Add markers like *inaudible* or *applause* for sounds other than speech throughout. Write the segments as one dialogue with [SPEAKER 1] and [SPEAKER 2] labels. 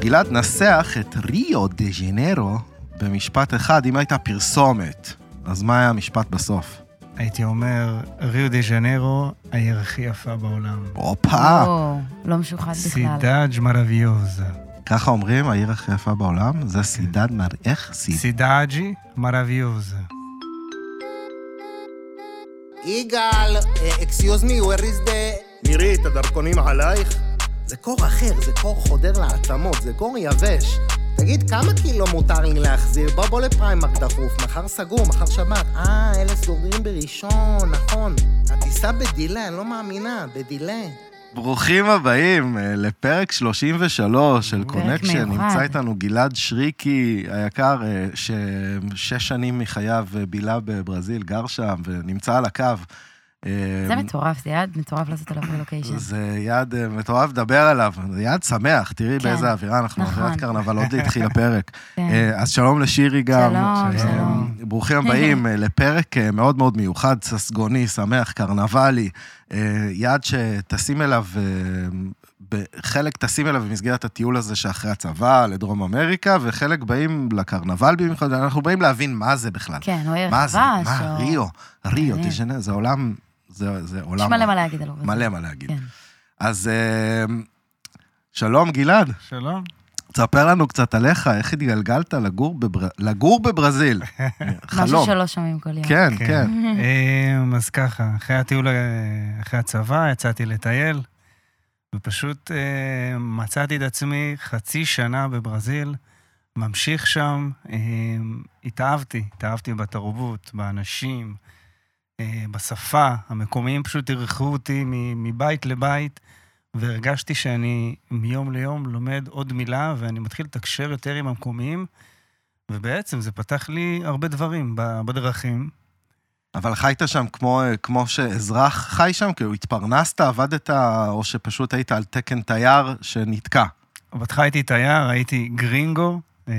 [SPEAKER 1] גלעד נסח את ריו דה ז'נרו במשפט אחד, אם הייתה פרסומת. אז מה היה המשפט בסוף?
[SPEAKER 2] הייתי אומר, ריו דה ז'נרו, העיר הכי יפה בעולם.
[SPEAKER 1] הופה!
[SPEAKER 3] או, לא משוחד בכלל.
[SPEAKER 2] סידאג' מרוויוזה.
[SPEAKER 1] ככה אומרים, העיר הכי יפה בעולם? זה סידד מר... איך? סיד...
[SPEAKER 2] סידאג'י מרוויוזה.
[SPEAKER 4] יגאל, אקסיוז מי, where is the... מירי, את הדרכונים עלייך? זה קור אחר, זה קור חודר לעצמות, זה קור יבש. תגיד, כמה קילו מותר לי להחזיר? בוא בוא לפריימרק דחוף, מחר סגור, מחר שבת. אה, אלה סוגרים בראשון, נכון. הטיסה בדילה, אני לא מאמינה, בדילה.
[SPEAKER 1] ברוכים הבאים אה, לפרק 33 של קונקשן.
[SPEAKER 3] מיוחד.
[SPEAKER 1] נמצא איתנו גלעד שריקי היקר, אה, ששש שנים מחייו אה, בילה בברזיל, גר שם, ונמצא על הקו. אה,
[SPEAKER 3] זה מטורף, זה יעד מטורף לעשות עליו רילוקיישן.
[SPEAKER 1] זה יעד אה, מטורף לדבר עליו, זה יעד שמח, תראי
[SPEAKER 3] כן.
[SPEAKER 1] באיזה אווירה אנחנו,
[SPEAKER 3] נכון.
[SPEAKER 1] אווירת קרנבל, עוד
[SPEAKER 3] *laughs*
[SPEAKER 1] התחיל הפרק.
[SPEAKER 3] כן.
[SPEAKER 1] אה, אז שלום לשירי גם.
[SPEAKER 3] שלום,
[SPEAKER 1] אה,
[SPEAKER 3] שלום.
[SPEAKER 1] ברוכים הבאים אה, לפרק אה, מאוד מאוד מיוחד, ססגוני, שמח, קרנבלי, אה, יעד שטסים אליו, אה, ב- חלק טסים אליו במסגרת הטיול הזה שאחרי הצבא לדרום אמריקה, וחלק באים לקרנבל במיוחד, אנחנו באים להבין מה זה בכלל.
[SPEAKER 3] כן, או ערך
[SPEAKER 1] מה
[SPEAKER 3] דבש,
[SPEAKER 1] זה? מה?
[SPEAKER 3] או-
[SPEAKER 1] ריו, ריו,
[SPEAKER 3] מעניין.
[SPEAKER 1] דז'נה, זה עולם, זה זה
[SPEAKER 3] יש
[SPEAKER 1] עולם.
[SPEAKER 3] מלא מה להגיד עליו.
[SPEAKER 1] מלא מה להגיד.
[SPEAKER 3] כן.
[SPEAKER 1] אז אה, שלום, גלעד.
[SPEAKER 2] שלום.
[SPEAKER 1] תספר לנו קצת עליך, איך התגלגלת לגור, בבר... לגור בברזיל. *laughs*
[SPEAKER 3] משהו
[SPEAKER 1] חלום.
[SPEAKER 3] שלא שומעים כל יום. *laughs*
[SPEAKER 1] כן, כן.
[SPEAKER 2] *laughs* אמ, אז ככה, אחרי הטיול, אה, אחרי הצבא, יצאתי לטייל, ופשוט אה, מצאתי את עצמי חצי שנה בברזיל, ממשיך שם, אמ, התאהבתי, התאהבתי בתרבות, באנשים, אה, בשפה, המקומיים פשוט אירחו אותי מ- מבית לבית, והרגשתי שאני מיום ליום לומד עוד מילה, ואני מתחיל לתקשר יותר עם המקומיים. ובעצם זה פתח לי הרבה דברים ב- בדרכים,
[SPEAKER 1] אבל חיית שם כמו, אה, כמו שאזרח חי שם, כאילו התפרנסת, עבדת, או שפשוט היית על תקן תייר שנתקע.
[SPEAKER 2] בהתחלה הייתי תייר, הייתי גרינגו, אה,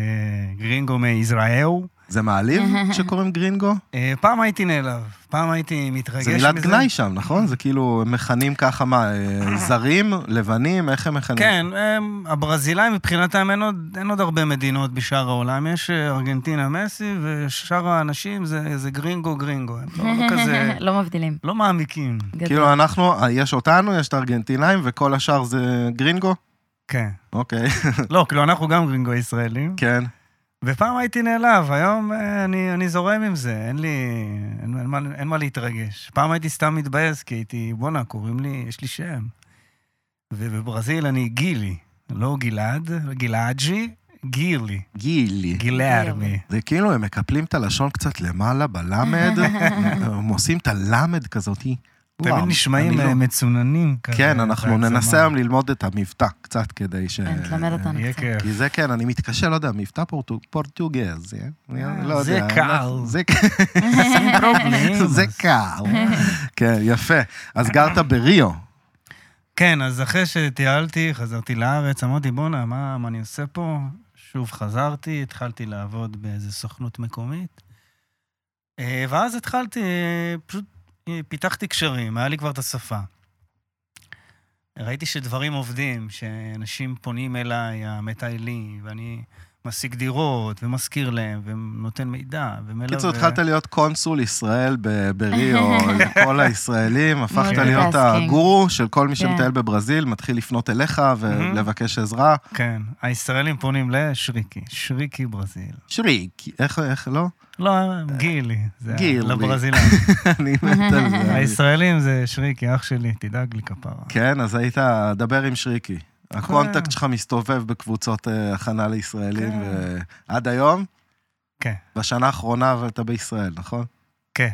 [SPEAKER 2] גרינגו מישראל.
[SPEAKER 1] זה
[SPEAKER 3] *laughs*
[SPEAKER 1] מעליב שקוראים גרינגו?
[SPEAKER 2] אה, פעם הייתי נעלב, פעם הייתי מתרגש
[SPEAKER 1] זה
[SPEAKER 2] מזה.
[SPEAKER 1] מילת גנאי שם, נכון? זה כאילו, הם מכנים ככה מה,
[SPEAKER 3] *laughs*
[SPEAKER 1] אה, זרים, לבנים, איך הם מכנים?
[SPEAKER 2] כן, הם, הברזילאים מבחינתם אין עוד, אין עוד הרבה מדינות בשאר העולם. יש אה, ארגנטינה מסי, ושאר האנשים זה, זה גרינגו גרינגו. הם לא, לא
[SPEAKER 3] *laughs*
[SPEAKER 2] כזה,
[SPEAKER 3] לא מבדילים.
[SPEAKER 2] לא מעמיקים.
[SPEAKER 3] גדול.
[SPEAKER 1] כאילו, אנחנו, יש אותנו, יש את הארגנטינאים, וכל השאר זה גרינגו?
[SPEAKER 2] כן.
[SPEAKER 1] אוקיי, *laughs*
[SPEAKER 2] לא, כאילו, אנחנו גם גרינגו ישראלים.
[SPEAKER 1] כן.
[SPEAKER 2] ופעם הייתי נעלב, היום אה, אני, אני זורם עם זה, אין לי... אין, אין, מה, אין מה להתרגש. פעם הייתי סתם מתבאס, כי הייתי, בואנה, קוראים לי, יש לי שם. ובברזיל אני גילי, לא גלעד, גלעג'י, גירלי,
[SPEAKER 1] גילי.
[SPEAKER 2] גילארמי.
[SPEAKER 1] זה כאילו, הם מקפלים את הלשון קצת למעלה
[SPEAKER 2] *laughs*
[SPEAKER 1] בלמד, הם עושים את הלמד כזאתי.
[SPEAKER 2] תמיד
[SPEAKER 1] וואו,
[SPEAKER 2] נשמעים
[SPEAKER 1] אני לא-
[SPEAKER 2] אה, מצוננים כזה.
[SPEAKER 1] כן, אנחנו
[SPEAKER 2] בהגזמה.
[SPEAKER 1] ננסה
[SPEAKER 2] *laughs*
[SPEAKER 1] היום ללמוד את המבטא קצת כדי ש...
[SPEAKER 3] כן, תלמד אותנו
[SPEAKER 2] יהיה
[SPEAKER 3] קצת.
[SPEAKER 2] כיף.
[SPEAKER 1] כי זה כן, אני מתקשה, לא יודע, מבטא פורטו- פורטוגז, אה? אני לא
[SPEAKER 2] זה
[SPEAKER 1] יודע.
[SPEAKER 2] קל.
[SPEAKER 1] זה קל. *laughs* זה
[SPEAKER 2] *laughs*
[SPEAKER 1] קל. כן, יפה. אז גרת בריו.
[SPEAKER 2] כן, אז אחרי שטיילתי, חזרתי לארץ, אמרתי, בואנה, מה, מה אני עושה פה? שוב חזרתי, התחלתי לעבוד באיזה סוכנות מקומית. אה, ואז התחלתי, אה, פשוט אה, פיתחתי קשרים, היה לי כבר את השפה. ראיתי שדברים עובדים, שאנשים פונים אליי, המטיילים, ואני משיג דירות, ומזכיר להם, ונותן מידע, ומלווה.
[SPEAKER 1] קיצור, התחלת להיות קונסול ישראל ב- בריו, לכל הישראלים, הפכת להיות
[SPEAKER 3] מולטיטאסקינג.
[SPEAKER 1] הגורו של כל מי
[SPEAKER 3] כן.
[SPEAKER 1] שמטייל בברזיל, מתחיל לפנות אליך
[SPEAKER 2] מהמם.
[SPEAKER 1] ולבקש עזרה.
[SPEAKER 2] כן, הישראלים פונים לשריקי, שריקי ברזיל.
[SPEAKER 1] שריק, איך, איך, לא?
[SPEAKER 2] לא, גילי. זה
[SPEAKER 1] גילי.
[SPEAKER 2] לברזילאים.
[SPEAKER 1] אני מת על *laughs* זה. אני-
[SPEAKER 2] הישראלים זה שריקי, אח שלי, תדאג לי כפרה.
[SPEAKER 1] כן, אז היית, דבר עם שריקי. הקונטקט שלך מסתובב בקבוצות אה, הכנה לישראלים,
[SPEAKER 2] כן.
[SPEAKER 1] ועד היום,
[SPEAKER 2] כן,
[SPEAKER 1] בשנה האחרונה אבל אתה בישראל, נכון?
[SPEAKER 2] כן.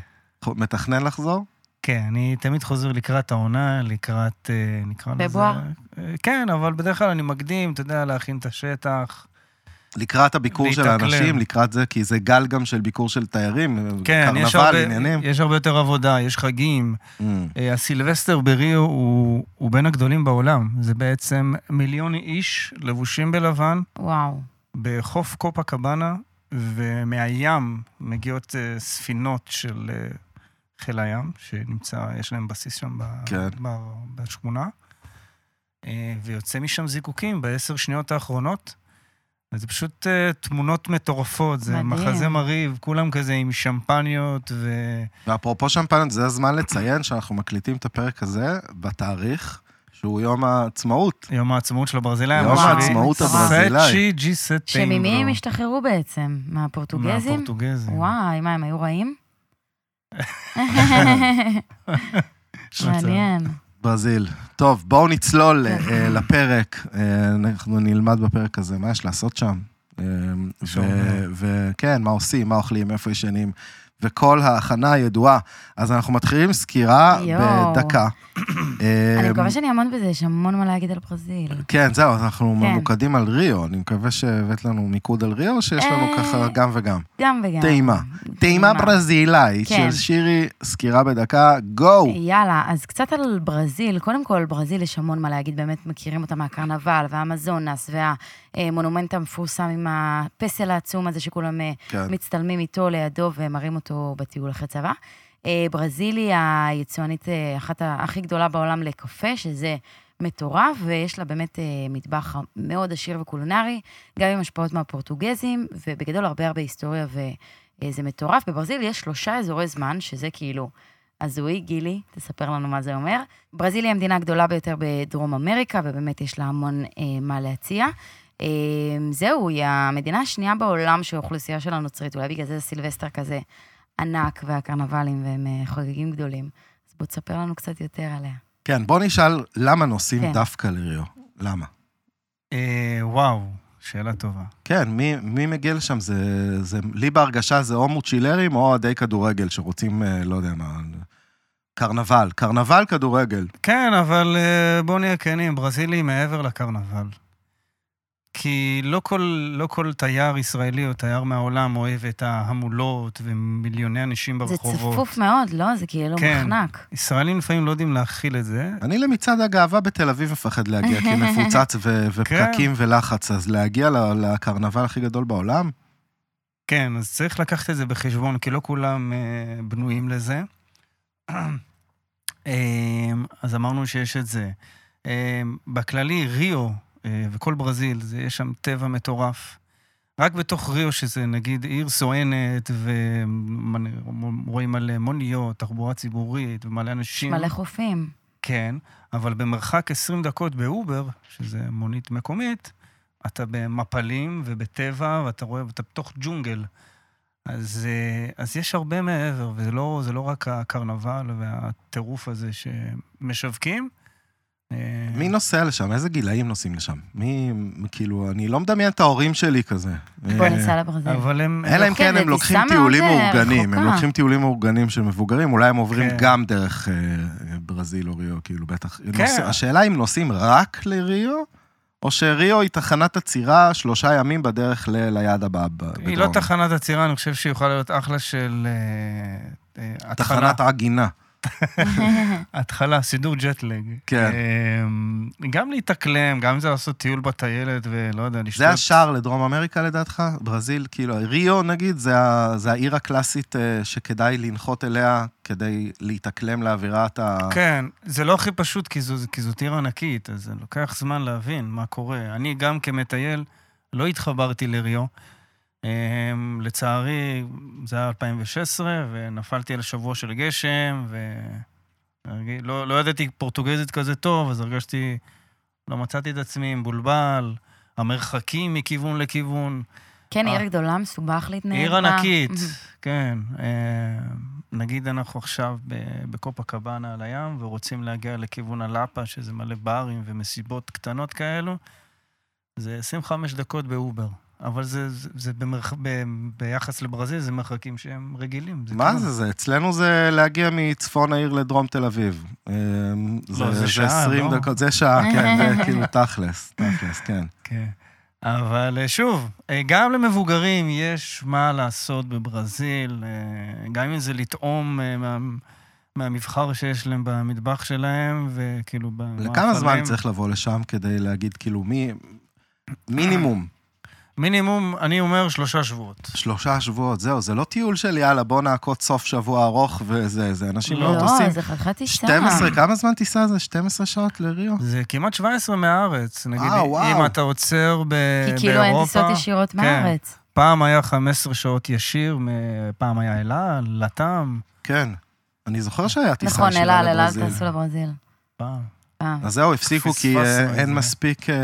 [SPEAKER 1] ח- מתכנן לחזור?
[SPEAKER 2] כן, אני תמיד חוזר לקראת העונה, לקראת, אה, נקרא לזה...
[SPEAKER 3] פברואר?
[SPEAKER 2] אה, כן, אבל בדרך כלל אני מקדים, אתה יודע, להכין את השטח.
[SPEAKER 1] לקראת הביקור של
[SPEAKER 2] להתאקלם.
[SPEAKER 1] האנשים, לקראת זה, כי זה גל גם של ביקור של תיירים,
[SPEAKER 2] כן, יש
[SPEAKER 1] קרנבל,
[SPEAKER 2] הרבה,
[SPEAKER 1] עניינים.
[SPEAKER 2] יש הרבה יותר עבודה, יש חגים.
[SPEAKER 1] Mm.
[SPEAKER 2] אה, הסילבסטר בריו הוא, הוא בין הגדולים בעולם. זה בעצם מיליון איש לבושים בלבן,
[SPEAKER 3] וואו.
[SPEAKER 2] בחוף קופה קבנה, ומהים מגיעות אה, ספינות של אה, חיל הים, שנמצא, יש להם בסיס שם ב,
[SPEAKER 1] כן.
[SPEAKER 2] ב, בשכונה. אה, ויוצא משם זיקוקים בעשר שניות האחרונות. וזה פשוט אה, תמונות מטורפות, זה
[SPEAKER 3] מדהים.
[SPEAKER 2] מחזה מרהיב, כולם כזה עם שמפניות ו...
[SPEAKER 1] ואפרופו שמפניות, זה הזמן לציין שאנחנו מקליטים את הפרק הזה בתאריך שהוא יום העצמאות.
[SPEAKER 2] יום העצמאות של הברזילאים.
[SPEAKER 1] יום
[SPEAKER 2] השביעי.
[SPEAKER 1] העצמאות הברזילאי.
[SPEAKER 2] סצ'י ג'י סטינגו.
[SPEAKER 3] שממי הם השתחררו בעצם? מהפורטוגזים?
[SPEAKER 2] מהפורטוגזים.
[SPEAKER 3] וואי, מה, הם
[SPEAKER 1] *laughs*
[SPEAKER 3] היו רעים?
[SPEAKER 2] יש מצב.
[SPEAKER 3] מעניין.
[SPEAKER 1] ברזיל. טוב, בואו נצלול אה, לפרק. אה, אנחנו נלמד בפרק הזה מה יש לעשות שם. אה,
[SPEAKER 2] שום
[SPEAKER 1] ו- וכן, מה עושים, מה אוכלים, איפה ישנים, וכל ההכנה הידועה. אז אנחנו מתחילים סקירה
[SPEAKER 3] יואו.
[SPEAKER 1] בדקה. אה,
[SPEAKER 3] אני מקווה שאני אעמוד בזה, יש המון מה להגיד על ברזיל.
[SPEAKER 1] כן, זהו, אז אנחנו
[SPEAKER 3] כן.
[SPEAKER 1] ממוקדים על ריו. אני מקווה שהבאת לנו מיקוד על ריו, או שיש לנו
[SPEAKER 3] אה,
[SPEAKER 1] ככה גם וגם.
[SPEAKER 3] גם וגם.
[SPEAKER 1] טעימה. טעימה ברזילאית של
[SPEAKER 3] כן. אה,
[SPEAKER 1] שירי, סקירה בדקה, גו!
[SPEAKER 3] יאללה, אז קצת על ברזיל. קודם כל, ברזיל יש המון מה להגיד, באמת מכירים אותה מהקרנבל והאמזונס והמונומנט המפורסם עם הפסל העצום הזה שכולם אה,
[SPEAKER 1] כן.
[SPEAKER 3] מצטלמים איתו לידו ומראים אותו בטיול אחרי צבא. אה, ברזיל היא היצואנית אה, אחת ה- הכי גדולה בעולם לקפה, שזה מטורף, ויש לה באמת אה, מטבח מאוד עשיר וקולינרי, גם עם השפעות מהפורטוגזים, ובגדול הרבה הרבה היסטוריה, וזה מטורף. בברזיל יש שלושה אזורי זמן, שזה כאילו... הזוי, גילי, תספר לנו מה זה אומר. ברזיל היא המדינה הגדולה ביותר בדרום אמריקה, ובאמת יש לה המון אה, מה להציע. אה, זהו, היא המדינה השנייה בעולם שהאוכלוסייה שלה נוצרית, אולי בגלל זה סילבסטר כזה ענק, והקרנבלים, והם אה, חוגגים גדולים. אז בוא תספר לנו קצת יותר עליה.
[SPEAKER 1] כן, בוא נשאל למה נוסעים
[SPEAKER 3] כן.
[SPEAKER 1] דווקא לריו. למה?
[SPEAKER 2] אה, וואו, שאלה טובה.
[SPEAKER 1] כן, מי, מי מגיע לשם? זה, זה, לי בהרגשה זה או מוצ'ילרים או אוהדי כדורגל שרוצים, אה, לא יודע מה, קרנבל. קרנבל כדורגל.
[SPEAKER 2] כן, אבל אה, בואו נהיה כנים, ברזיל היא מעבר לקרנבל. כי לא כל, לא כל תייר ישראלי או תייר מהעולם אוהב את ההמולות ומיליוני אנשים
[SPEAKER 3] זה
[SPEAKER 2] ברחובות.
[SPEAKER 3] צפוף מאוד, לא? זה כאילו
[SPEAKER 2] כן.
[SPEAKER 3] מחנק.
[SPEAKER 2] ישראלים לפעמים לא יודעים להכיל את זה.
[SPEAKER 1] אני למצעד הגאווה בתל אביב מפחד להגיע, כי מפוצץ ו,
[SPEAKER 2] *laughs* כן.
[SPEAKER 1] ופקקים ולחץ, אז להגיע ל- לקרנבל הכי גדול בעולם?
[SPEAKER 2] כן, אז צריך לקחת את זה בחשבון, כי לא כולם אה, בנויים לזה. *clears throat* אה, אז אמרנו שיש את זה. אה, בכללי, ריו אה, וכל ברזיל, זה, יש שם טבע מטורף. רק בתוך ריו, שזה נגיד עיר סואנת, ורואים מלא מוניות, תחבורה ציבורית, ומלא אנשים.
[SPEAKER 3] מלא חופים.
[SPEAKER 2] כן, אבל במרחק 20 דקות באובר, שזה מונית מקומית, אתה במפלים ובטבע, ואתה רואה, ואתה בתוך ג'ונגל. אז, אה, אז יש הרבה מעבר, וזה לא, זה לא רק הקרנבל והטירוף הזה שמשווקים. אה,
[SPEAKER 1] מי נוסע לשם? איזה גילאים נוסעים לשם? מי, כאילו, אני לא מדמיין את ההורים שלי כזה.
[SPEAKER 3] בוא
[SPEAKER 1] אה,
[SPEAKER 3] ניסע לברזיל.
[SPEAKER 2] אבל הם...
[SPEAKER 1] אלא אם
[SPEAKER 3] לוקחים
[SPEAKER 1] כן הם
[SPEAKER 3] לטיסה
[SPEAKER 1] לוקחים
[SPEAKER 3] מאוד,
[SPEAKER 1] טיולים
[SPEAKER 3] אה,
[SPEAKER 1] מאורגנים, הם
[SPEAKER 3] רחוקה.
[SPEAKER 1] לוקחים טיולים מאורגנים של מבוגרים, אולי הם עוברים
[SPEAKER 2] כן.
[SPEAKER 1] גם דרך אה, ברזיל או ריו, כאילו בטח.
[SPEAKER 2] כן.
[SPEAKER 1] נוס- השאלה אם נוסעים רק לריו, או שריו היא תחנת עצירה שלושה ימים בדרך ל- ליעד הבא ב- בדרום.
[SPEAKER 2] היא לא תחנת עצירה, אני חושב שהיא יכולה להיות אחלה של... אה, אה, התחלה.
[SPEAKER 1] תחנת עגינה.
[SPEAKER 2] התחלה, סידור ג'טלג.
[SPEAKER 1] כן.
[SPEAKER 2] אמ, גם להתאקלם, גם אם זה לעשות טיול בטיילת ולא יודע, לשתות.
[SPEAKER 1] זה השער לדרום אמריקה לדעתך? ברזיל, כאילו, ריו נגיד, זה ה- זה העיר הקלאסית אה, שכדאי לנחות אליה כדי להתאקלם לאווירת ה...
[SPEAKER 2] כן, זה לא הכי פשוט, כי זו, כי זאת עיר ענקית, אז זה לוקח זמן להבין מה קורה. אני גם כמטייל לא התחברתי לריו. אמ, לצערי, זה היה 2016, ונפלתי על שבוע של גשם, ולא לא ידעתי פורטוגזית כזה טוב, אז הרגשתי, לא מצאתי את עצמי מבולבל, המרחקים מכיוון לכיוון.
[SPEAKER 3] *laughs* כן,
[SPEAKER 2] אה.
[SPEAKER 3] עיר גדולה, מסובך להתנהג
[SPEAKER 2] עיר
[SPEAKER 3] בה. *laughs*
[SPEAKER 2] ענקית, כן. אה, נגיד אנחנו עכשיו ב- בקופה קבאנה על הים, ורוצים להגיע לכיוון הלאפה, שזה מלא ברים ומסיבות קטנות כאלו, זה 25 דקות באובר. אבל זה, זה, זה במרח... ב, ביחס לברזיל, זה מרחקים שהם רגילים.
[SPEAKER 1] מה
[SPEAKER 2] כלום.
[SPEAKER 1] זה זה? אצלנו זה להגיע מצפון העיר לדרום תל אביב. אמ,
[SPEAKER 2] לא, זה
[SPEAKER 1] זה
[SPEAKER 2] שעה,
[SPEAKER 1] 20
[SPEAKER 2] לא?
[SPEAKER 1] דקות, זה שעה, כן,
[SPEAKER 2] *laughs*
[SPEAKER 1] זה כאילו תכלס, תכלס, כן.
[SPEAKER 2] כן. אבל אה, שוב, אה, גם למבוגרים יש מה לעשות בברזיל, אה, גם אם זה לטעום אה, מה, מהמבחר שיש להם במטבח שלהם, וכאילו... במאכלים.
[SPEAKER 1] לכמה זמן צריך לבוא לשם כדי להגיד, כאילו, מי... מינימום.
[SPEAKER 2] מינימום, אני אומר שלושה שבועות.
[SPEAKER 1] שלושה שבועות, זהו, זה לא טיול של יאללה, בוא נעקוד סוף שבוע ארוך וזה, זה אנשים
[SPEAKER 2] לא,
[SPEAKER 1] מאוד עושים.
[SPEAKER 3] לא, זה חתיכת טיסה.
[SPEAKER 1] 12, כמה זמן טיסה זה? 12 שעות לריו?
[SPEAKER 2] זה כמעט 17 מהארץ. נגיד,
[SPEAKER 1] אה, וואו.
[SPEAKER 2] אם אתה עוצר ב- באירופה... כן.
[SPEAKER 3] כי כאילו אין טיסות ישירות מהארץ.
[SPEAKER 2] פעם היה 15 שעות ישיר, מ- פעם היה אלה, לטעם,
[SPEAKER 1] כן. אני זוכר שהיה טיסה
[SPEAKER 3] נכון,
[SPEAKER 1] ישירה
[SPEAKER 3] אל על, אל על
[SPEAKER 1] לברזיל.
[SPEAKER 3] טסו לברזיל. אה,
[SPEAKER 2] פעם.
[SPEAKER 3] פעם.
[SPEAKER 1] אז זהו, הפסיקו כי אה,
[SPEAKER 2] פספסנו את
[SPEAKER 1] אין
[SPEAKER 2] זה.
[SPEAKER 1] מספיק אה,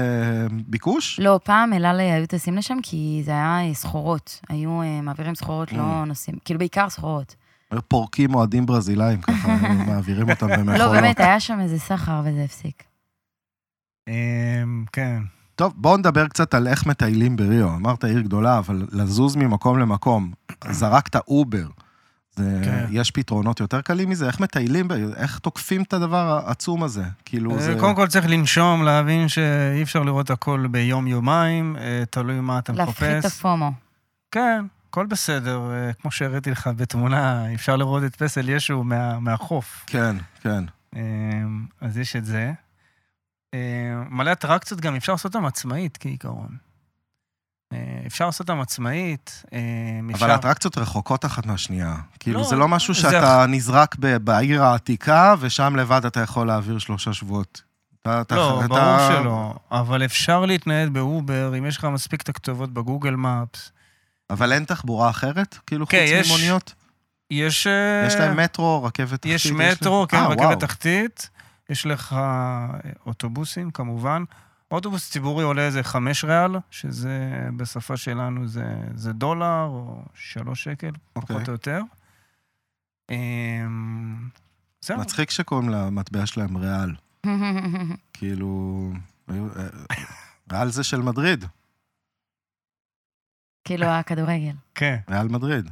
[SPEAKER 1] ביקוש?
[SPEAKER 3] לא, פעם אל על היו טסים לשם כי זה היה אה, סחורות. היו אה, מעבירים סחורות,
[SPEAKER 1] Mm.
[SPEAKER 3] לא נוסעים, כאילו בעיקר סחורות.
[SPEAKER 1] היו פורקים אוהדים ברזילאים, ככה אה,
[SPEAKER 3] *laughs*
[SPEAKER 1] מעבירים אותם במכולות.
[SPEAKER 3] לא, באמת, היה שם איזה סחר וזה הפסיק.
[SPEAKER 2] אמ, כן.
[SPEAKER 1] טוב, בואו נדבר קצת על איך מטיילים בריו. אמרת עיר גדולה, אבל לזוז ממקום למקום, זרקת אובר. זה,
[SPEAKER 2] כן.
[SPEAKER 1] יש פתרונות יותר קלים מזה? איך מטיילים, ב- איך תוקפים את הדבר העצום הזה? כאילו, זה...
[SPEAKER 2] אה, קודם כל צריך לנשום, להבין שאי אפשר לראות הכל ביום-יומיים, אה, תלוי מה אתה
[SPEAKER 3] להפחית את
[SPEAKER 2] מחפש.
[SPEAKER 3] הפומו. *laughs*
[SPEAKER 2] כן, הכל בסדר. אה, כמו שהראיתי לך בתמונה, אפשר לראות את פסל ישו מה- מהחוף.
[SPEAKER 1] כן, כן.
[SPEAKER 2] אמ, אז יש את זה. אמ, מלא אטרקציות גם אפשר לעשות אותן עצמאית כעיקרון. אה, אפשר לעשות אותן עצמאית, אמ, אפשר...
[SPEAKER 1] אבל האטרקציות רחוקות אחת מהשנייה. כאילו,
[SPEAKER 2] לא,
[SPEAKER 1] זה לא משהו
[SPEAKER 2] זה
[SPEAKER 1] שאתה נזרק ב- בעיר העתיקה, ושם לבד אתה יכול להעביר שלושה שבועות. אתה- אתה-
[SPEAKER 2] לא,
[SPEAKER 1] אתה-
[SPEAKER 2] ברור שלא, אבל אפשר להתנייד באובר, אם יש לך מספיק את הכתובות בגוגל מפס.
[SPEAKER 1] אבל אין תחבורה אחרת? כאילו, חוץ
[SPEAKER 2] כן, יש-
[SPEAKER 1] ממוניות?
[SPEAKER 2] יש... אה,
[SPEAKER 1] יש להם מטרו, רכבת תחתית?
[SPEAKER 2] יש
[SPEAKER 1] להם-
[SPEAKER 2] מטרו, כן,
[SPEAKER 1] אה, וואו.
[SPEAKER 2] רכבת תחתית. יש לך אה, אוטובוסים, כמובן. אוטובוס ציבורי עולה איזה חמש ריאל, שזה בשפה שלנו זה, זה דולר או שלוש שקל,
[SPEAKER 1] אוקיי.
[SPEAKER 2] פחות או יותר. אמ, זהו.
[SPEAKER 1] כן. מצחיק שקוראים למטבע שלהם ריאל. כאילו, היו- אה, ריאל זה של מדריד,
[SPEAKER 3] כאילו הכדורגל.
[SPEAKER 2] כן.
[SPEAKER 1] ריאל מדריד.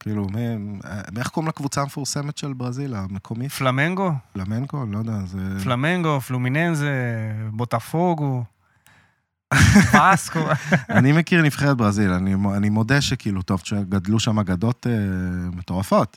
[SPEAKER 1] כאילו, מי- אה, איך קוראים לקבוצה המפורסמת של ברזיל, המקומית?
[SPEAKER 2] פלמנגו?
[SPEAKER 1] פלמנקו? אני לא יודע, זה...
[SPEAKER 2] פלמנגו, פלומיננזה,
[SPEAKER 1] *laughs*
[SPEAKER 2] בוטפוגו, פסקו.
[SPEAKER 1] אני מכיר נבחרת ברזיל, אני מו- אני מודה שכאילו, טוב, שגדלו שם אגדות אה, מטורפות.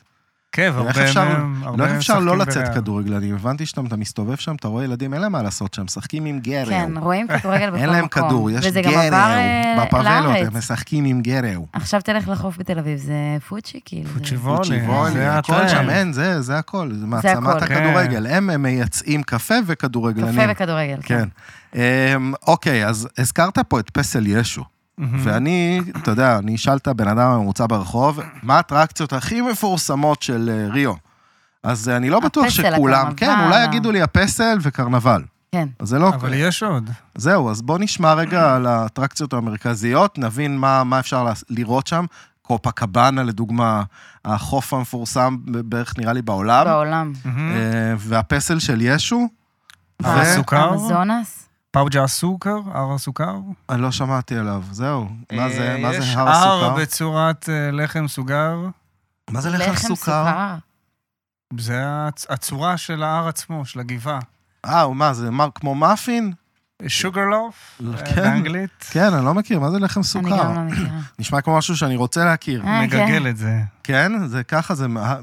[SPEAKER 2] כן,
[SPEAKER 1] איך
[SPEAKER 2] והרבה
[SPEAKER 1] אפשר-
[SPEAKER 2] מהם...
[SPEAKER 1] לא
[SPEAKER 2] הרבה
[SPEAKER 1] איך
[SPEAKER 2] מהם
[SPEAKER 1] אפשר לא
[SPEAKER 2] משחקים
[SPEAKER 1] לצאת
[SPEAKER 2] בריאל.
[SPEAKER 1] כדורגלנים, הבנתי שאתה אתה מסתובב שם, אתה רואה ילדים, אין להם מה לעשות שם, משחקים עם גרל.
[SPEAKER 3] כן, רואים כדורגל בכל מקום.
[SPEAKER 1] *laughs* אין להם כדור, יש
[SPEAKER 3] וזה גם
[SPEAKER 1] גרל
[SPEAKER 3] עבר אה,
[SPEAKER 1] בפאבלות,
[SPEAKER 3] לארץ.
[SPEAKER 1] הם משחקים עם גרל.
[SPEAKER 3] עכשיו תלך לחוף בתל אביב, זה פוצ'י, כאילו. זה-
[SPEAKER 2] פוצ'יבולי,
[SPEAKER 1] פוצ'יבולי,
[SPEAKER 2] זה כן.
[SPEAKER 1] הכל
[SPEAKER 2] הטרנד.
[SPEAKER 1] שם, אין, זה, זה הכל, זה מעצמת
[SPEAKER 3] הכל.
[SPEAKER 1] הכדורגל. הם הם מייצאים קפה וכדורגלנים.
[SPEAKER 3] קפה וכדורגל.
[SPEAKER 1] כן. אמ, אוקיי, אז הזכרת פה את פסל ישו,
[SPEAKER 2] מהמם.
[SPEAKER 1] Mm-hmm. ואני, אתה יודע, אני אשאל את הבן אדם הממוצע ברחוב, מה האטרקציות הכי מפורסמות של אה, ריו? אז אה, אני לא בטוח
[SPEAKER 3] הפסל,
[SPEAKER 1] שכולם,
[SPEAKER 3] הקרנבל.
[SPEAKER 1] כן, אולי יגידו לי הפסל וקרנבל.
[SPEAKER 3] כן.
[SPEAKER 1] אז זה לא...
[SPEAKER 2] אבל יש עוד.
[SPEAKER 1] זהו, אז בוא נשמע רגע על האטרקציות המרכזיות, נבין מה, מה אפשר לה- לראות שם. קופה קבאנה, לדוגמה, החוף המפורסם ב- בערך נראה לי בעולם,
[SPEAKER 3] בעולם.
[SPEAKER 2] מהמם.
[SPEAKER 1] אה, והפסל של ישו,
[SPEAKER 2] הר
[SPEAKER 1] ו-
[SPEAKER 2] הסוכר?
[SPEAKER 3] אמזונס?
[SPEAKER 2] פאוג'ה הסוכר, הר הסוכר.
[SPEAKER 1] אני לא שמעתי עליו, זהו. מה זה,
[SPEAKER 2] אה,
[SPEAKER 1] מה זה
[SPEAKER 2] יש
[SPEAKER 1] הר
[SPEAKER 2] הר
[SPEAKER 1] הסוכר?
[SPEAKER 2] בצורת אה, לחם סוגר.
[SPEAKER 1] מה זה לחם
[SPEAKER 3] לחם
[SPEAKER 1] סוכר?
[SPEAKER 3] סוכר.
[SPEAKER 2] זה הצ- הצורה של ההר עצמו, של הגבעה.
[SPEAKER 1] אה, הוא מה, זה מר כמו מאפין?
[SPEAKER 2] שוגר לוף,
[SPEAKER 1] כן.
[SPEAKER 2] אה, באנגלית.
[SPEAKER 1] כן, אני לא מכיר, מה זה לחם
[SPEAKER 3] אני גם
[SPEAKER 1] סוכר?
[SPEAKER 3] לא מכירה.
[SPEAKER 1] נשמע כמו משהו שאני רוצה להכיר.
[SPEAKER 3] אה,
[SPEAKER 2] מגגל את זה.
[SPEAKER 1] כן, זה ככה, זה מה-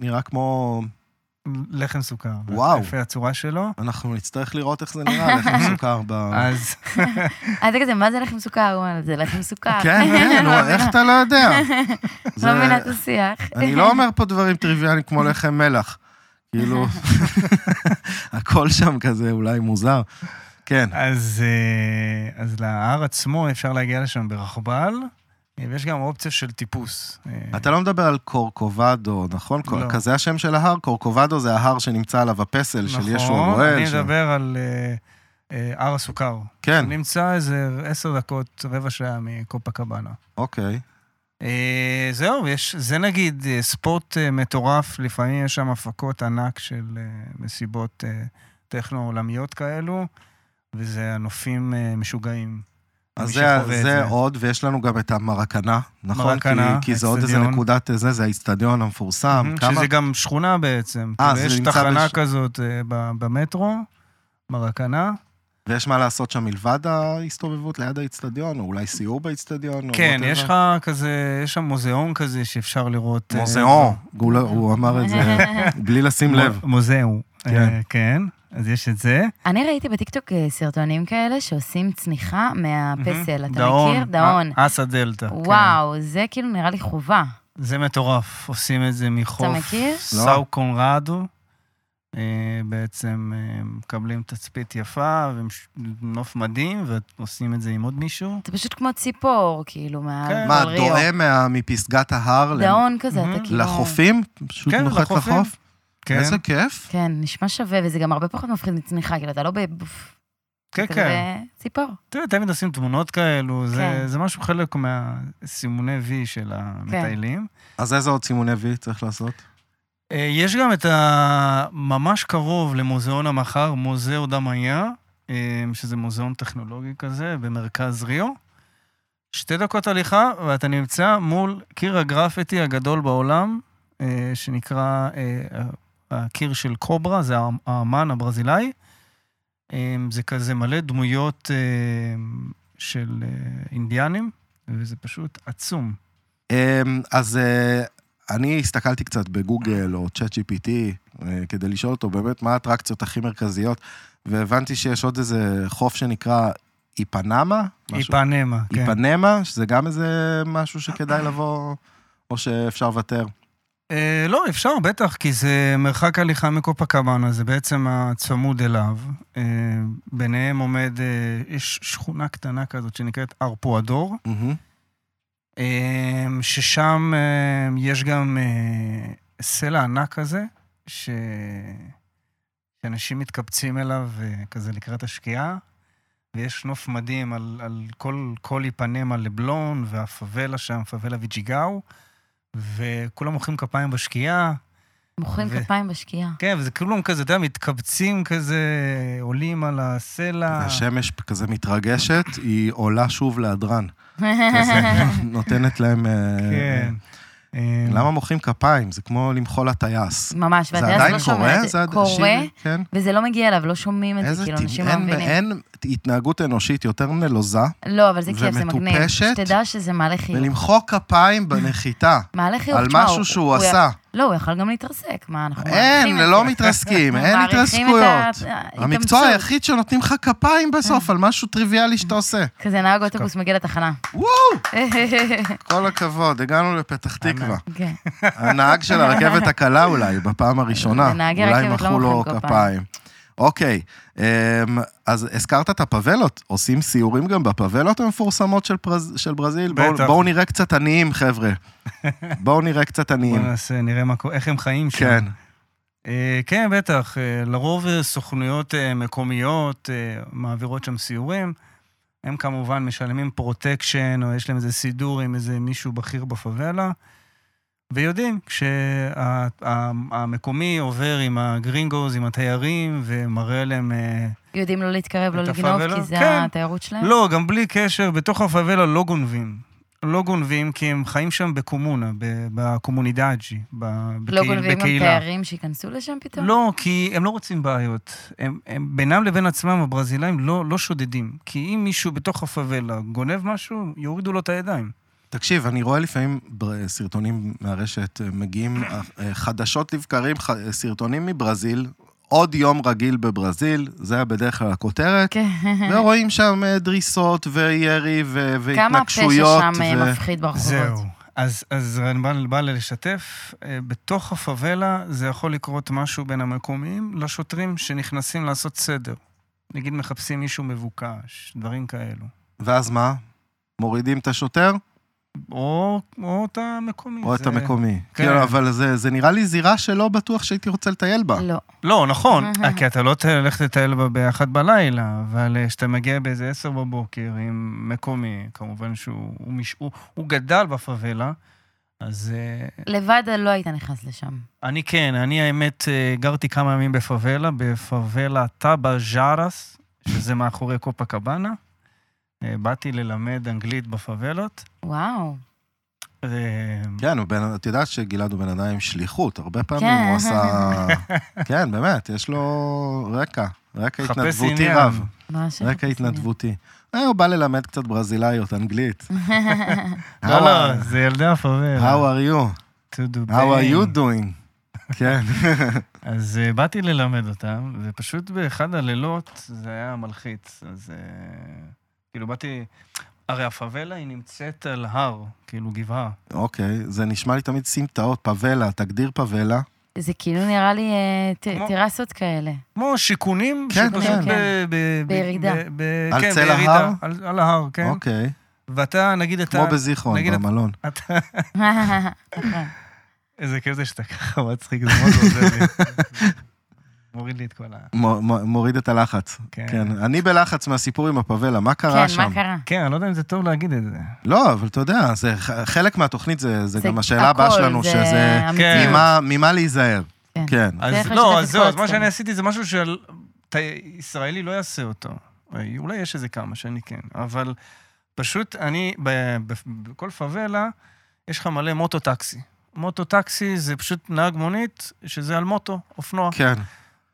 [SPEAKER 1] נראה כמו...
[SPEAKER 2] לחם סוכר.
[SPEAKER 1] וואו.
[SPEAKER 2] לפי הצורה שלו.
[SPEAKER 1] אנחנו נצטרך לראות איך זה
[SPEAKER 3] *laughs*
[SPEAKER 1] נראה, לחם סוכר ב...
[SPEAKER 3] אה.
[SPEAKER 2] אז
[SPEAKER 3] אז אה, זה כזה, מה זה לחם סוכר? הוא אומר, זה לחם סוכר. *laughs*
[SPEAKER 1] כן, כן,
[SPEAKER 3] לא
[SPEAKER 1] נו,
[SPEAKER 3] מבינה-
[SPEAKER 1] איך אתה לא
[SPEAKER 3] *laughs*
[SPEAKER 1] יודע? זה-
[SPEAKER 3] לא מבינה את השיח.
[SPEAKER 1] אני לא אומר פה דברים טריוויאליים כמו לחם מלח.
[SPEAKER 3] *laughs*
[SPEAKER 1] כאילו, הכל שם כזה אולי מוזר. כן,
[SPEAKER 2] אז, אה, אז להר עצמו אפשר להגיע לשם ברכבל, אה, ויש גם אופציה של טיפוס. אה,
[SPEAKER 1] אתה לא מדבר על קורקובדו, נכון?
[SPEAKER 2] לא.
[SPEAKER 1] כזה השם של ההר? קורקובדו זה ההר שנמצא עליו הפסל של ישו הרועה.
[SPEAKER 2] נכון, אני
[SPEAKER 1] ש-
[SPEAKER 2] מדבר על אה, אה, הר הסוכר.
[SPEAKER 1] כן,
[SPEAKER 2] נמצא איזה עשר דקות, רבע שעה מקופה קבאנה.
[SPEAKER 1] אוקיי.
[SPEAKER 2] אה, זהו, יש, זה נגיד אה, ספורט אה, מטורף, לפעמים יש שם הפקות ענק של אה, מסיבות אה, טכנו-עולמיות כאלו, וזה הנופים אה, משוגעים.
[SPEAKER 1] אז
[SPEAKER 2] מי
[SPEAKER 1] זה,
[SPEAKER 2] שחווה את
[SPEAKER 1] זה עוד, ויש לנו גם את המרקנה, נכון?
[SPEAKER 2] מרקנה,
[SPEAKER 1] כי, כי זה עוד איזה
[SPEAKER 2] האצטדיון.
[SPEAKER 1] נקודת, אה, זה, זה האיצטדיון המפורסם.
[SPEAKER 2] Mhm,
[SPEAKER 1] כמה...
[SPEAKER 2] שזה גם שכונה בעצם.
[SPEAKER 1] אה,
[SPEAKER 2] אה,
[SPEAKER 1] זה
[SPEAKER 2] יש
[SPEAKER 1] נמצא
[SPEAKER 2] תחנה
[SPEAKER 1] בש-
[SPEAKER 2] כזאת אה, ב- במטרו, מרקנה.
[SPEAKER 1] ויש מה לעשות שם מלבד ההסתובבות ליד האיצטדיון, או אולי סיור באיצטדיון, או
[SPEAKER 2] כן,
[SPEAKER 1] whatever.
[SPEAKER 2] יש לך כזה, יש שם מוזיאון כזה שאפשר לראות... אה,
[SPEAKER 1] מוזיאון, הוא לא- הוא אמר את זה בלי לשים
[SPEAKER 2] מ-
[SPEAKER 1] לב.
[SPEAKER 2] מוזיאון.
[SPEAKER 1] כן.
[SPEAKER 2] אה, כן, אז יש את זה.
[SPEAKER 3] *laughs* אני ראיתי בטיקטוק אה, סרטונים כאלה שעושים צניחה מהפסל, אתה
[SPEAKER 2] דאון,
[SPEAKER 1] אה,
[SPEAKER 3] מכיר? דאון.
[SPEAKER 2] א- אסא דלתא. כן.
[SPEAKER 3] וואו, זה כאילו נראה לי חובה.
[SPEAKER 2] זה מטורף, עושים את זה מחוף.
[SPEAKER 3] מכיר?
[SPEAKER 2] סאו קונרדו. אה, בעצם אה, מקבלים תצפית יפה ונוף מדהים, ועושים את זה עם עוד מישהו.
[SPEAKER 3] זה פשוט כמו ציפור, כאילו,
[SPEAKER 2] כן.
[SPEAKER 3] מעל
[SPEAKER 1] מה,
[SPEAKER 3] ריו.
[SPEAKER 1] דואה מה- מפסגת ההר ל-
[SPEAKER 3] דאון כזה, אתה
[SPEAKER 2] Mhm.
[SPEAKER 3] כאילו...
[SPEAKER 1] לחופים? פשוט
[SPEAKER 2] כן,
[SPEAKER 1] נוחת
[SPEAKER 2] לחופים.
[SPEAKER 1] לחוף?
[SPEAKER 2] כן,
[SPEAKER 1] איזה כיף.
[SPEAKER 3] כן, נשמע שווה, וזה גם הרבה פחות מפחיד מצניחה, כאילו, אתה לא ב... בוף,
[SPEAKER 2] כן,
[SPEAKER 3] אתה
[SPEAKER 2] כן.
[SPEAKER 3] בציפור.
[SPEAKER 2] תראה, תמיד עושים תמונות כאלו,
[SPEAKER 3] כן.
[SPEAKER 2] זה, זה משהו חלק מהסימוני V של המטיילים.
[SPEAKER 1] אז איזה עוד סימוני וי צריך לעשות?
[SPEAKER 2] אה, יש גם את ה... ממש קרוב למוזיאון המחר, מוזיאו דם היה, אה, שזה מוזיאון טכנולוגי כזה, במרכז ריו. שתי דקות הליכה, ואתה נמצא מול קיר הגרפיטי הגדול בעולם, אה, שנקרא אה, הקיר של קוברה, זה האמ- האמן הברזילאי. אה, זה כזה מלא דמויות אה, של אה, אינדיאנים, וזה פשוט עצום.
[SPEAKER 1] אמ, אז אה, אני הסתכלתי קצת בגוגל או צ'אט GPT אה, כדי לשאול אותו באמת מה האטרקציות הכי מרכזיות, והבנתי שיש עוד איזה חוף שנקרא איפנמה, משהו-
[SPEAKER 2] איפנמה, כן.
[SPEAKER 1] איפנמה, שזה גם איזה משהו שכדאי לבוא, או שאפשר לוותר.
[SPEAKER 2] אה, לא, אפשר, בטח, כי זה מרחק הליכה מקופקבנה, זה בעצם הצמוד אליו. אה, ביניהם עומד, אה, יש שכונה קטנה כזאת שנקראת ארפואדור,
[SPEAKER 1] מהמם.
[SPEAKER 2] אה, ששם אה, יש גם אה, סלע ענק כזה, ש... שאנשים מתקבצים אליו אה, כזה לקראת השקיעה, ויש נוף מדהים על, על כל, כל איפנמה לבלון, והפאבלה שם, פאבלה ויג'יגאו, וכולם מוחאים כפיים בשקיעה.
[SPEAKER 3] מוחאים
[SPEAKER 2] ו-
[SPEAKER 3] כפיים בשקיעה.
[SPEAKER 2] כן, וזה כולם כזה, אתה יודע, מתקבצים כזה, עולים על הסלע.
[SPEAKER 1] אה. השמש כזה מתרגשת, היא עולה שוב
[SPEAKER 2] *laughs*
[SPEAKER 1] להדרן. כזה נותנת להם... אה,
[SPEAKER 2] כן. אה,
[SPEAKER 1] למה מוחאים כפיים? זה כמו למחול לטייס.
[SPEAKER 3] ממש,
[SPEAKER 1] זה
[SPEAKER 3] והטייס
[SPEAKER 1] עדיין
[SPEAKER 3] לא שומע
[SPEAKER 1] קורה?
[SPEAKER 3] את זה.
[SPEAKER 1] זה עד-
[SPEAKER 3] קורה,
[SPEAKER 1] שירי, כן.
[SPEAKER 3] וזה לא מגיע אליו, לא שומעים את זה,
[SPEAKER 1] איזה
[SPEAKER 3] כאילו,
[SPEAKER 1] טבעי,
[SPEAKER 3] אנשים לא
[SPEAKER 1] אין,
[SPEAKER 3] מבינים.
[SPEAKER 1] אין התנהגות אנושית יותר נלוזה
[SPEAKER 3] לא, אבל זה כיף, זה מגניב.
[SPEAKER 1] ומטופשת.
[SPEAKER 3] שתדע שזה מעלה חיוך.
[SPEAKER 1] מלמחוא כפיים
[SPEAKER 3] *laughs*
[SPEAKER 1] בנחיתה,
[SPEAKER 3] מעלה חיוך,
[SPEAKER 1] על
[SPEAKER 3] תשמע,
[SPEAKER 1] משהו
[SPEAKER 3] הוא-
[SPEAKER 1] שהוא
[SPEAKER 3] הוא י-
[SPEAKER 1] עשה.
[SPEAKER 3] לא, הוא יכל גם להתרסק, מה, אנחנו מעריכים
[SPEAKER 1] אין,
[SPEAKER 3] את זה.
[SPEAKER 1] לא
[SPEAKER 3] *laughs*
[SPEAKER 1] מתרסקים, אין
[SPEAKER 3] מעריכים את
[SPEAKER 1] התרסקויות.
[SPEAKER 3] ה- אה,
[SPEAKER 1] המקצוע
[SPEAKER 3] ההתאמצות.
[SPEAKER 1] היחיד שנותנים לך כפיים בסוף על משהו טריוויאלי
[SPEAKER 3] אה.
[SPEAKER 1] שאתה עושה.
[SPEAKER 3] כזה נהג
[SPEAKER 1] כן.
[SPEAKER 3] אוטובוס מגיע לתחנה. *laughs*
[SPEAKER 1] וואו, כל הכבוד, הגענו לפתח תקווה.
[SPEAKER 3] כן.
[SPEAKER 1] הנהג של הרכבת הקלה אולי, בפעם הראשונה.
[SPEAKER 3] לנהגי
[SPEAKER 1] אולי
[SPEAKER 3] רכבת לא
[SPEAKER 1] מחאו לו
[SPEAKER 3] מוחאים כפיים.
[SPEAKER 1] כפיים. אוקיי, אמ, אז הזכרת את הפאבלות, עושים סיורים גם בפאבלות המפורסמות של פרז- של ברזיל? בואו-
[SPEAKER 2] בטח.
[SPEAKER 1] בואו נראה קצת עניים, חבר'ה. בואו נראה קצת
[SPEAKER 2] בוא
[SPEAKER 1] עניים.
[SPEAKER 2] נעשה, נראה מה, קו- איך הם חיים שם.
[SPEAKER 1] כן.
[SPEAKER 2] אה, כן, בטח. אה, לרוב אה, סוכנויות אה, מקומיות אה, מעבירות שם סיורים. הם כמובן משלמים פרוטקשן, או יש להם איזה סידור עם איזה מישהו בכיר בפאבלה, ויודעים, כשהמקומי עובר עם הגרינגוז, עם התיירים, ומראה להם... אה,
[SPEAKER 3] יודעים לא להתקרב, לא
[SPEAKER 2] את
[SPEAKER 3] לגנוב,
[SPEAKER 2] הפאבלות?
[SPEAKER 3] כי זה
[SPEAKER 2] כן.
[SPEAKER 3] התיירות שלהם?
[SPEAKER 2] לא, גם בלי קשר, בתוך הפאבלה לא גונבים. לא גונבים, כי הם חיים שם בקומונה, ב- בקומונידאג'י, ב-
[SPEAKER 3] לא
[SPEAKER 2] בקהיל-
[SPEAKER 3] גונבים גם
[SPEAKER 2] בקהילה.
[SPEAKER 3] תיירים שייכנסו לשם פתאום?
[SPEAKER 2] לא, כי הם לא רוצים בעיות. הם, הם בינם לבין עצמם, הברזילאים לא, לא שודדים. כי אם מישהו בתוך הפאבלה גונב משהו, יורידו לו את הידיים.
[SPEAKER 1] תקשיב, אני רואה לפעמים בר- סרטונים מהרשת, אה, מגיעים אה, אה, חדשות לבקרים, ח- אה, סרטונים מברזיל, עוד יום רגיל בברזיל, זה בדרך כלל הכותרת,
[SPEAKER 3] כן.
[SPEAKER 1] ורואים שם אה, דריסות וירי ו-
[SPEAKER 3] כמה הפשע
[SPEAKER 1] והתנגשויות.
[SPEAKER 3] שם אה,
[SPEAKER 1] ו-
[SPEAKER 3] מפחיד
[SPEAKER 2] זהו.
[SPEAKER 3] ברחובות.
[SPEAKER 2] אז, אז אני בא, בא לשתף, אה, בתוך הפאבלה זה יכול לקרות משהו בין המקומיים לשוטרים שנכנסים לעשות סדר. נגיד מחפשים מישהו מבוקש, דברים כאלו.
[SPEAKER 1] ואז מה? מורידים את השוטר
[SPEAKER 2] או, או את המקומי.
[SPEAKER 1] או את
[SPEAKER 2] זה-
[SPEAKER 1] המקומי?
[SPEAKER 2] כן.
[SPEAKER 1] כאילו, אבל זה- זה נראה לי זירה שלא בטוח שהייתי רוצה לטייל בה.
[SPEAKER 3] לא.
[SPEAKER 2] לא, נכון, כי אתה לא תלך לטייל בה באחת בלילה, אבל אה, כשאתה מגיע באיזה עשר בבוקר עם מקומי, כמובן שהוא הוא מש... הוא, הוא גדל בפאבלה, אז אה,
[SPEAKER 3] לבד לא היית נכנס לשם.
[SPEAKER 2] אני כן, אני האמת אה, גרתי כמה ימים בפאבלה, בפאבלה טאבה ז'ארס, שזה מאחורי קופה קבאנה. אה, באתי ללמד אנגלית בפאבלות.
[SPEAKER 3] וואו.
[SPEAKER 2] אה,
[SPEAKER 1] כן, הוא בן- את יודעת שגלעד הוא בן אדם עם שליחות, הרבה פעמים
[SPEAKER 3] כן.
[SPEAKER 1] הוא
[SPEAKER 2] *laughs*
[SPEAKER 1] עשה... כן, באמת, יש לו רקע, רקע
[SPEAKER 2] חפש
[SPEAKER 1] התנדבותי
[SPEAKER 2] עניין.
[SPEAKER 1] רב.
[SPEAKER 3] ממש
[SPEAKER 1] רקע התנדבותי. אה, הוא בא ללמד קצת ברזילאיות,
[SPEAKER 3] *laughs*
[SPEAKER 1] אנגלית. How
[SPEAKER 2] לא, לא,
[SPEAKER 1] are-
[SPEAKER 2] זה ילדי הפאבלה.
[SPEAKER 1] How are you?
[SPEAKER 2] To do
[SPEAKER 1] How are
[SPEAKER 2] pain.
[SPEAKER 1] you doing? כן.
[SPEAKER 2] אז אה, באתי ללמד אותם, ופשוט באחד הלילות זה היה מלחיץ. אז אה, כאילו באתי... הרי הפאבלה היא נמצאת על הר, כאילו גבעה.
[SPEAKER 1] אוקיי, זה נשמע לי תמיד סמטאות, פאבלה, תגדיר פאבלה.
[SPEAKER 3] זה כאילו נראה לי אה, ט-
[SPEAKER 2] כמו-
[SPEAKER 3] טרסות כאלה. *laughs*
[SPEAKER 2] כמו שיכונים,
[SPEAKER 1] כן,
[SPEAKER 2] שפשוט
[SPEAKER 1] כן.
[SPEAKER 2] ב- ב- ב-
[SPEAKER 3] בירידה.
[SPEAKER 2] ב- ב-
[SPEAKER 1] על
[SPEAKER 2] כן,
[SPEAKER 1] צל
[SPEAKER 2] בירידה,
[SPEAKER 1] ההר?
[SPEAKER 2] על על ההר, כן.
[SPEAKER 1] אוקיי,
[SPEAKER 2] ואתה, נגיד אתה...
[SPEAKER 1] כמו בזיכרון,
[SPEAKER 2] נגיד את-
[SPEAKER 1] במלון.
[SPEAKER 2] אתה-
[SPEAKER 3] נכון.
[SPEAKER 2] איזה כיף זה שאתה ככה מצחיק, זה מאוד עוזר לי.
[SPEAKER 1] *laughs*
[SPEAKER 2] מוריד לי את כל ה...
[SPEAKER 1] מ- מ- מוריד את הלחץ.
[SPEAKER 2] כן.
[SPEAKER 1] כן, אני בלחץ מהסיפור עם הפאבלה, מה
[SPEAKER 3] כן,
[SPEAKER 1] קרה שם?
[SPEAKER 3] מה קרה?
[SPEAKER 2] כן, אני לא יודע אם זה טוב להגיד את זה.
[SPEAKER 1] לא, אבל אתה יודע, זה ח- חלק מהתוכנית, זה זה
[SPEAKER 3] זה
[SPEAKER 1] גם השאלה הבאה
[SPEAKER 3] הכל,
[SPEAKER 1] שלנו,
[SPEAKER 3] זה
[SPEAKER 1] שזה
[SPEAKER 2] כן.
[SPEAKER 3] המציאות.
[SPEAKER 1] ממה- ממה להיזהר.
[SPEAKER 3] כן.
[SPEAKER 1] כן.
[SPEAKER 2] אז
[SPEAKER 3] צריך
[SPEAKER 2] לא,
[SPEAKER 3] לשתף
[SPEAKER 2] אז
[SPEAKER 3] את
[SPEAKER 2] זהו,
[SPEAKER 3] כל
[SPEAKER 2] אז מה
[SPEAKER 3] הצדדים.
[SPEAKER 2] שאני עשיתי זה משהו שישראלי לא יעשה אותו. אולי- אולי יש איזה כמה שאני כן, אבל פשוט אני, ב- ב- בכל פאבלה, יש לך מלא מוטו-טקסי. מוטו-טקסי זה פשוט נהג מונית, שזה על מוטו, אופנוע.
[SPEAKER 1] כן.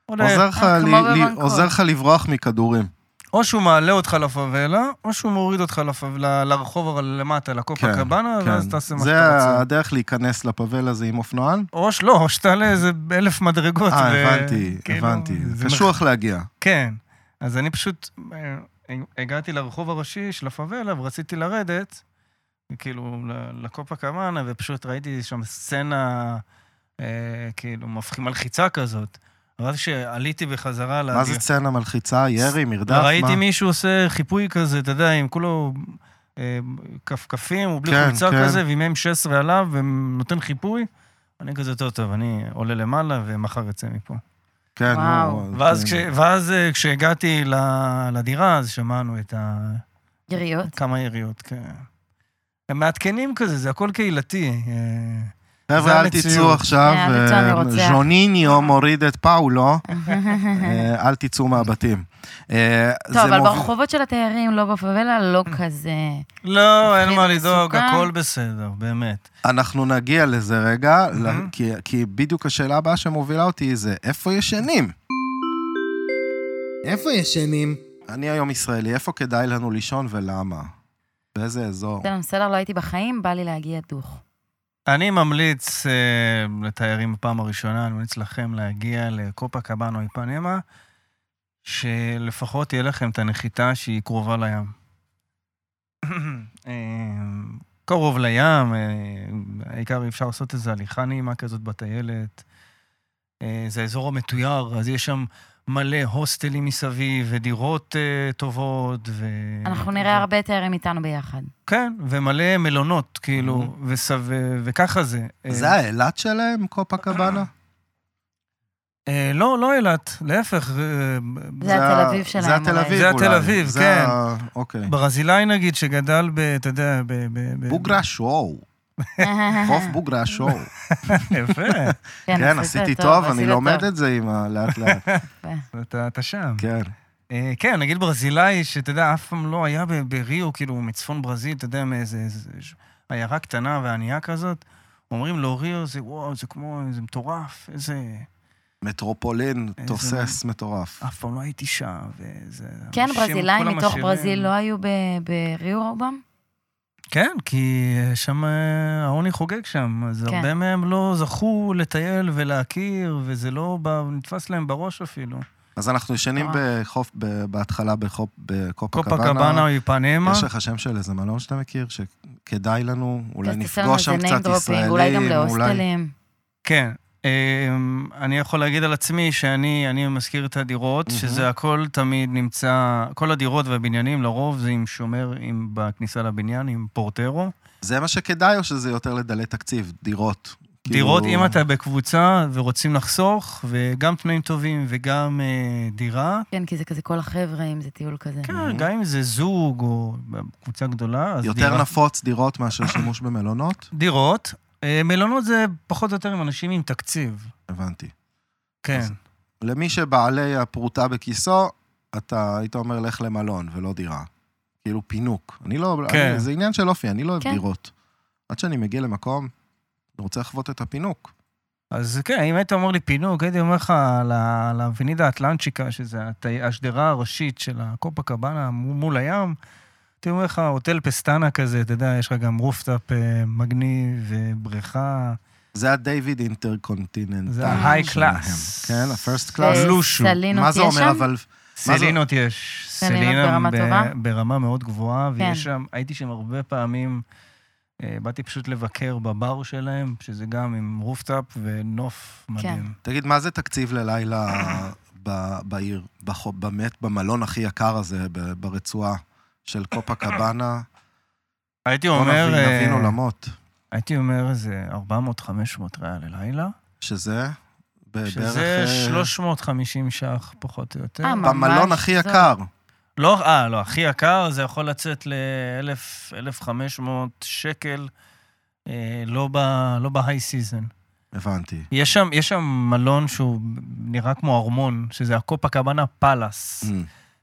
[SPEAKER 2] עולה.
[SPEAKER 1] עוזר לך
[SPEAKER 3] אה, כמו
[SPEAKER 1] ל- ל-
[SPEAKER 3] בבנקוק.
[SPEAKER 1] עוזר לך לברוח מכדורים.
[SPEAKER 2] או שהוא מעלה אותך לפאבלה, או שהוא מוריד אותך לפאב- ל- לרחוב אבל למטה, לקופה
[SPEAKER 1] כן,
[SPEAKER 2] קבאנה, ואז
[SPEAKER 1] כן.
[SPEAKER 2] אה, תעשה מה
[SPEAKER 1] זה
[SPEAKER 2] שאתה רוצה.
[SPEAKER 1] הדרך להיכנס לפאבל הזה עם אופנוען?
[SPEAKER 2] או שלא, או שתעלה איזה אלף מדרגות.
[SPEAKER 1] אה,
[SPEAKER 2] ו-
[SPEAKER 1] הבנתי,
[SPEAKER 2] כאילו,
[SPEAKER 1] הבנתי.
[SPEAKER 2] זה
[SPEAKER 1] קשוח להגיע.
[SPEAKER 2] כן, אז אני פשוט אה, הגעתי לרחוב הראשי של הפאבלה ורציתי לרדת, כאילו, ל- לקופה קמאנה, ופשוט ראיתי שם סצנה, אה, כאילו, מפח- מלחיצה כזאת. ואז כשעליתי
[SPEAKER 1] מה
[SPEAKER 2] בחזרה... לדירה-
[SPEAKER 1] זה סצנה מלחיצה? ירי, מרדף?
[SPEAKER 2] ראיתי
[SPEAKER 1] מה?
[SPEAKER 2] מישהו עושה חיפוי כזה, אתה יודע, עם כולו אה, כפכפים, הוא בלי
[SPEAKER 1] כן,
[SPEAKER 2] חולצה
[SPEAKER 1] כן.
[SPEAKER 2] כזה, ועם M16 עליו, ונותן חיפוי. אני כזה, טוב, טוב, אני עולה למעלה, ומחר אצא מפה.
[SPEAKER 1] כן,
[SPEAKER 3] וואו.
[SPEAKER 1] נו,
[SPEAKER 2] ואז,
[SPEAKER 1] כן.
[SPEAKER 2] כש, ואז אה, כשהגעתי ל- לדירה, אז שמענו את ה...
[SPEAKER 3] יריות.
[SPEAKER 2] כמה יריות, כן. הם מעדכנים כזה, זה הכל קהילתי. אה,
[SPEAKER 1] חבר'ה, אל
[SPEAKER 2] המציאות.
[SPEAKER 1] תצאו עכשיו,
[SPEAKER 3] זה הרצון
[SPEAKER 1] אה,
[SPEAKER 3] הרוצח.
[SPEAKER 1] ז'וניניו מוריד את
[SPEAKER 3] *laughs*
[SPEAKER 1] פאולו, אה, אל תצאו מהבתים. אה,
[SPEAKER 3] טוב,
[SPEAKER 1] זה
[SPEAKER 3] אבל
[SPEAKER 1] מוביל- Mm.
[SPEAKER 3] ברחובות של התיירים, לא בפאבלה, לא כזה.
[SPEAKER 2] לא, אין
[SPEAKER 3] מפחיד
[SPEAKER 2] מה לדאוג,
[SPEAKER 3] ומסוכן.
[SPEAKER 2] הכל בסדר, באמת.
[SPEAKER 1] אנחנו נגיע לזה רגע, ל-
[SPEAKER 2] Mhm.
[SPEAKER 1] כי- כי בדיוק השאלה הבאה שמובילה אותי זה, איפה ישנים?
[SPEAKER 4] איפה ישנים?
[SPEAKER 1] אני היום ישראלי, איפה כדאי לנו לישון ולמה? באיזה אזור?
[SPEAKER 3] בסדר, בסדר, לא הייתי בחיים, בא לי להגיע דוך.
[SPEAKER 1] Mm,
[SPEAKER 2] אני ממליץ אה, לתיירים בפעם הראשונה, אני ממליץ לכם להגיע לקופה קבאן או איפנמה, שלפחות תהיה לכם את הנחיתה שהיא קרובה לים. אה, קרוב לים, אה, העיקר אפשר לעשות איזו הליכה נעימה כזאת בטיילת. אה, זה האזור המתויר, אז יש שם מלא הוסטלים מסביב, ודירות אה, טובות, ו...
[SPEAKER 3] אנחנו נראה הרבה תיירים איתנו ביחד.
[SPEAKER 2] כן, ומלא מלונות, כאילו,
[SPEAKER 3] Mm-hmm.
[SPEAKER 2] וסב... וככה זה. אה,
[SPEAKER 1] זה האילת שלהם, קופה קבאנה?
[SPEAKER 2] אה, לא, לא אילת, להפך. אה,
[SPEAKER 3] זה התל אביב
[SPEAKER 1] זה
[SPEAKER 3] שלהם,
[SPEAKER 1] התל
[SPEAKER 3] אולי.
[SPEAKER 1] אביב
[SPEAKER 2] זה
[SPEAKER 1] אולי.
[SPEAKER 2] התל אביב,
[SPEAKER 1] זה
[SPEAKER 2] כן.
[SPEAKER 1] ה- אוקיי.
[SPEAKER 2] ברזילאי נגיד, שגדל ב... אתה יודע, ב... ב- ב-
[SPEAKER 1] בוגרה שואו, חוף בוגרה שואו.
[SPEAKER 2] *laughs* יפה,
[SPEAKER 1] כן,
[SPEAKER 3] אה. כן, עשית
[SPEAKER 1] עשיתי טוב, אני
[SPEAKER 3] עשית
[SPEAKER 1] לומד
[SPEAKER 3] טוב.
[SPEAKER 1] את זה עם ה... לאט
[SPEAKER 3] *laughs*
[SPEAKER 1] לאט.
[SPEAKER 2] אתה אתה שם.
[SPEAKER 1] כן.
[SPEAKER 2] אה, כן, נגיד ברזילאי, שאתה יודע, אף פעם לא היה ב- בריו, כאילו, מצפון ברזיל, אתה יודע, מאיזה איזה- ש- עיירה קטנה וענייה כזאת. אומרים לו, ריו זה וואו, זה כמו, זה מטורף, איזה...
[SPEAKER 1] מטרופולין
[SPEAKER 2] איזה
[SPEAKER 1] תוסס מטורף.
[SPEAKER 3] אה.
[SPEAKER 2] אף פעם לא הייתי שם, וזה...
[SPEAKER 3] כן,
[SPEAKER 2] אנשים,
[SPEAKER 3] ברזילאים
[SPEAKER 2] כולם
[SPEAKER 3] מתוך
[SPEAKER 2] עשירים."
[SPEAKER 3] ברזיל לא היו ב- בריו רובם?
[SPEAKER 2] כן, כי אה, שם אה, העוני חוגג שם, אז
[SPEAKER 3] כן.
[SPEAKER 2] הרבה מהם לא זכו לטייל ולהכיר, וזה לא בא- נתפס להם בראש אפילו.
[SPEAKER 1] אז אנחנו ישנים
[SPEAKER 3] אה.
[SPEAKER 1] בחוף, ב- בהתחלה בחוף, בקופה
[SPEAKER 2] קופה קבאנה או
[SPEAKER 1] קבאנה.
[SPEAKER 2] איפנמה.
[SPEAKER 1] יש לך שם של איזה מלון שאתה מכיר, שכדאי לנו, אולי
[SPEAKER 3] אז תעשה לנו
[SPEAKER 1] נפגוש שם
[SPEAKER 3] כן, איזה name
[SPEAKER 1] קצת
[SPEAKER 3] dropping,
[SPEAKER 1] ישראלים,
[SPEAKER 3] אולי גם
[SPEAKER 1] אולי...
[SPEAKER 3] להוסטלים.
[SPEAKER 2] כן. אמ, אני יכול להגיד על עצמי שאני אני משכיר את הדירות,
[SPEAKER 1] מהמם.
[SPEAKER 2] שזה הכל תמיד נמצא, כל הדירות והבניינים לרוב זה עם שומר עם, בכניסה לבניין, עם פורטרו.
[SPEAKER 1] זה מה שכדאי, או שזה יותר לדלי תקציב, דירות?
[SPEAKER 2] דירות,
[SPEAKER 1] כאילו-
[SPEAKER 2] אם אתה בקבוצה ורוצים לחסוך, וגם תנאים טובים וגם אה, דירה,
[SPEAKER 3] כן, כי זה כזה כל החבר'ה, אם זה טיול כזה.
[SPEAKER 2] כן, גם אם זה זוג או קבוצה גדולה, אז
[SPEAKER 1] יותר
[SPEAKER 2] דירה-
[SPEAKER 1] נפוץ דירות מאשר שימוש במלונות?
[SPEAKER 2] דירות. אה, מלונות זה פחות או יותר עם אנשים עם תקציב.
[SPEAKER 1] הבנתי.
[SPEAKER 2] כן.
[SPEAKER 1] אז- למי שבעלי הפרוטה בכיסו, אתה היית אומר לך למלון ולא דירה. כאילו פינוק. אני לא...
[SPEAKER 2] כן.
[SPEAKER 1] אני, זה עניין של אופי, אני לא אוהב
[SPEAKER 3] כן.
[SPEAKER 1] דירות. עד שאני מגיע למקום, אני רוצה לחוות את הפינוק.
[SPEAKER 2] אז כן, אם היית אומר לי פינוק, הייתי אומר לך על ה- על האבנידה האטלנצ'יקה, שזה הת- השדרה הראשית של הקופה קבאנה מ- מול הים, הייתי אומר אה, לך, הוטל פסטנה כזה, אתה יודע, יש לך גם רופטאפ אה, מגניב ובריכה.
[SPEAKER 1] זה הדייוויד אינטרקונטיננטל.
[SPEAKER 2] זה ה-high
[SPEAKER 1] שלהם.
[SPEAKER 2] class.
[SPEAKER 1] כן, ה-first
[SPEAKER 3] אה,
[SPEAKER 2] ו-
[SPEAKER 1] class.
[SPEAKER 2] לושו.
[SPEAKER 3] וסלינות
[SPEAKER 1] מה זה
[SPEAKER 3] יש
[SPEAKER 1] אומר
[SPEAKER 3] שם?
[SPEAKER 1] אבל... מה זה-
[SPEAKER 2] סלינות יש.
[SPEAKER 3] סלינות ברמה
[SPEAKER 2] ב-
[SPEAKER 3] טובה?
[SPEAKER 2] ברמה מאוד גבוהה,
[SPEAKER 3] כן.
[SPEAKER 2] ויש שם, הייתי שם הרבה פעמים, אה, באתי פשוט לבקר בבר שלהם, שזה גם עם רופטאפ ונוף
[SPEAKER 3] כן.
[SPEAKER 2] מדהים.
[SPEAKER 1] תגיד, מה זה תקציב ללילה ב- בעיר? בח- באמת, במלון הכי יקר הזה, ב- ברצועה של קופה קבאנה?
[SPEAKER 2] הייתי
[SPEAKER 1] בוא
[SPEAKER 2] אומר,
[SPEAKER 1] נבין
[SPEAKER 2] אה,
[SPEAKER 1] נבין עולמות.
[SPEAKER 2] הייתי אומר איזה 400-500 ריאל ללילה,
[SPEAKER 1] שזה? ב-
[SPEAKER 2] שזה
[SPEAKER 1] בערך, אה,
[SPEAKER 2] 350 ש"ח פחות או יותר.
[SPEAKER 3] אה, מה?
[SPEAKER 1] במלון
[SPEAKER 3] ממש
[SPEAKER 1] הכי
[SPEAKER 3] זול.
[SPEAKER 1] יקר.
[SPEAKER 2] לא, אה, לא, הכי יקר, זה יכול לצאת ל-1,500 שקל, אה, לא ב- לא בהיי סיזן.
[SPEAKER 1] הבנתי.
[SPEAKER 2] יש שם, יש שם מלון שהוא נראה כמו ארמון, שזה הקופה קבנה
[SPEAKER 3] כן.
[SPEAKER 2] פלאס,
[SPEAKER 1] Mm.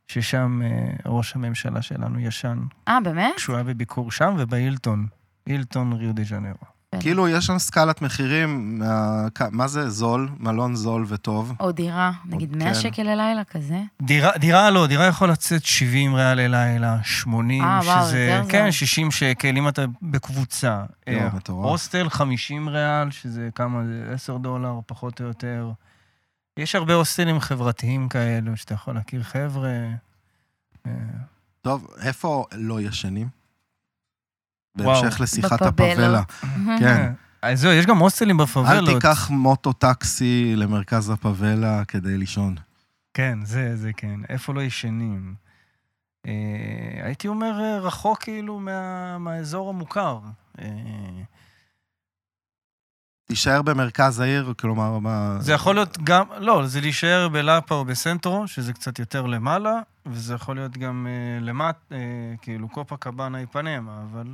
[SPEAKER 2] ששם אה, ראש הממשלה שלנו ישן,
[SPEAKER 3] אה, באמת?
[SPEAKER 2] כשהוא היה בביקור שם ובהילטון, הילטון ריו דה ז'נרו.
[SPEAKER 1] כאילו, יש שם סקלת מחירים, מה- כ- מה זה זול? מלון זול וטוב.
[SPEAKER 3] או דירה, נגיד 100
[SPEAKER 1] כן.
[SPEAKER 3] שקל ללילה כזה.
[SPEAKER 2] דירה, דירה לא, דירה יכול לצאת 70 ריאל ללילה, 80,
[SPEAKER 3] אה,
[SPEAKER 2] שזה...
[SPEAKER 3] וואו, יותר
[SPEAKER 2] כן,
[SPEAKER 3] זול.
[SPEAKER 2] 60 שקל, אם אתה בקבוצה.
[SPEAKER 1] יואו,
[SPEAKER 2] אה,
[SPEAKER 1] מטורף.
[SPEAKER 2] הוסטל 50 ריאל, שזה כמה, זה 10 דולר, פחות או יותר. יש הרבה הוסטלים חברתיים כאלו, שאתה יכול להכיר חבר'ה. אה,
[SPEAKER 1] טוב, איפה לא ישנים?
[SPEAKER 2] וואו.
[SPEAKER 1] בהמשך לשיחת
[SPEAKER 3] בפבלות.
[SPEAKER 1] הפאבלה.
[SPEAKER 3] Mm-hmm.
[SPEAKER 1] כן.
[SPEAKER 2] אה, אז זהו, יש גם הוסטלים בפאבלות.
[SPEAKER 1] אל תיקח מוטו-טקסי למרכז הפאבלה כדי לישון.
[SPEAKER 2] כן, זה, זה כן. איפה לא ישנים? אה, הייתי אומר אה, רחוק כאילו מה, מהאזור המוכר. אה,
[SPEAKER 1] תישאר במרכז העיר, כלומר, מה...
[SPEAKER 2] זה יכול להיות גם, לא, זה להישאר בלאפה או בסנטרו, שזה קצת יותר למעלה, וזה יכול להיות גם אה, למט, אה, כאילו קופה קבאנה איפנמה, אבל...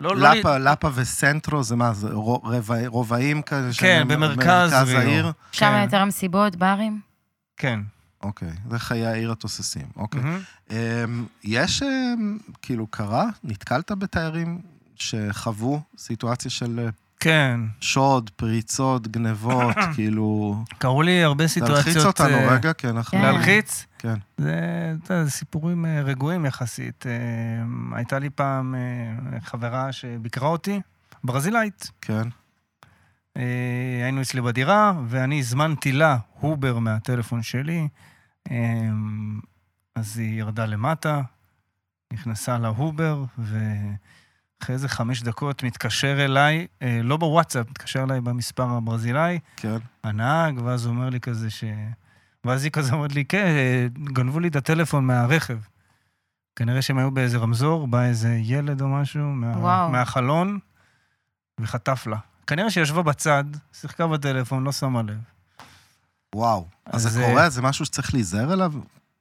[SPEAKER 2] לא, לא...
[SPEAKER 1] לפה, לפה וסנטרו זה מה, זה רו- רבע- רובעים כאלה? שהם
[SPEAKER 2] כן, במרכז ריו.
[SPEAKER 1] העיר?
[SPEAKER 3] שם יותר המסיבות, ברים?
[SPEAKER 2] כן.
[SPEAKER 1] אוקיי, זה חיי העיר התוססים, אוקיי.
[SPEAKER 2] מהמם.
[SPEAKER 1] אמ, יש, אמ, כאילו, קרה? נתקלת בתיירים שחוו סיטואציה של אה,
[SPEAKER 2] כן.
[SPEAKER 1] שוד, פריצות,
[SPEAKER 2] *coughs*
[SPEAKER 1] גנבות, כאילו...
[SPEAKER 2] קרו לי הרבה סיטואציות...
[SPEAKER 1] תלחיץ אותנו
[SPEAKER 2] אה,
[SPEAKER 1] רגע, כי אנחנו...
[SPEAKER 3] כן.
[SPEAKER 2] להלחיץ?
[SPEAKER 1] כן.
[SPEAKER 2] זה, אתה יודע, זה סיפורים אה, רגועים יחסית. אה, הייתה לי פעם אה, חברה שביקרה אותי, ברזילאית.
[SPEAKER 1] כן.
[SPEAKER 2] אה, היינו אצלי בדירה, ואני הזמנתי לה הובר מהטלפון שלי. אה, אז היא ירדה למטה, נכנסה להובר, ואחרי איזה חמש דקות מתקשר אליי, אה, לא בוואטסאפ, מתקשר אליי במספר הברזילאי,
[SPEAKER 1] כן.
[SPEAKER 2] הנהג, ואז הוא אומר לי כזה ש... ואז היא כזה אומרת לי, כן, אה, גנבו לי את הטלפון מהרכב. כנראה שהם היו באיזה רמזור, בא איזה ילד או משהו מה...
[SPEAKER 3] וואו.
[SPEAKER 2] מהחלון, וחטף לה. כנראה שישבה בצד, שיחקה בטלפון, לא שמה לב.
[SPEAKER 1] וואו. אז
[SPEAKER 2] אז,
[SPEAKER 1] זה
[SPEAKER 2] אה, כן.
[SPEAKER 1] קורה? זה משהו שצריך להיזהר אליו?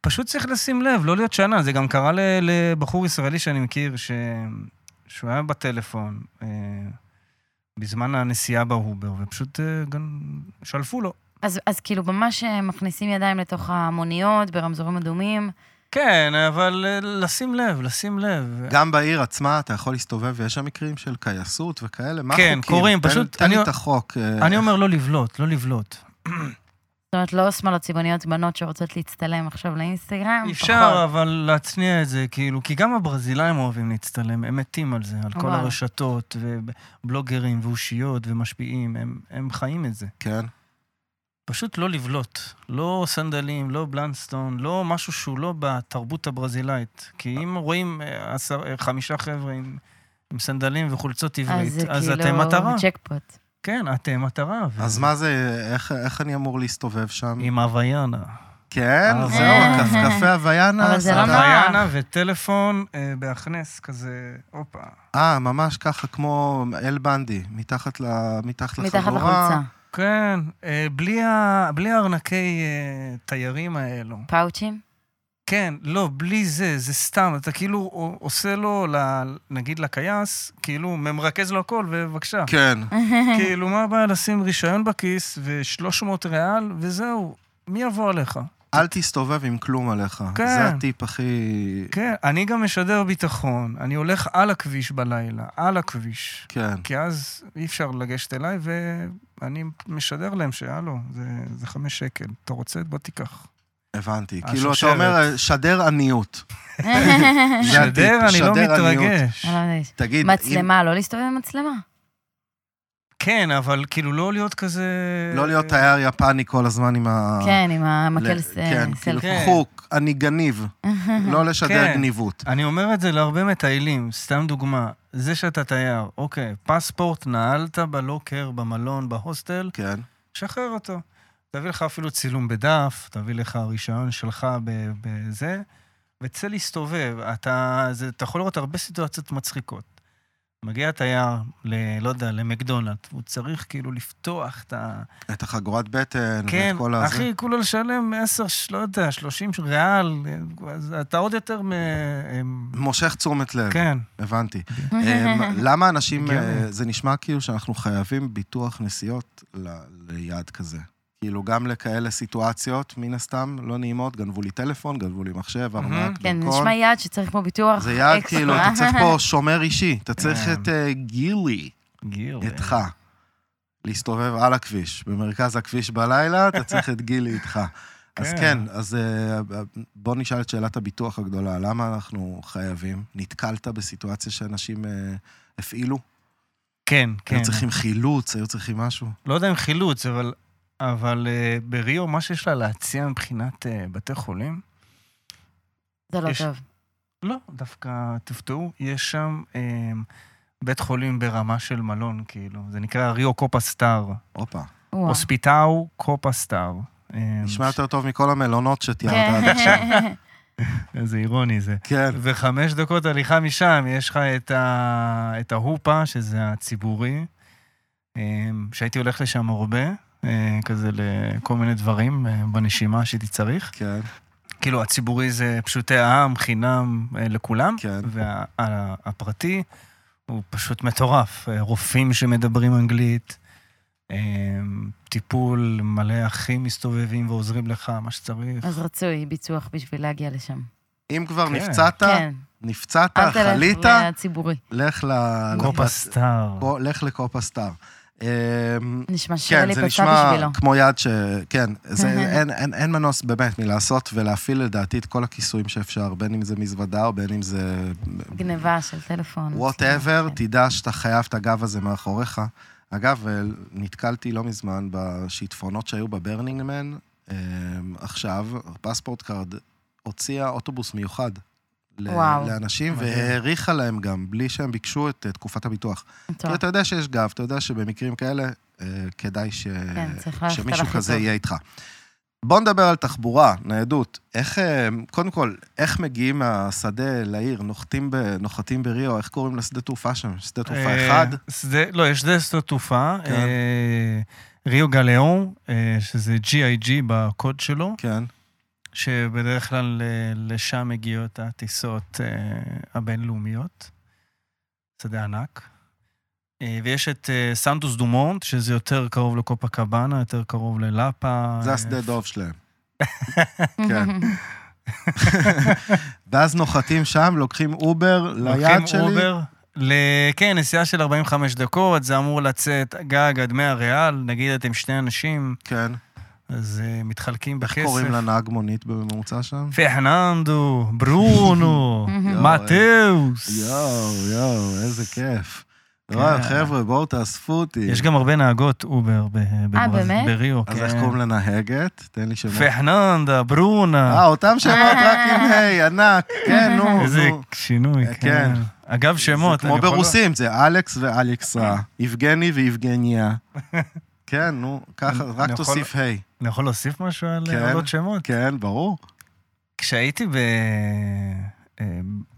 [SPEAKER 2] פשוט צריך לשים לב, לא להיות שנה. זה גם קרה ל- לבחור ישראלי שאני מכיר, ש... שהוא היה בטלפון אה, בזמן הנסיעה בהובר, ופשוט אה, גם שלפו לו.
[SPEAKER 3] אז, אז כאילו ממש אה, מכניסים ידיים לתוך המוניות ברמזורים אדומים.
[SPEAKER 2] כן, אבל אה, לשים לב, לשים לב.
[SPEAKER 1] גם בעיר עצמה אתה יכול להסתובב, ויש שם מקרים של קייסות וכאלה? מה
[SPEAKER 2] כן,
[SPEAKER 1] החוקים?
[SPEAKER 2] קורים,
[SPEAKER 1] תן-
[SPEAKER 2] פשוט
[SPEAKER 1] תן לי
[SPEAKER 2] אני-
[SPEAKER 1] את החוק. אה,
[SPEAKER 2] אני אומר לא לבלוט, לא לבלוט.
[SPEAKER 3] זאת אומרת, לא שמאלות צבעוניות, בנות שרוצות להצטלם עכשיו לאינסטגרם.
[SPEAKER 2] אפשר, אבל להצניע את זה, כאילו, כי גם הברזילאים אוהבים להצטלם, הם מתים על זה, על כל
[SPEAKER 3] וואלה.
[SPEAKER 2] הרשתות, ובלוגרים, ואושיות, ומשפיעים, הם- הם חיים את זה.
[SPEAKER 1] כן.
[SPEAKER 2] פשוט לא לבלוט. לא סנדלים, לא בלנסטון, לא משהו שהוא לא בתרבות הברזילאית. כי אם רואים אה, עשר- אה, חמישה חבר'ה עם... עם סנדלים וחולצות עברית,
[SPEAKER 3] אז זה
[SPEAKER 2] אז אתם מטרה.
[SPEAKER 3] כאילו צ'קפוט.
[SPEAKER 2] כן, אתם מטרה. ו-
[SPEAKER 1] אז מה זה, איך- איך אני אמור להסתובב שם?
[SPEAKER 2] עם הוויאנה.
[SPEAKER 1] כן,
[SPEAKER 2] אה,
[SPEAKER 1] זהו,
[SPEAKER 3] אה.
[SPEAKER 1] הכפכפי הוויאנה.
[SPEAKER 3] אבל זה לא
[SPEAKER 1] אתה-
[SPEAKER 3] נורא.
[SPEAKER 2] הוויאנה וטלפון אה, בהכנס כזה, הופה.
[SPEAKER 1] אה, ממש ככה, כמו אל בנדי, מתחת ל- מתחת לחגורה.
[SPEAKER 3] מתחת לחולצה.
[SPEAKER 2] כן, אה, בלי, ה... בלי הארנקי אה, תיירים האלו.
[SPEAKER 3] פאוצ'ים?
[SPEAKER 2] כן, לא, בלי זה, זה סתם, אתה כאילו ע- עושה לו, ל... נגיד לקייס, כאילו ממרכז לו הכל, ובבקשה.
[SPEAKER 1] כן.
[SPEAKER 3] *laughs*
[SPEAKER 2] כאילו, מה הבעיה לשים רישיון בכיס ו-300 ריאל, וזהו, מי יבוא עליך?
[SPEAKER 1] אל תסתובב עם כלום עליך.
[SPEAKER 2] כן.
[SPEAKER 1] זה הטיפ הכי...
[SPEAKER 2] כן, אני גם משדר ביטחון, אני הולך על הכביש בלילה, על הכביש.
[SPEAKER 1] כן.
[SPEAKER 2] כי אז אי אפשר לגשת אליי, ואני משדר להם שהלו, זה, זה חמש שקל. אתה רוצה? בוא תיקח.
[SPEAKER 1] הבנתי.
[SPEAKER 2] השושלת.
[SPEAKER 1] כאילו, אתה אומר, שדר
[SPEAKER 3] *laughs*
[SPEAKER 1] עניות. זה הטיפ,
[SPEAKER 2] שדר, אני לא
[SPEAKER 1] שדר עניות.
[SPEAKER 2] מתרגש.
[SPEAKER 3] אני לא יודעת.
[SPEAKER 1] תגיד, אם- אה.
[SPEAKER 3] מצלמה, לא להסתובב עם מצלמה.
[SPEAKER 2] כן, אבל כאילו לא להיות כזה...
[SPEAKER 1] לא להיות תייר יפני כל הזמן עם ה...
[SPEAKER 3] כן, עם המקל
[SPEAKER 1] ל-
[SPEAKER 3] ס-
[SPEAKER 1] כן, כאילו,
[SPEAKER 3] סלפי.
[SPEAKER 2] כן.
[SPEAKER 1] חוק, אני
[SPEAKER 3] *laughs*
[SPEAKER 1] גניב. לא לשדר
[SPEAKER 2] כן.
[SPEAKER 1] גניבות.
[SPEAKER 2] אני אומר את זה להרבה מטיילים, סתם דוגמה. זה שאתה תייר, אוקיי, פספורט נעלת בלוקר, במלון, בהוסטל,
[SPEAKER 1] כן.
[SPEAKER 2] שחרר אותו. תביא לך אפילו צילום בדף, תביא לך רישיון שלך ב- בזה, וצא להסתובב. אתה, זה, אתה יכול לראות הרבה סיטואציות מצחיקות. מגיע תייר, ל, לא יודע, למקדונלד, הוא צריך כאילו לפתוח את ה...
[SPEAKER 1] את החגורת בטן,
[SPEAKER 2] כן,
[SPEAKER 1] ואת כל הזה.
[SPEAKER 2] אחי, כולו לשלם 10, לא יודע, 30 ריאל, אז אתה עוד יותר מ... אמ,
[SPEAKER 1] מושך תשומת לב,
[SPEAKER 2] כן.
[SPEAKER 1] הבנתי.
[SPEAKER 3] *laughs*
[SPEAKER 1] אמ, למה אנשים,
[SPEAKER 2] הגיוני.
[SPEAKER 1] אה, זה נשמע כאילו שאנחנו חייבים ביטוח נסיעות ל- ליעד כזה. כאילו, גם לכאלה סיטואציות, מן הסתם, לא נעימות, גנבו לי טלפון, גנבו לי מחשב, ארנק,
[SPEAKER 3] כן, זה
[SPEAKER 1] דרכון.
[SPEAKER 3] נשמע יעד שצריך פה ביטוח
[SPEAKER 1] נכון. זה יעד,
[SPEAKER 3] אקסטרה.
[SPEAKER 1] כאילו, אתה צריך פה שומר אישי, אתה צריך
[SPEAKER 2] כן.
[SPEAKER 1] את אה, גילי,
[SPEAKER 3] כן.
[SPEAKER 2] גיר. אה,
[SPEAKER 1] איתך, להסתובב על הכביש. במרכז הכביש בלילה, אתה צריך את גילי
[SPEAKER 3] *laughs*
[SPEAKER 1] איתך. אז
[SPEAKER 2] כן.
[SPEAKER 1] כן, אז אה, בוא נשאל את שאלת הביטוח הגדולה, למה אנחנו חייבים? נתקלת בסיטואציה שאנשים אה, הפעילו?
[SPEAKER 2] כן, כן.
[SPEAKER 1] היו צריכים חילוץ, היו צריכים משהו?
[SPEAKER 2] לא יודע אם חילוץ, אבל, אבל אה, בריו, מה שיש לה להציע מבחינת אה, בתי חולים,
[SPEAKER 3] *laughs* זה לא
[SPEAKER 2] יש-
[SPEAKER 3] טוב.
[SPEAKER 2] לא, דווקא תופתעו, יש שם אה, בית חולים ברמה של מלון, כאילו, זה נקרא ריו קופה סטאר,
[SPEAKER 1] הופה.
[SPEAKER 3] וואו.
[SPEAKER 2] הוספיטאו קופה סטאר. אה,
[SPEAKER 1] כן. נשמע
[SPEAKER 2] ש-
[SPEAKER 1] יותר טוב מכל המלונות שתיארת עד עכשיו.
[SPEAKER 3] *laughs* כן.
[SPEAKER 2] איזה אירוני זה.
[SPEAKER 1] כן.
[SPEAKER 2] וחמש דקות הליכה משם, יש לך את, ה... את ההופה, שזה הציבורי, אה, שהייתי הולך לשם הרבה, אה, כזה לכל מיני דברים אה, בנשימה שהייתי צריך.
[SPEAKER 1] כן,
[SPEAKER 2] כאילו, הציבורי זה פשוטי העם, חינם אה, לכולם,
[SPEAKER 1] כן.
[SPEAKER 2] והפרטי הוא פשוט מטורף. אה, רופאים שמדברים אנגלית, אה, טיפול, מלא אחים מסתובבים ועוזרים לך, מה שצריך.
[SPEAKER 3] אז רצוי ביטוח בשביל להגיע לשם.
[SPEAKER 1] אם כבר
[SPEAKER 2] כן.
[SPEAKER 1] נפצעת,
[SPEAKER 3] כן.
[SPEAKER 1] נפצעת,
[SPEAKER 3] אל תלך
[SPEAKER 1] חלית,
[SPEAKER 3] לציבורי.
[SPEAKER 1] לך ל-
[SPEAKER 2] קופה
[SPEAKER 1] לפ-
[SPEAKER 2] סטאר.
[SPEAKER 1] קו- לך לקופה סטאר. אמ,
[SPEAKER 3] נשמע שווה
[SPEAKER 1] כן, זה
[SPEAKER 3] להיפצע
[SPEAKER 1] נשמע
[SPEAKER 3] בשבילו.
[SPEAKER 1] כמו יד ש... כן,
[SPEAKER 3] *laughs*
[SPEAKER 1] זה, אין, אין, אין מנוס באמת מלעשות ולהפעיל לדעתי את כל הכיסויים שאפשר, בין אם זה מזוודה או בין אם זה...
[SPEAKER 3] גניבה של טלפון.
[SPEAKER 1] וואטאבר,
[SPEAKER 3] כן.
[SPEAKER 1] תדע שאתה חייב את הגב הזה מאחוריך. אגב, אה, נתקלתי לא מזמן בשיטפונות שהיו בברנינגמן. אה, עכשיו, פספורט קארד הוציאה אוטובוס מיוחד. ל-
[SPEAKER 3] וואו.
[SPEAKER 1] לאנשים,
[SPEAKER 2] מדהים.
[SPEAKER 1] והאריכה להם גם, בלי שהם ביקשו את אה, תקופת הביטוח.
[SPEAKER 3] מטורף.
[SPEAKER 1] כי אתה יודע שיש גב, אתה יודע שבמקרים כאלה אה, כדאי ש...
[SPEAKER 3] כן, צריך ללכת על
[SPEAKER 1] אה, שמישהו
[SPEAKER 3] הכי
[SPEAKER 1] כזה
[SPEAKER 3] טוב.
[SPEAKER 1] יהיה איתך. בואו נדבר על תחבורה, ניידות. איך, אה, קודם כל, איך מגיעים מהשדה לעיר, נוחתים ב, נוחתים בריו, איך קוראים לשדה תעופה שם? שדה תעופה
[SPEAKER 2] אה,
[SPEAKER 1] אחד?
[SPEAKER 2] שדה- לא, יש שדה שדות תעופה.
[SPEAKER 1] כן.
[SPEAKER 2] אה, ריו גליאון, אה, שזה GIG בקוד שלו,
[SPEAKER 1] כן,
[SPEAKER 2] שבדרך כלל אה, לשם מגיעות הטיסות אה, הבינלאומיות. שדה ענק. אה, ויש את אה, סנטוס דומונט, שזה יותר קרוב לקופה קבאנה, יותר קרוב ללאפה.
[SPEAKER 1] זה
[SPEAKER 2] אה,
[SPEAKER 1] השדה דוב שלהם. כן. ואז נוחתים שם, לוקחים אובר ליד שלי.
[SPEAKER 2] לוקחים אובר. ל... כן, נסיעה של 45 דקות, זה אמור לצאת גג עד 100 ריאל, נגיד אתם שני אנשים,
[SPEAKER 1] כן.
[SPEAKER 2] אז אה, מתחלקים
[SPEAKER 1] איך
[SPEAKER 2] בכסף.
[SPEAKER 1] קוראים לנהג מונית בממוצע שם?
[SPEAKER 2] פרננדו,
[SPEAKER 1] *laughs*
[SPEAKER 2] ברונו,
[SPEAKER 1] יואו,
[SPEAKER 2] מתאוס.
[SPEAKER 1] יואו, יואו, איזה כיף. וואי, חבר'ה, בואו תאספו אותי.
[SPEAKER 2] כן. יש גם הרבה נהגות אובר ב- בברז-
[SPEAKER 3] באמת?
[SPEAKER 2] בריו. כן.
[SPEAKER 1] אז איך קוראים לנהגת? תן לי שמות.
[SPEAKER 2] פרננדה, ברונה.
[SPEAKER 1] אה, אותם שמות רק
[SPEAKER 2] *laughs*
[SPEAKER 1] עם היי, ענק. כן, נו, נו.
[SPEAKER 2] איזה שינוי,
[SPEAKER 1] אה,
[SPEAKER 2] כן.
[SPEAKER 1] כן.
[SPEAKER 2] אגב, שמות.
[SPEAKER 1] זה כמו
[SPEAKER 2] אני יכול- לא-
[SPEAKER 1] ברוסים, זה אלכס ואלכסה, יבגני ויבגניה.
[SPEAKER 2] *laughs*
[SPEAKER 1] כן, נו, ככה,
[SPEAKER 2] אני
[SPEAKER 1] רק
[SPEAKER 2] יכול-
[SPEAKER 1] תוסיף היי.
[SPEAKER 2] אני יכול להוסיף משהו על
[SPEAKER 1] כן.
[SPEAKER 2] על עוד שמות?
[SPEAKER 1] כן, ברור.
[SPEAKER 2] כשהייתי ב... אה,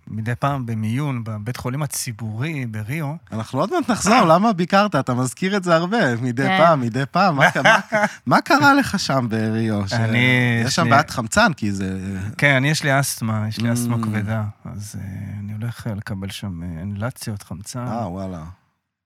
[SPEAKER 2] מדי פעם במיון בבית חולים הציבורי בריו,
[SPEAKER 1] אנחנו עוד מעט
[SPEAKER 2] *laughs*
[SPEAKER 1] נחזור, למה ביקרת? אתה מזכיר את זה הרבה, מדי
[SPEAKER 3] כן.
[SPEAKER 1] פעם, מדי פעם. מה-
[SPEAKER 2] *laughs*
[SPEAKER 1] מה- מה קרה לך שם בריו? ש-
[SPEAKER 2] אני-
[SPEAKER 1] יש שם
[SPEAKER 2] שנייה.
[SPEAKER 1] בעיית חמצן, כי זה...
[SPEAKER 2] כן, אני יש לי אסתמה, יש לי אסתמה
[SPEAKER 1] Mm.
[SPEAKER 2] כבדה, אז אה, אני הולך אה, לקבל שם אה, אינלציות, חמצן.
[SPEAKER 1] אה, וואלה.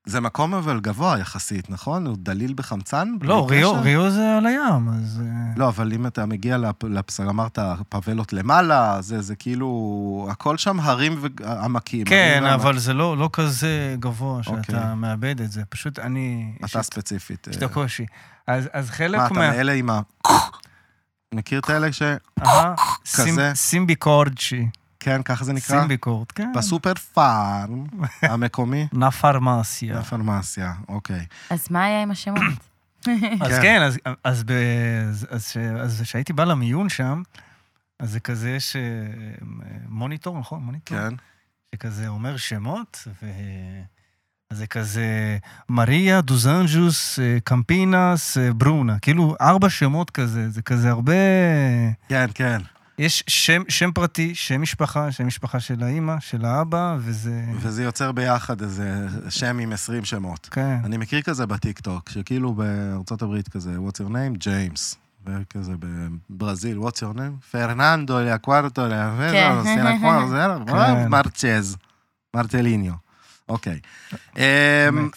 [SPEAKER 1] זה מקום אבל גבוה יחסית, נכון? הוא דליל בחמצן?
[SPEAKER 2] לא,
[SPEAKER 1] בלי
[SPEAKER 2] ריו,
[SPEAKER 1] קשר?
[SPEAKER 2] ריו זה על הים, אז... אה,
[SPEAKER 1] לא, אבל אם אתה מגיע לפ- לפס... אמרת, פבלות למעלה, זה, זה כאילו, הכל שם הרים ועמקים.
[SPEAKER 2] כן,
[SPEAKER 1] הרים ועמקים.
[SPEAKER 2] אבל זה לא לא כזה גבוה
[SPEAKER 1] אוקיי.
[SPEAKER 2] שאתה מאבד את זה. פשוט אני... יש
[SPEAKER 1] אתה
[SPEAKER 2] לי-
[SPEAKER 1] ספציפית.
[SPEAKER 2] יש
[SPEAKER 1] אה,
[SPEAKER 2] לי קושי. אז אז חלק
[SPEAKER 1] מה, אתה
[SPEAKER 2] מה...
[SPEAKER 1] מאלה עם ה... מכיר את האלה ש...
[SPEAKER 2] אהה,
[SPEAKER 1] כזה?
[SPEAKER 2] סימבי קורג'י.
[SPEAKER 1] כן, ככה זה נקרא?
[SPEAKER 2] סימביקורט, כן.
[SPEAKER 1] בסופר פארם המקומי?
[SPEAKER 2] נה פרמסיה.
[SPEAKER 1] לפרמסיה, אוקיי.
[SPEAKER 3] *laughs* אז מה היה
[SPEAKER 1] *coughs*
[SPEAKER 3] עם השמות?
[SPEAKER 2] אז
[SPEAKER 1] כן.
[SPEAKER 2] כן, אז- אז ב- אז- אז ש- אז כשהייתי בא למיון שם, אז זה כזה, יש אה, מוניטור, נכון? מוניטור.
[SPEAKER 1] כן.
[SPEAKER 2] שכזה אומר שמות, ו... אז זה כזה מריה, דוזנג'וס, אה, קמפינס, אה, ברונה. כאילו, ארבע שמות כזה, זה כזה הרבה...
[SPEAKER 1] כן, כן.
[SPEAKER 2] יש שם, שם פרטי, שם משפחה, שם משפחה של האימא, של האבא, וזה...
[SPEAKER 1] וזה יוצר ביחד איזה שם עם 20 שמות.
[SPEAKER 2] כן.
[SPEAKER 1] אני מכיר כזה בטיקטוק, שכאילו בארצות הברית כזה, What's your name? ג'יימס. וכזה בברזיל, What's your name? פרננדו, לאקוורטו, לאברו, סינקוור, זה,
[SPEAKER 2] כן.
[SPEAKER 1] מרצ'ז, מרטליניו. אוקיי. אמ, *laughs*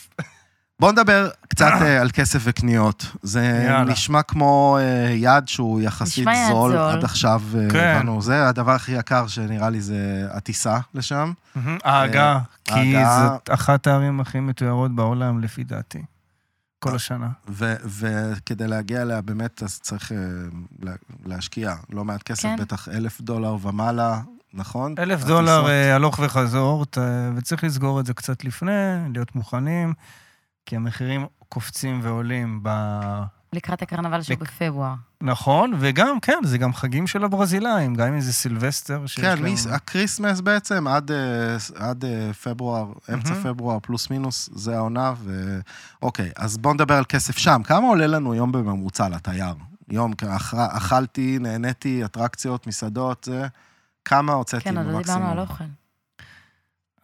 [SPEAKER 1] בואו נדבר קצת אה, על כסף וקניות. זה
[SPEAKER 2] יאללה.
[SPEAKER 1] נשמע כמו אה, יעד שהוא יחסית
[SPEAKER 3] נשמע יעד
[SPEAKER 1] זול
[SPEAKER 3] זול.
[SPEAKER 1] עד עכשיו. אה,
[SPEAKER 2] כן.
[SPEAKER 1] הבנו, זה הדבר הכי יקר שנראה לי זה הטיסה לשם.
[SPEAKER 2] מהמם. ההגה, אה, כי
[SPEAKER 1] ההגה-
[SPEAKER 2] זאת אחת הערים הכי מתוירות בעולם, לפי דעתי. כל השנה.
[SPEAKER 1] ו- וכדי להגיע אליה באמת, אז צריך אה, לה- להשקיע לא מעט כסף,
[SPEAKER 3] כן.
[SPEAKER 1] בטח אלף דולר ומעלה, נכון?
[SPEAKER 2] אלף
[SPEAKER 1] הטיסות.
[SPEAKER 2] דולר אה, הלוך וחזור, ת- וצריך לסגור את זה קצת לפני, להיות מוכנים, כי המחירים קופצים ועולים ב...
[SPEAKER 3] לקראת הקרנבל שהוא
[SPEAKER 2] לק-
[SPEAKER 3] בפברואר.
[SPEAKER 2] נכון, וגם, כן, זה גם חגים של הברזילאים, גם אם זה סילבסטר. שיש
[SPEAKER 1] כן,
[SPEAKER 2] להם-
[SPEAKER 1] מי- הקריסמס בעצם עד, אה, עד אה, פברואר, אמצע
[SPEAKER 2] מהמם.
[SPEAKER 1] פברואר, פלוס מינוס, זה העונה. ו... אוקיי, אז בואו נדבר על כסף שם. כמה עולה לנו יום בממוצע לתייר? יום, כ- אכר- אכלתי, נהניתי, אטרקציות, מסעדות, זה... כמה הוצאתי
[SPEAKER 3] כן, עוד
[SPEAKER 1] במקסימום?
[SPEAKER 3] לא דיברנו על אוכל.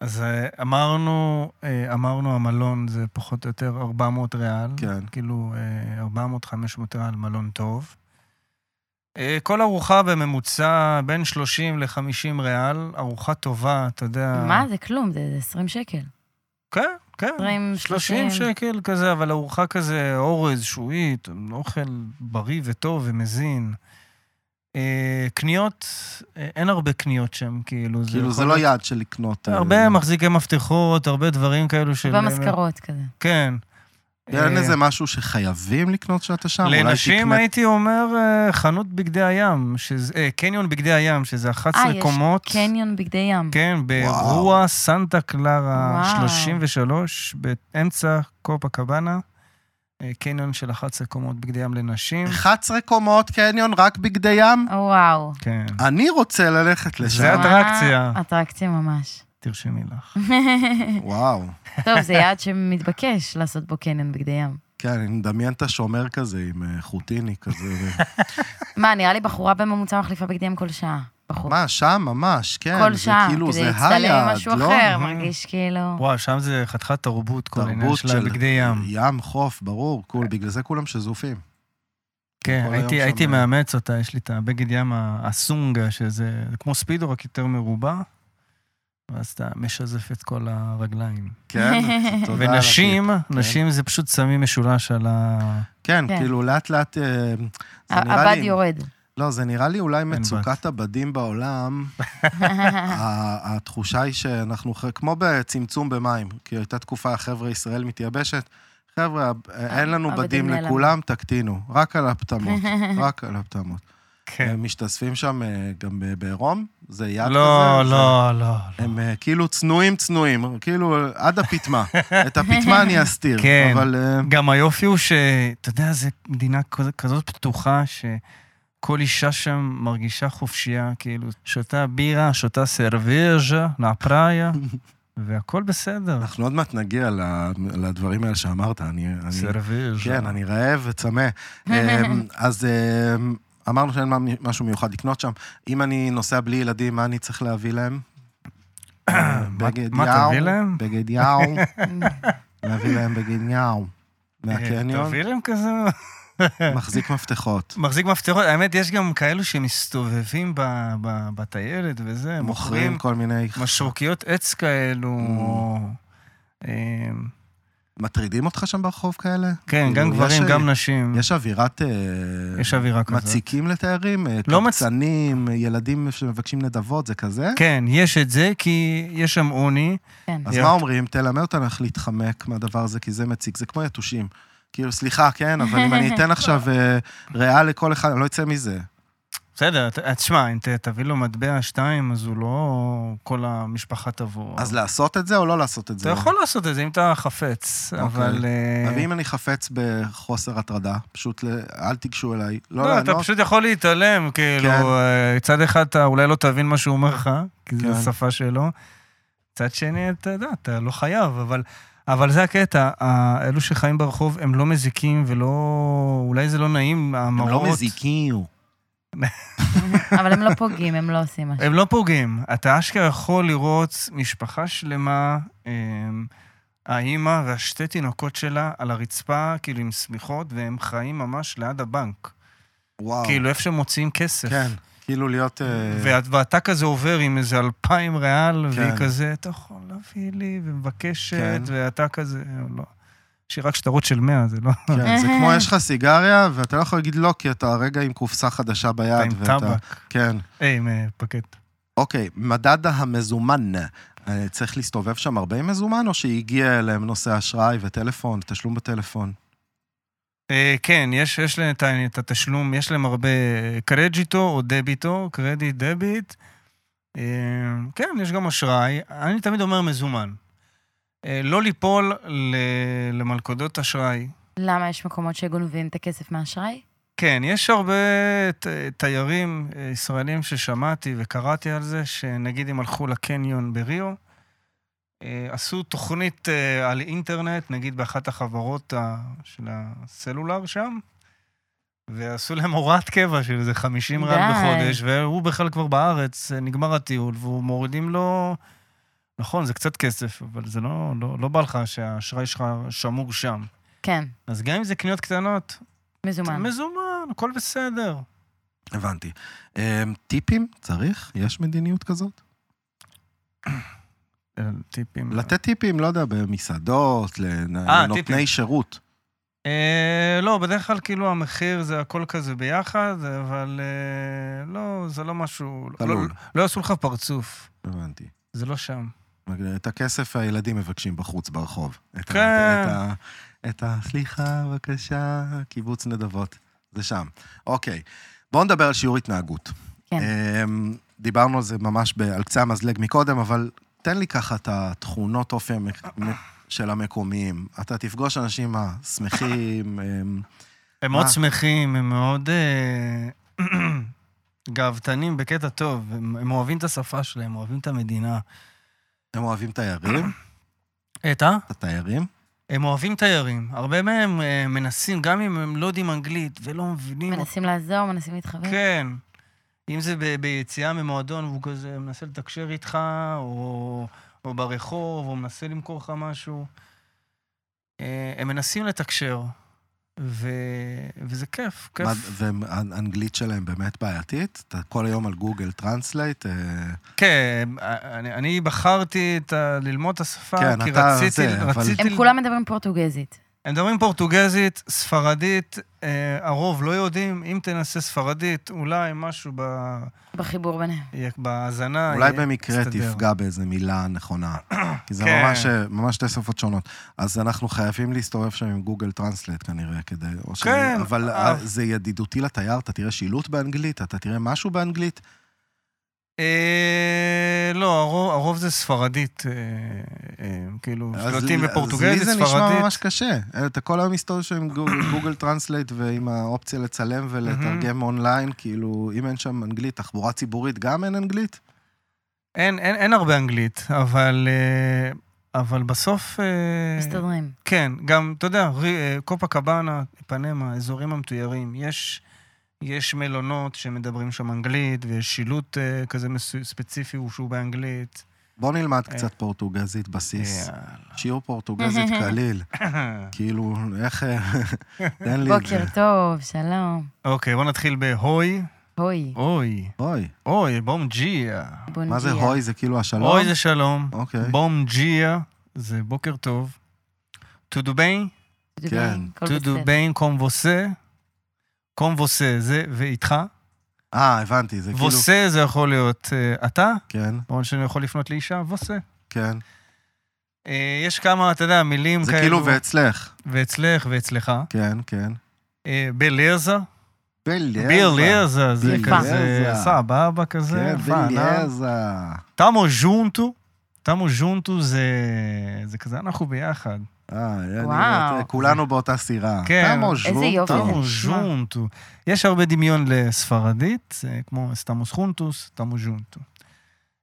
[SPEAKER 2] אז אה, אמרנו, אה, אמרנו המלון זה פחות או יותר 400 ריאל.
[SPEAKER 1] כן.
[SPEAKER 2] כאילו אה, 400-500 ריאל מלון טוב. אה, כל ארוחה בממוצע בין 30 ל-50 ריאל, ארוחה טובה, אתה
[SPEAKER 1] אה.
[SPEAKER 2] יודע...
[SPEAKER 3] מה? זה כלום, זה זה 20 שקל.
[SPEAKER 2] כן, כן.
[SPEAKER 3] 20,
[SPEAKER 2] 30
[SPEAKER 3] 30.
[SPEAKER 2] שקל כזה, אבל ארוחה כזה, אורז, שועית, אוכל בריא וטוב ומזין. אה, קניות, אה, אין הרבה קניות שם, כאילו.
[SPEAKER 1] כאילו, זה
[SPEAKER 2] יכול
[SPEAKER 1] לא
[SPEAKER 2] להיות-
[SPEAKER 1] יעד של לקנות... אה,
[SPEAKER 2] הרבה מחזיקי מפתחות, הרבה דברים כאלו של... אה,
[SPEAKER 3] במזכרות כזה.
[SPEAKER 2] כן.
[SPEAKER 1] אין
[SPEAKER 2] אה,
[SPEAKER 1] איזה משהו שחייבים לקנות כשאתה שם? אולי
[SPEAKER 2] לנשים
[SPEAKER 1] תקנה-
[SPEAKER 2] הייתי אומר אה, חנות בגדי הים, שזה, אה, קניון בגדי הים, שזה 11
[SPEAKER 3] אה, יש
[SPEAKER 2] קומות.
[SPEAKER 3] קניון בגדי ים.
[SPEAKER 2] כן, באירוע סנטה קלרה
[SPEAKER 3] וואו.
[SPEAKER 2] 33, באמצע קופה קבאנה, אה, קניון של 11 קומות בגדי ים לנשים.
[SPEAKER 1] 11 קומות קניון רק בגדי ים?
[SPEAKER 3] וואו.
[SPEAKER 2] כן,
[SPEAKER 1] אני רוצה ללכת
[SPEAKER 2] זה
[SPEAKER 1] לשם.
[SPEAKER 3] וואו,
[SPEAKER 2] אטרקציה.
[SPEAKER 3] אטרקציה ממש.
[SPEAKER 2] תרשמי
[SPEAKER 1] *laughs*
[SPEAKER 2] לך.
[SPEAKER 1] וואו.
[SPEAKER 3] טוב, זה יעד שמתבקש לעשות בו קניון בגדי ים.
[SPEAKER 1] כן, אני מדמיין את השומר כזה עם אה, חוטיני כזה.
[SPEAKER 2] *laughs*
[SPEAKER 3] מה, נראה לי בחורה בממוצע מחליפה בגדי ים כל שעה. בחור.
[SPEAKER 1] מה, שם ממש, כן.
[SPEAKER 3] כל
[SPEAKER 1] זה
[SPEAKER 3] שעה,
[SPEAKER 1] כאילו,
[SPEAKER 3] כדי
[SPEAKER 1] זה
[SPEAKER 3] להצטלם עם
[SPEAKER 1] היעד,
[SPEAKER 3] משהו
[SPEAKER 1] לא?
[SPEAKER 3] אחר, מרגיש כאילו...
[SPEAKER 2] וואו, שם זה חתיכת תרבות, כל העניין
[SPEAKER 1] תרבות
[SPEAKER 2] של הבגדי ים.
[SPEAKER 1] ים, חוף, ברור, כול, בגלל זה כולם שזופים.
[SPEAKER 2] כן,
[SPEAKER 1] כל
[SPEAKER 2] הייתי,
[SPEAKER 1] היום
[SPEAKER 2] הייתי
[SPEAKER 1] שם-
[SPEAKER 2] מאמץ אותה, יש לי את הבגד ים ה- הסונגה, שזה כמו ספידו, רק יותר מרובע, ואז אתה משזף את כל הרגליים.
[SPEAKER 3] *laughs*
[SPEAKER 1] כן, תודה על הטיפ.
[SPEAKER 2] ונשים, נשים זה פשוט שמים משולש על ה...
[SPEAKER 1] כן,
[SPEAKER 3] כן.
[SPEAKER 1] כאילו, לאט-לאט... אה, זה נראה
[SPEAKER 3] הבד
[SPEAKER 1] לי-
[SPEAKER 3] יורד.
[SPEAKER 1] *laughs* לא, זה נראה לי אולי
[SPEAKER 2] בת.
[SPEAKER 1] מצוקת הבדים בעולם. ה- התחושה היא שאנחנו, אחרי- כמו בצמצום במים, כי הייתה תקופה, חבר'ה, ישראל מתייבשת, חבר'ה, אה, אין לנו
[SPEAKER 3] הבדים
[SPEAKER 1] בדים
[SPEAKER 3] נעלם.
[SPEAKER 1] לכולם, תקטינו, רק על הפטמות, רק על הפטמות.
[SPEAKER 2] כן.
[SPEAKER 1] הם משתספים שם אה, גם ב- בעירום? זה כן. יד כזה?
[SPEAKER 2] לא,
[SPEAKER 1] זה-
[SPEAKER 2] לא, לא.
[SPEAKER 1] הם אה, כאילו צנועים צנועים, כאילו אה, עד
[SPEAKER 2] *laughs*
[SPEAKER 1] הפטמה. את הפטמה אני אסתיר,
[SPEAKER 2] כן.
[SPEAKER 1] אבל... אה,
[SPEAKER 2] גם היופי הוא שאתה יודע, זו מדינה כזאת- כזאת פתוחה, שכל אישה שם מרגישה חופשייה, כאילו, שותה בירה, שותה סרוויז'ה,
[SPEAKER 1] *laughs*
[SPEAKER 2] נפריה, והכל בסדר.
[SPEAKER 1] אנחנו עוד מעט נגיע ל- לדברים האלה שאמרת, אני... אני-
[SPEAKER 2] סרוויז'ה.
[SPEAKER 1] כן, אני רעב וצמא.
[SPEAKER 2] *laughs*
[SPEAKER 1] אמ, אז אמ, אמרנו שאין מה- משהו מיוחד לקנות שם. אם אני נוסע בלי ילדים, מה אני צריך להביא להם? בגד
[SPEAKER 2] *clears throat* מה
[SPEAKER 1] יאו,
[SPEAKER 2] תביא להם?
[SPEAKER 1] בגד יאו, להביא להם בגד
[SPEAKER 2] *laughs*
[SPEAKER 1] יאו. מהקניון,
[SPEAKER 2] אה, תביא להם כזה...
[SPEAKER 1] מחזיק
[SPEAKER 2] *laughs*
[SPEAKER 1] מפתחות.
[SPEAKER 2] מחזיק מפתחות, האמת, יש גם כאלו שמסתובבים ב- ב- בטיילת וזה,
[SPEAKER 1] מוכרים כל Mm. מיני...
[SPEAKER 2] משרוקיות עץ כאלו, או... אה,
[SPEAKER 1] מטרידים אותך שם ברחוב כאלה?
[SPEAKER 2] כן,
[SPEAKER 1] כאילו,
[SPEAKER 2] גם
[SPEAKER 1] יש-
[SPEAKER 2] גברים, גם נשים.
[SPEAKER 1] יש אווירת... אה,
[SPEAKER 2] יש אווירה כזאת.
[SPEAKER 1] מציקים לתיירים? אה,
[SPEAKER 2] לא מצ-
[SPEAKER 1] קבצנים, ילדים שמבקשים נדבות, זה כזה?
[SPEAKER 2] כן, יש את זה, כי יש שם עוני.
[SPEAKER 3] כן.
[SPEAKER 1] אז
[SPEAKER 2] יפ.
[SPEAKER 1] מה אומרים? תלמד אותנו איך להתחמק מהדבר הזה, כי זה מציק, זה כמו יתושים.
[SPEAKER 2] *laughs*
[SPEAKER 1] כאילו, סליחה, כן, אבל אם אני אתן עכשיו אה, ריאה לכל אחד, אני לא אצא מזה.
[SPEAKER 2] בסדר, ת- תשמע, אם ת- תביא לו מטבע שתיים, אז הוא לא... כל המשפחה תבוא.
[SPEAKER 1] אז לעשות את זה או לא לעשות את זה?
[SPEAKER 2] אתה יכול לעשות את זה אם אתה חפץ,
[SPEAKER 1] אוקיי.
[SPEAKER 2] אבל... אה,
[SPEAKER 1] אבל אם אני חפץ בחוסר הטרדה, פשוט ל- אל תיגשו אליי. לא
[SPEAKER 2] לא, אתה
[SPEAKER 1] לענות.
[SPEAKER 2] פשוט יכול להתעלם, כאילו,
[SPEAKER 1] כן.
[SPEAKER 2] אה, מצד אחד אתה אולי לא תבין מה שהוא אומר לך, כי
[SPEAKER 1] כן.
[SPEAKER 2] זו שפה שלו, מצד שני, אתה יודע, אתה לא חייב, אבל... אבל זה הקטע, ה- אלו שחיים ברחוב הם לא מזיקים ולא... אולי זה לא נעים,
[SPEAKER 1] הם
[SPEAKER 2] המראות.
[SPEAKER 1] לא מזיקים.
[SPEAKER 3] אבל הם לא פוגעים, הם לא עושים משהו.
[SPEAKER 2] הם לא פוגעים. אתה אשכרה יכול לראות משפחה שלמה, אמ, האימא והשתי תינוקות שלה על הרצפה, כאילו עם שמיכות, והם חיים ממש ליד הבנק.
[SPEAKER 1] וואו.
[SPEAKER 2] כאילו, איפה שמוציאים כסף.
[SPEAKER 1] כן, כאילו להיות... אה,
[SPEAKER 2] ואת- ואתה כזה עובר עם איזה אלפיים ריאל, והיא
[SPEAKER 1] כן.
[SPEAKER 2] כזה, אתה יכול להביא לי, ומבקשת,
[SPEAKER 1] כן.
[SPEAKER 2] ואתה כזה, לא. יש לי רק שטרות של מאה, זה לא...
[SPEAKER 1] כן,
[SPEAKER 2] *laughs*
[SPEAKER 1] זה כמו יש לך סיגריה, ואתה לא יכול להגיד לא, כי אתה הרגע עם קופסה חדשה ביד.
[SPEAKER 2] אתה עם
[SPEAKER 1] ואתה-
[SPEAKER 2] טבק.
[SPEAKER 1] כן.
[SPEAKER 2] אה, עם אה, פקט.
[SPEAKER 1] אוקיי, מדד המזומן. אה, צריך להסתובב שם הרבה עם מזומן, או שהגיע אליהם נושא אשראי וטלפון, תשלום בטלפון?
[SPEAKER 2] אה, כן, יש, יש להם את ה- את התשלום, יש להם הרבה אה, קרדיטו או דביטו, קרדיט, דביט. אה, כן, יש גם אשראי. אני תמיד אומר מזומן. אה, לא ליפול ל- למלכודות אשראי.
[SPEAKER 3] למה יש מקומות שגונבים את הכסף מהאשראי?
[SPEAKER 2] כן, יש הרבה ת- תיירים אה, ישראלים ששמעתי וקראתי על זה, שנגיד הם הלכו לקניון בריו, אה, עשו תוכנית אה, על אינטרנט, נגיד באחת החברות ה- של הסלולר שם, ועשו להם הוראת קבע של איזה 50
[SPEAKER 3] די.
[SPEAKER 2] רעל בחודש, והוא בכלל כבר בארץ, אה, נגמר הטיול, והוא מורידים לו... נכון, זה קצת כסף, אבל זה לא, לא, לא בא לך שהאשראי שלך שמור שם.
[SPEAKER 3] כן,
[SPEAKER 2] אז גם אם זה קניות קטנות,
[SPEAKER 3] מזומן.
[SPEAKER 2] מזומן, הכל בסדר.
[SPEAKER 1] הבנתי. אה, טיפים? צריך? יש מדיניות כזאת?
[SPEAKER 2] טיפים.
[SPEAKER 1] לתת טיפים, לא יודע, במסעדות, לנ-
[SPEAKER 2] אה, טיפים.
[SPEAKER 1] לנותני שירות.
[SPEAKER 2] אה, לא, בדרך כלל כאילו המחיר זה הכל כזה ביחד, אבל אה, לא, זה לא משהו...
[SPEAKER 1] כלול.
[SPEAKER 2] לא- לא יעשו לך פרצוף,
[SPEAKER 1] הבנתי.
[SPEAKER 2] זה לא שם.
[SPEAKER 1] את הכסף הילדים מבקשים בחוץ, ברחוב. את ה-
[SPEAKER 2] כן.
[SPEAKER 1] את ה- את ה... סליחה, בבקשה, קיבוץ נדבות. זה שם. אוקיי. בואו נדבר על שיעור התנהגות.
[SPEAKER 3] כן.
[SPEAKER 1] אמ, דיברנו על זה ממש ב- על קצה המזלג מקודם, אבל תן לי ככה את התכונות אופי המק- מ- של המקומיים. אתה תפגוש אנשים
[SPEAKER 2] *laughs*
[SPEAKER 1] השמחים, אמ,
[SPEAKER 2] הם מאוד
[SPEAKER 1] מה?
[SPEAKER 2] שמחים, הם מאוד אה, *clears throat* גאוותנים בקטע טוב, הם הם אוהבים את השפה שלהם, אוהבים את המדינה.
[SPEAKER 1] הם אוהבים תיירים,
[SPEAKER 2] את ה?
[SPEAKER 1] את התיירים.
[SPEAKER 2] הם אוהבים תיירים. הרבה מהם אה, מנסים, גם אם הם לא יודעים אנגלית ולא מבינים
[SPEAKER 3] מנסים לעזור, מנסים
[SPEAKER 1] אה?
[SPEAKER 3] להתחבר.
[SPEAKER 2] כן. אם זה ב- ביציאה ממועדון והוא כזה מנסה לתקשר איתך, או, או ברחוב, או מנסה למכור לך משהו, אה, הם מנסים לתקשר, ו, וזה כיף, כיף.
[SPEAKER 1] מה- והאנגלית שלהם באמת בעייתית? אתה כל היום על גוגל טרנסלייט, אה,
[SPEAKER 2] כן, אני, אני בחרתי את ה, ללמוד את השפה,
[SPEAKER 1] כן,
[SPEAKER 2] כי
[SPEAKER 1] אתה
[SPEAKER 2] רציתי...
[SPEAKER 1] זה, אבל-
[SPEAKER 2] רציתי
[SPEAKER 3] הם כולם מדברים פורטוגזית.
[SPEAKER 2] הם מדברים פורטוגזית, ספרדית, אה, הרוב לא יודעים. אם תנסה ספרדית, אולי משהו ב,
[SPEAKER 3] בחיבור ביניהם.
[SPEAKER 1] כן.
[SPEAKER 2] בהאזנה...
[SPEAKER 1] אולי
[SPEAKER 2] יהיה-
[SPEAKER 1] במקרה
[SPEAKER 2] אה, יסתדר.
[SPEAKER 1] תפגע באיזה מילה נכונה, כי זה
[SPEAKER 2] *coughs* כן.
[SPEAKER 1] ממש, אה, ממש שתי שפות שונות. אז אנחנו חייבים להסתובב שם עם גוגל טרנסלט כנראה, כדי... או ש-
[SPEAKER 2] כן,
[SPEAKER 1] אבל
[SPEAKER 2] אה.
[SPEAKER 1] זה ידידותי לתייר, אתה תראה שילוט באנגלית, אתה תראה משהו באנגלית.
[SPEAKER 2] אה, לא, הרוב, הרוב זה ספרדית, אה, אה, כאילו,
[SPEAKER 1] אז
[SPEAKER 2] שלטים
[SPEAKER 1] לי- אז
[SPEAKER 2] בפורטוגזית,
[SPEAKER 1] לי זה נשמע
[SPEAKER 2] ספרדית.
[SPEAKER 1] ממש קשה. אה, אתה כל היום מסתובב שם עם גוג- *coughs* גוגל טרנסלייט ועם האופציה לצלם ולתרגם אונליין, כאילו, אם אין שם אנגלית, תחבורה ציבורית גם אין אנגלית?
[SPEAKER 2] אין, אין, אין הרבה אנגלית, אבל, אה, אבל בסוף... אה,
[SPEAKER 3] מסתדרים.
[SPEAKER 2] כן, גם, אתה יודע, רי- אה, קופה קבאנה, פנמה, אזורים המתוירים, יש, יש מלונות שמדברים שם אנגלית, ויש שילוט אה, כזה מסו- ספציפי הוא שהוא באנגלית.
[SPEAKER 1] בוא נלמד
[SPEAKER 2] אה.
[SPEAKER 1] קצת פורטוגזית בסיס.
[SPEAKER 2] אה,
[SPEAKER 1] שיעור
[SPEAKER 2] *laughs*
[SPEAKER 1] פורטוגזית קליל. כאילו,
[SPEAKER 3] *laughs*
[SPEAKER 1] איך... תן לי את זה.
[SPEAKER 3] בוקר טוב, שלום.
[SPEAKER 2] *coughs* אוקיי, בוא נתחיל בהוי.
[SPEAKER 3] הוי,
[SPEAKER 2] אוי,
[SPEAKER 1] אוי,
[SPEAKER 2] אוי, בום ג'יה.
[SPEAKER 3] בונג'יה.
[SPEAKER 1] מה זה הוי? זה כאילו השלום?
[SPEAKER 2] אוי זה שלום.
[SPEAKER 1] אוקיי.
[SPEAKER 2] בום ג'יה, זה בוקר טוב. תודו ביין,
[SPEAKER 3] טודו
[SPEAKER 1] כן.
[SPEAKER 3] ביין, כל
[SPEAKER 2] תודו
[SPEAKER 3] בסדר.
[SPEAKER 2] ביין קומבוסה. קומבוסה זה ואיתך.
[SPEAKER 1] אה, הבנתי, זה כאילו...
[SPEAKER 2] ווסה זה יכול להיות אה, אתה,
[SPEAKER 1] כן,
[SPEAKER 2] או שאני יכול לפנות לאישה, ווסה.
[SPEAKER 1] כן.
[SPEAKER 2] אה, יש כמה, אתה יודע, מילים
[SPEAKER 1] זה
[SPEAKER 2] כאלו.
[SPEAKER 1] כאילו ואצלך.
[SPEAKER 2] ואצלך ואצלך.
[SPEAKER 1] כן, כן.
[SPEAKER 2] אה, בלזה, Beleza, זה
[SPEAKER 3] Beleza.
[SPEAKER 2] כזה, סבבה כזה,
[SPEAKER 1] כן,
[SPEAKER 2] פאנה.
[SPEAKER 1] בליאזה.
[SPEAKER 2] תמו ז'ונטו, תמו ז'ונטו זה זה כזה, אנחנו ביחד.
[SPEAKER 1] אה, אני-
[SPEAKER 3] וואו.
[SPEAKER 1] כולנו באותה סירה.
[SPEAKER 2] כן.
[SPEAKER 1] תמו
[SPEAKER 2] איזה
[SPEAKER 1] ז'ו,
[SPEAKER 3] יופי.
[SPEAKER 1] תמו
[SPEAKER 2] תמו ז'ונטו. יש הרבה דמיון לספרדית, אה, כמו סתמוס חונטוס, תמו ז'ונטו.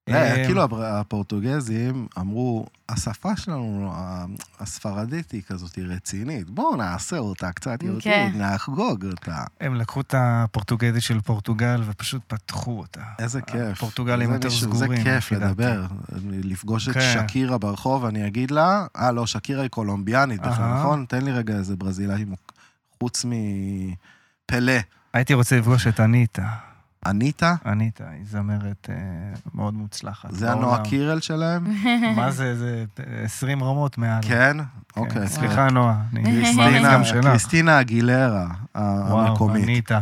[SPEAKER 1] אה,
[SPEAKER 2] אה,
[SPEAKER 1] כאילו הבר- הפורטוגזים אמרו, השפה שלנו, ה- הספרדית היא כזאת היא רצינית, בואו נעשה אותה קצת
[SPEAKER 3] כן.
[SPEAKER 1] יהודית, נחגוג אותה.
[SPEAKER 2] הם לקחו את הפורטוגזית של פורטוגל ופשוט פתחו אותה.
[SPEAKER 1] איזה כיף.
[SPEAKER 2] הפורטוגלים
[SPEAKER 1] זה
[SPEAKER 2] אה, יותר
[SPEAKER 1] מישהו-
[SPEAKER 2] סגורים,
[SPEAKER 1] זה כיף
[SPEAKER 2] לפי דעתי.
[SPEAKER 1] לדבר, לפגוש את
[SPEAKER 2] כן.
[SPEAKER 1] שקירה ברחוב, אני אגיד לה, אה, לא, שקירה היא קולומביאנית בכלל,
[SPEAKER 2] אהה.
[SPEAKER 1] נכון? תן לי רגע איזה ברזילאי, מוק- חוץ מפלא.
[SPEAKER 2] הייתי רוצה לפגוש את אניטה.
[SPEAKER 1] אניטה?
[SPEAKER 2] אניטה היא זמרת אה, מאוד מוצלחת.
[SPEAKER 1] זה
[SPEAKER 2] בעולם.
[SPEAKER 1] הנועה קירל שלהם?
[SPEAKER 2] *laughs* מה זה, זה אה, 20 רמות מעל.
[SPEAKER 1] כן?
[SPEAKER 2] כן.
[SPEAKER 1] אוקיי. *laughs*
[SPEAKER 2] סליחה, נועה, אני מאמין
[SPEAKER 1] קריסטינה-
[SPEAKER 2] גם שלך.
[SPEAKER 1] קריסטינה אגילרה ה-
[SPEAKER 2] וואו,
[SPEAKER 1] המקומית.
[SPEAKER 2] אניטה.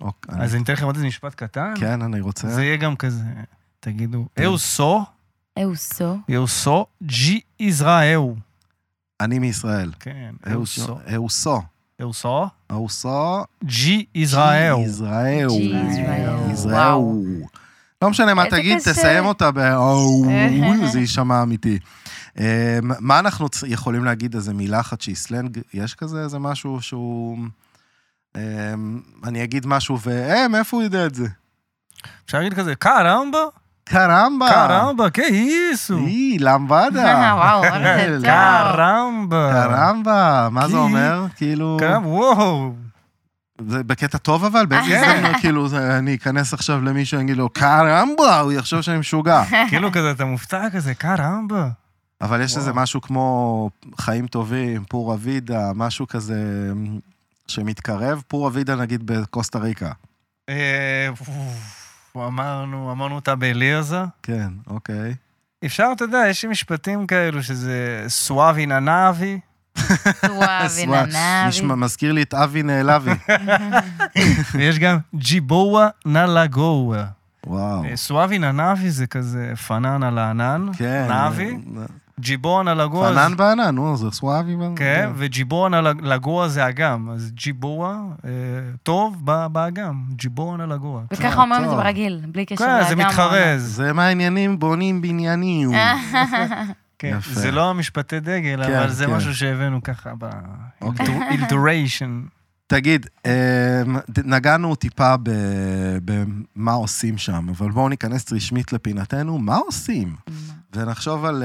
[SPEAKER 1] אוקיי, אני-
[SPEAKER 2] אז אני אתן לכם עוד איזה משפט קטן.
[SPEAKER 1] כן, אני רוצה.
[SPEAKER 2] זה יהיה גם כזה, תגידו,
[SPEAKER 1] כן.
[SPEAKER 2] eu sou,
[SPEAKER 3] אהו
[SPEAKER 1] *laughs*
[SPEAKER 3] אה, סו.
[SPEAKER 2] eu sou de Israel.
[SPEAKER 1] אני מישראל.
[SPEAKER 2] כן,
[SPEAKER 1] É
[SPEAKER 2] eu sou,
[SPEAKER 1] אהוסו.
[SPEAKER 2] eu sou
[SPEAKER 1] אהוסו.
[SPEAKER 2] de Israel.
[SPEAKER 1] ישראל.
[SPEAKER 3] ישראל.
[SPEAKER 1] ישראל.
[SPEAKER 3] וואו.
[SPEAKER 1] לא משנה מה
[SPEAKER 3] איזה
[SPEAKER 1] תגיד,
[SPEAKER 3] קשה.
[SPEAKER 1] תסיים אותה באו,
[SPEAKER 3] *laughs*
[SPEAKER 1] זה יישמע אמיתי. אה, מה אנחנו צ- יכולים להגיד, איזה מילה אחת שהיא סלנג? יש כזה איזה משהו שהוא... אה, אני אגיד משהו, והם, מאיפה הוא יודע את זה?
[SPEAKER 2] אפשר להגיד כזה, קרמבה,
[SPEAKER 1] קרמבה.
[SPEAKER 2] קרמבה, que isso?
[SPEAKER 1] אי, למבדה.
[SPEAKER 3] *laughs*
[SPEAKER 1] *laughs*
[SPEAKER 3] וואו, איזה טוב.
[SPEAKER 2] קרמבה.
[SPEAKER 1] קרמבה, מה זה
[SPEAKER 2] כי-
[SPEAKER 1] אומר? כאילו,
[SPEAKER 2] קרמבה, וואו.
[SPEAKER 1] זה בקטע טוב אבל, באיזה
[SPEAKER 2] כן.
[SPEAKER 1] הזדמנות, כאילו, זה- אני אכנס עכשיו למישהו, אני אגיד לו, קרמבה, הוא יחשוב שאני משוגע.
[SPEAKER 2] כאילו כזה, אתה מופתע כזה, קרמבה.
[SPEAKER 1] אבל יש איזה
[SPEAKER 2] וואו.
[SPEAKER 1] משהו כמו חיים טובים, פורה וידה, משהו כזה אמ, שמתקרב, פורה וידה נגיד בקוסטה ריקה.
[SPEAKER 2] אה, וואו, אמרנו, אמרנו אותה באליעזה.
[SPEAKER 1] כן, אוקיי.
[SPEAKER 2] אפשר, אתה יודע, יש משפטים כאלו שזה סואבי ננאבי.
[SPEAKER 3] סוואבי
[SPEAKER 1] סוואה,
[SPEAKER 3] ננבי.
[SPEAKER 1] נשמע- מזכיר לי את אבי
[SPEAKER 2] *laughs*
[SPEAKER 1] נעלבי.
[SPEAKER 2] ויש גם ג'יבואה נלגואה.
[SPEAKER 1] וואו.
[SPEAKER 2] אה, סואבי ננאבי זה כזה פנן על הענן.
[SPEAKER 1] כן.
[SPEAKER 2] נאבי. ג'יבואה נלגואה. זה-
[SPEAKER 1] פנן בענן, נו, זה סוואבי. אבל-
[SPEAKER 2] כן, וג'יבואה נלגואה זה אגם. אז ג'יבואה, אה, טוב, בא- באגם. ג'יבואה נלגואה.
[SPEAKER 3] וככה אומרים את זה
[SPEAKER 1] טוב.
[SPEAKER 3] ברגיל, בלי קשר לאדם.
[SPEAKER 2] כן, זה
[SPEAKER 3] או עונה.
[SPEAKER 2] מתחרז.
[SPEAKER 1] זה מה העניינים בונים בניינים.
[SPEAKER 2] כן,
[SPEAKER 1] יפה.
[SPEAKER 2] זה לא המשפטי דגל,
[SPEAKER 1] כן,
[SPEAKER 2] אבל זה
[SPEAKER 1] כן.
[SPEAKER 2] משהו שהבאנו ככה ב...
[SPEAKER 1] אוקיי.
[SPEAKER 2] אילטוריישן.
[SPEAKER 1] תגיד, אמ, ד- נגענו טיפה ב- במה עושים שם, אבל בואו ניכנס רשמית לפינתנו, מה עושים? ונחשוב על...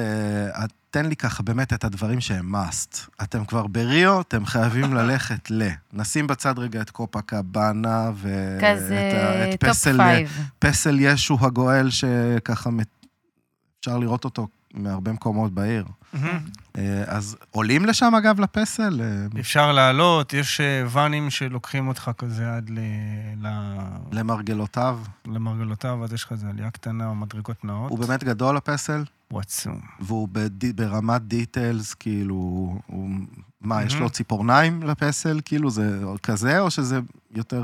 [SPEAKER 1] אה, תן לי ככה באמת את הדברים שהם must. אתם כבר בריו, אתם חייבים ללכת ל... נשים בצד רגע את קופה קבאנה ואת
[SPEAKER 3] כזה
[SPEAKER 1] ה- אה, את
[SPEAKER 3] טופ
[SPEAKER 1] פסל,
[SPEAKER 3] פייב.
[SPEAKER 1] פסל ישו הגואל, שככה מת- אפשר לראות אותו מהרבה מקומות בעיר. אה, אז עולים לשם אגב לפסל? אה,
[SPEAKER 2] אפשר לעלות, יש אה, ואנים שלוקחים אותך כזה עד ל... ל-
[SPEAKER 1] למרגלותיו?
[SPEAKER 2] למרגלותיו, אז יש לך איזה עלייה קטנה או מדרגות נאות.
[SPEAKER 1] הוא באמת גדול הפסל?
[SPEAKER 2] הוא עצום.
[SPEAKER 1] והוא בד... ברמת דיטלס, כאילו, הוא... מה, יש
[SPEAKER 2] מהמם.
[SPEAKER 1] לו ציפורניים לפסל? כאילו, זה כזה, או שזה יותר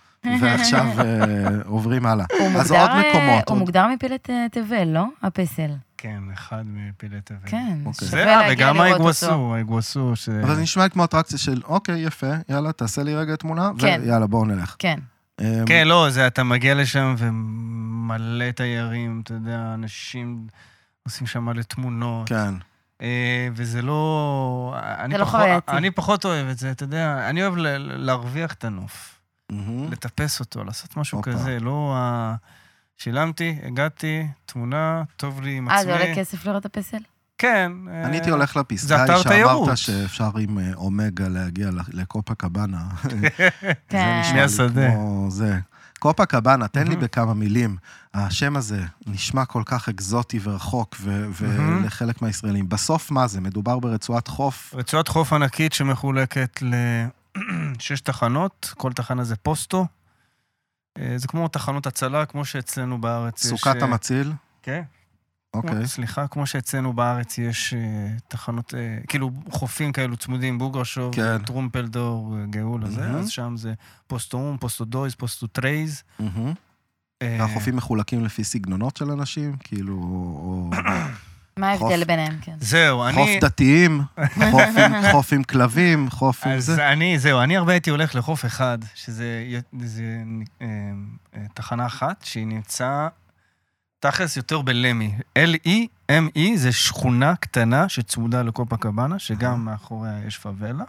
[SPEAKER 3] *laughs*
[SPEAKER 1] ועכשיו אה, עוברים הלאה.
[SPEAKER 3] הוא
[SPEAKER 1] אז
[SPEAKER 3] מוגדר,
[SPEAKER 1] עוד
[SPEAKER 3] אה,
[SPEAKER 1] מקומות.
[SPEAKER 3] הוא
[SPEAKER 1] עוד-
[SPEAKER 3] מוגדר מפלט אה, תבל, לא? הפסל.
[SPEAKER 2] כן, אחד מפעילי תבל.
[SPEAKER 3] כן.
[SPEAKER 1] אוקיי.
[SPEAKER 3] שווה
[SPEAKER 2] זה, אה,
[SPEAKER 3] להגיע
[SPEAKER 2] וגם
[SPEAKER 3] לראות אותו.
[SPEAKER 2] האיגווסו, האיגווסו, ש...
[SPEAKER 1] אבל זה נשמע כמו אטרקציה של, אוקיי, יפה, יאללה, תעשה לי רגע תמונה,
[SPEAKER 3] כן.
[SPEAKER 1] ויאללה, בואו נלך.
[SPEAKER 3] כן.
[SPEAKER 1] אמ,
[SPEAKER 2] כן, לא, זה אתה מגיע לשם ומלא תיירים, אתה יודע, אנשים עושים שם מלא תמונות.
[SPEAKER 1] כן.
[SPEAKER 2] אה, וזה לא... אני
[SPEAKER 3] זה לא
[SPEAKER 2] פחות-
[SPEAKER 3] חווייתי.
[SPEAKER 2] אני פחות אוהב את זה, אתה יודע, אני אוהב ל- להרוויח את הנוף,
[SPEAKER 1] מהמם.
[SPEAKER 2] לטפס אותו, לעשות משהו
[SPEAKER 1] Mm-hmm. הופה.
[SPEAKER 2] כזה, לא ה... שילמתי, הגעתי, תמונה, טוב לי עם
[SPEAKER 3] אה, זה
[SPEAKER 2] עצמי.
[SPEAKER 3] עולה כסף לראות הפסל?
[SPEAKER 2] כן.
[SPEAKER 1] אני
[SPEAKER 2] אה,
[SPEAKER 1] הייתי הולך
[SPEAKER 2] זה
[SPEAKER 1] לפסקאי
[SPEAKER 2] אתר
[SPEAKER 1] שאמרת
[SPEAKER 2] תיירות.
[SPEAKER 1] שאפשר עם אה, אומגה להגיע ל- לקופה
[SPEAKER 2] *laughs*
[SPEAKER 1] קבאנה. זה
[SPEAKER 3] כן.
[SPEAKER 1] נשמע לי
[SPEAKER 2] מהשדה.
[SPEAKER 1] כמו זה. קופה קבאנה, תן לי
[SPEAKER 2] מהמם.
[SPEAKER 1] בכמה מילים. השם הזה נשמע כל כך אקזוטי ורחוק, ו-
[SPEAKER 2] מהמם.
[SPEAKER 1] ולחלק מהישראלים. בסוף מה זה? מדובר ברצועת חוף?
[SPEAKER 2] רצועת חוף ענקית שמחולקת *clears throat* לשש תחנות, כל תחנה זה פוסטו. אה, זה כמו תחנות הצלה, כמו שאצלנו בארץ יש...
[SPEAKER 1] סוכת
[SPEAKER 2] אה,
[SPEAKER 1] המציל?
[SPEAKER 2] כן. כמו-
[SPEAKER 1] אוקיי.
[SPEAKER 2] סליחה, כמו שאצלנו בארץ יש אה, תחנות, אה, כאילו חופים כאלו צמודים, בוגרשוב,
[SPEAKER 1] כן.
[SPEAKER 2] טרומפלדור, אה, גאולה, זה,
[SPEAKER 1] מהמם.
[SPEAKER 2] אז שם זה פוסטום, פוסטודויז, פוסטוטרייז.
[SPEAKER 1] מהמם.
[SPEAKER 2] אה,
[SPEAKER 1] והחופים מחולקים לפי סגנונות של אנשים, כאילו, או
[SPEAKER 3] מה ההבדל
[SPEAKER 1] חוף.
[SPEAKER 3] ביניהם, כן.
[SPEAKER 2] אה, זהו, אני...
[SPEAKER 1] חוף דתיים, חוף עם- חוף עם כלבים, חוף עם
[SPEAKER 2] אז
[SPEAKER 1] זה.
[SPEAKER 2] אני, זהו, אני הרבה הייתי הולך לחוף אחד, שזה י- זה, אה, אה, תחנה אחת, שהיא נמצא תכלס יותר בלמי. L-E-M-E זה שכונה קטנה שצמודה לקופה קבאנה, שגם מאחוריה יש פאבלה,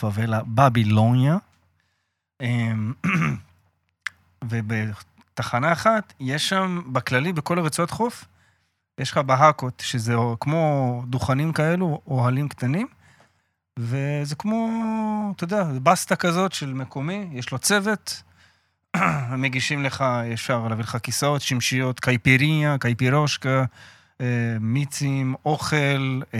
[SPEAKER 2] פאבלה בבילוניה. אה, *clears throat* ובתחנה אחת, יש שם, בכללי, בכל הרצועת חוף, יש לך בהאקות, שזה כמו דוכנים כאלו, אוהלים קטנים. וזה כמו, אתה יודע, זה בסטה כזאת של מקומי, יש לו צוות, *clears throat* הם מגישים לך, אפשר להביא לך כיסאות, שמשיות, קייפיריה, קייפירושקה, אה, מיצים, אוכל. אה,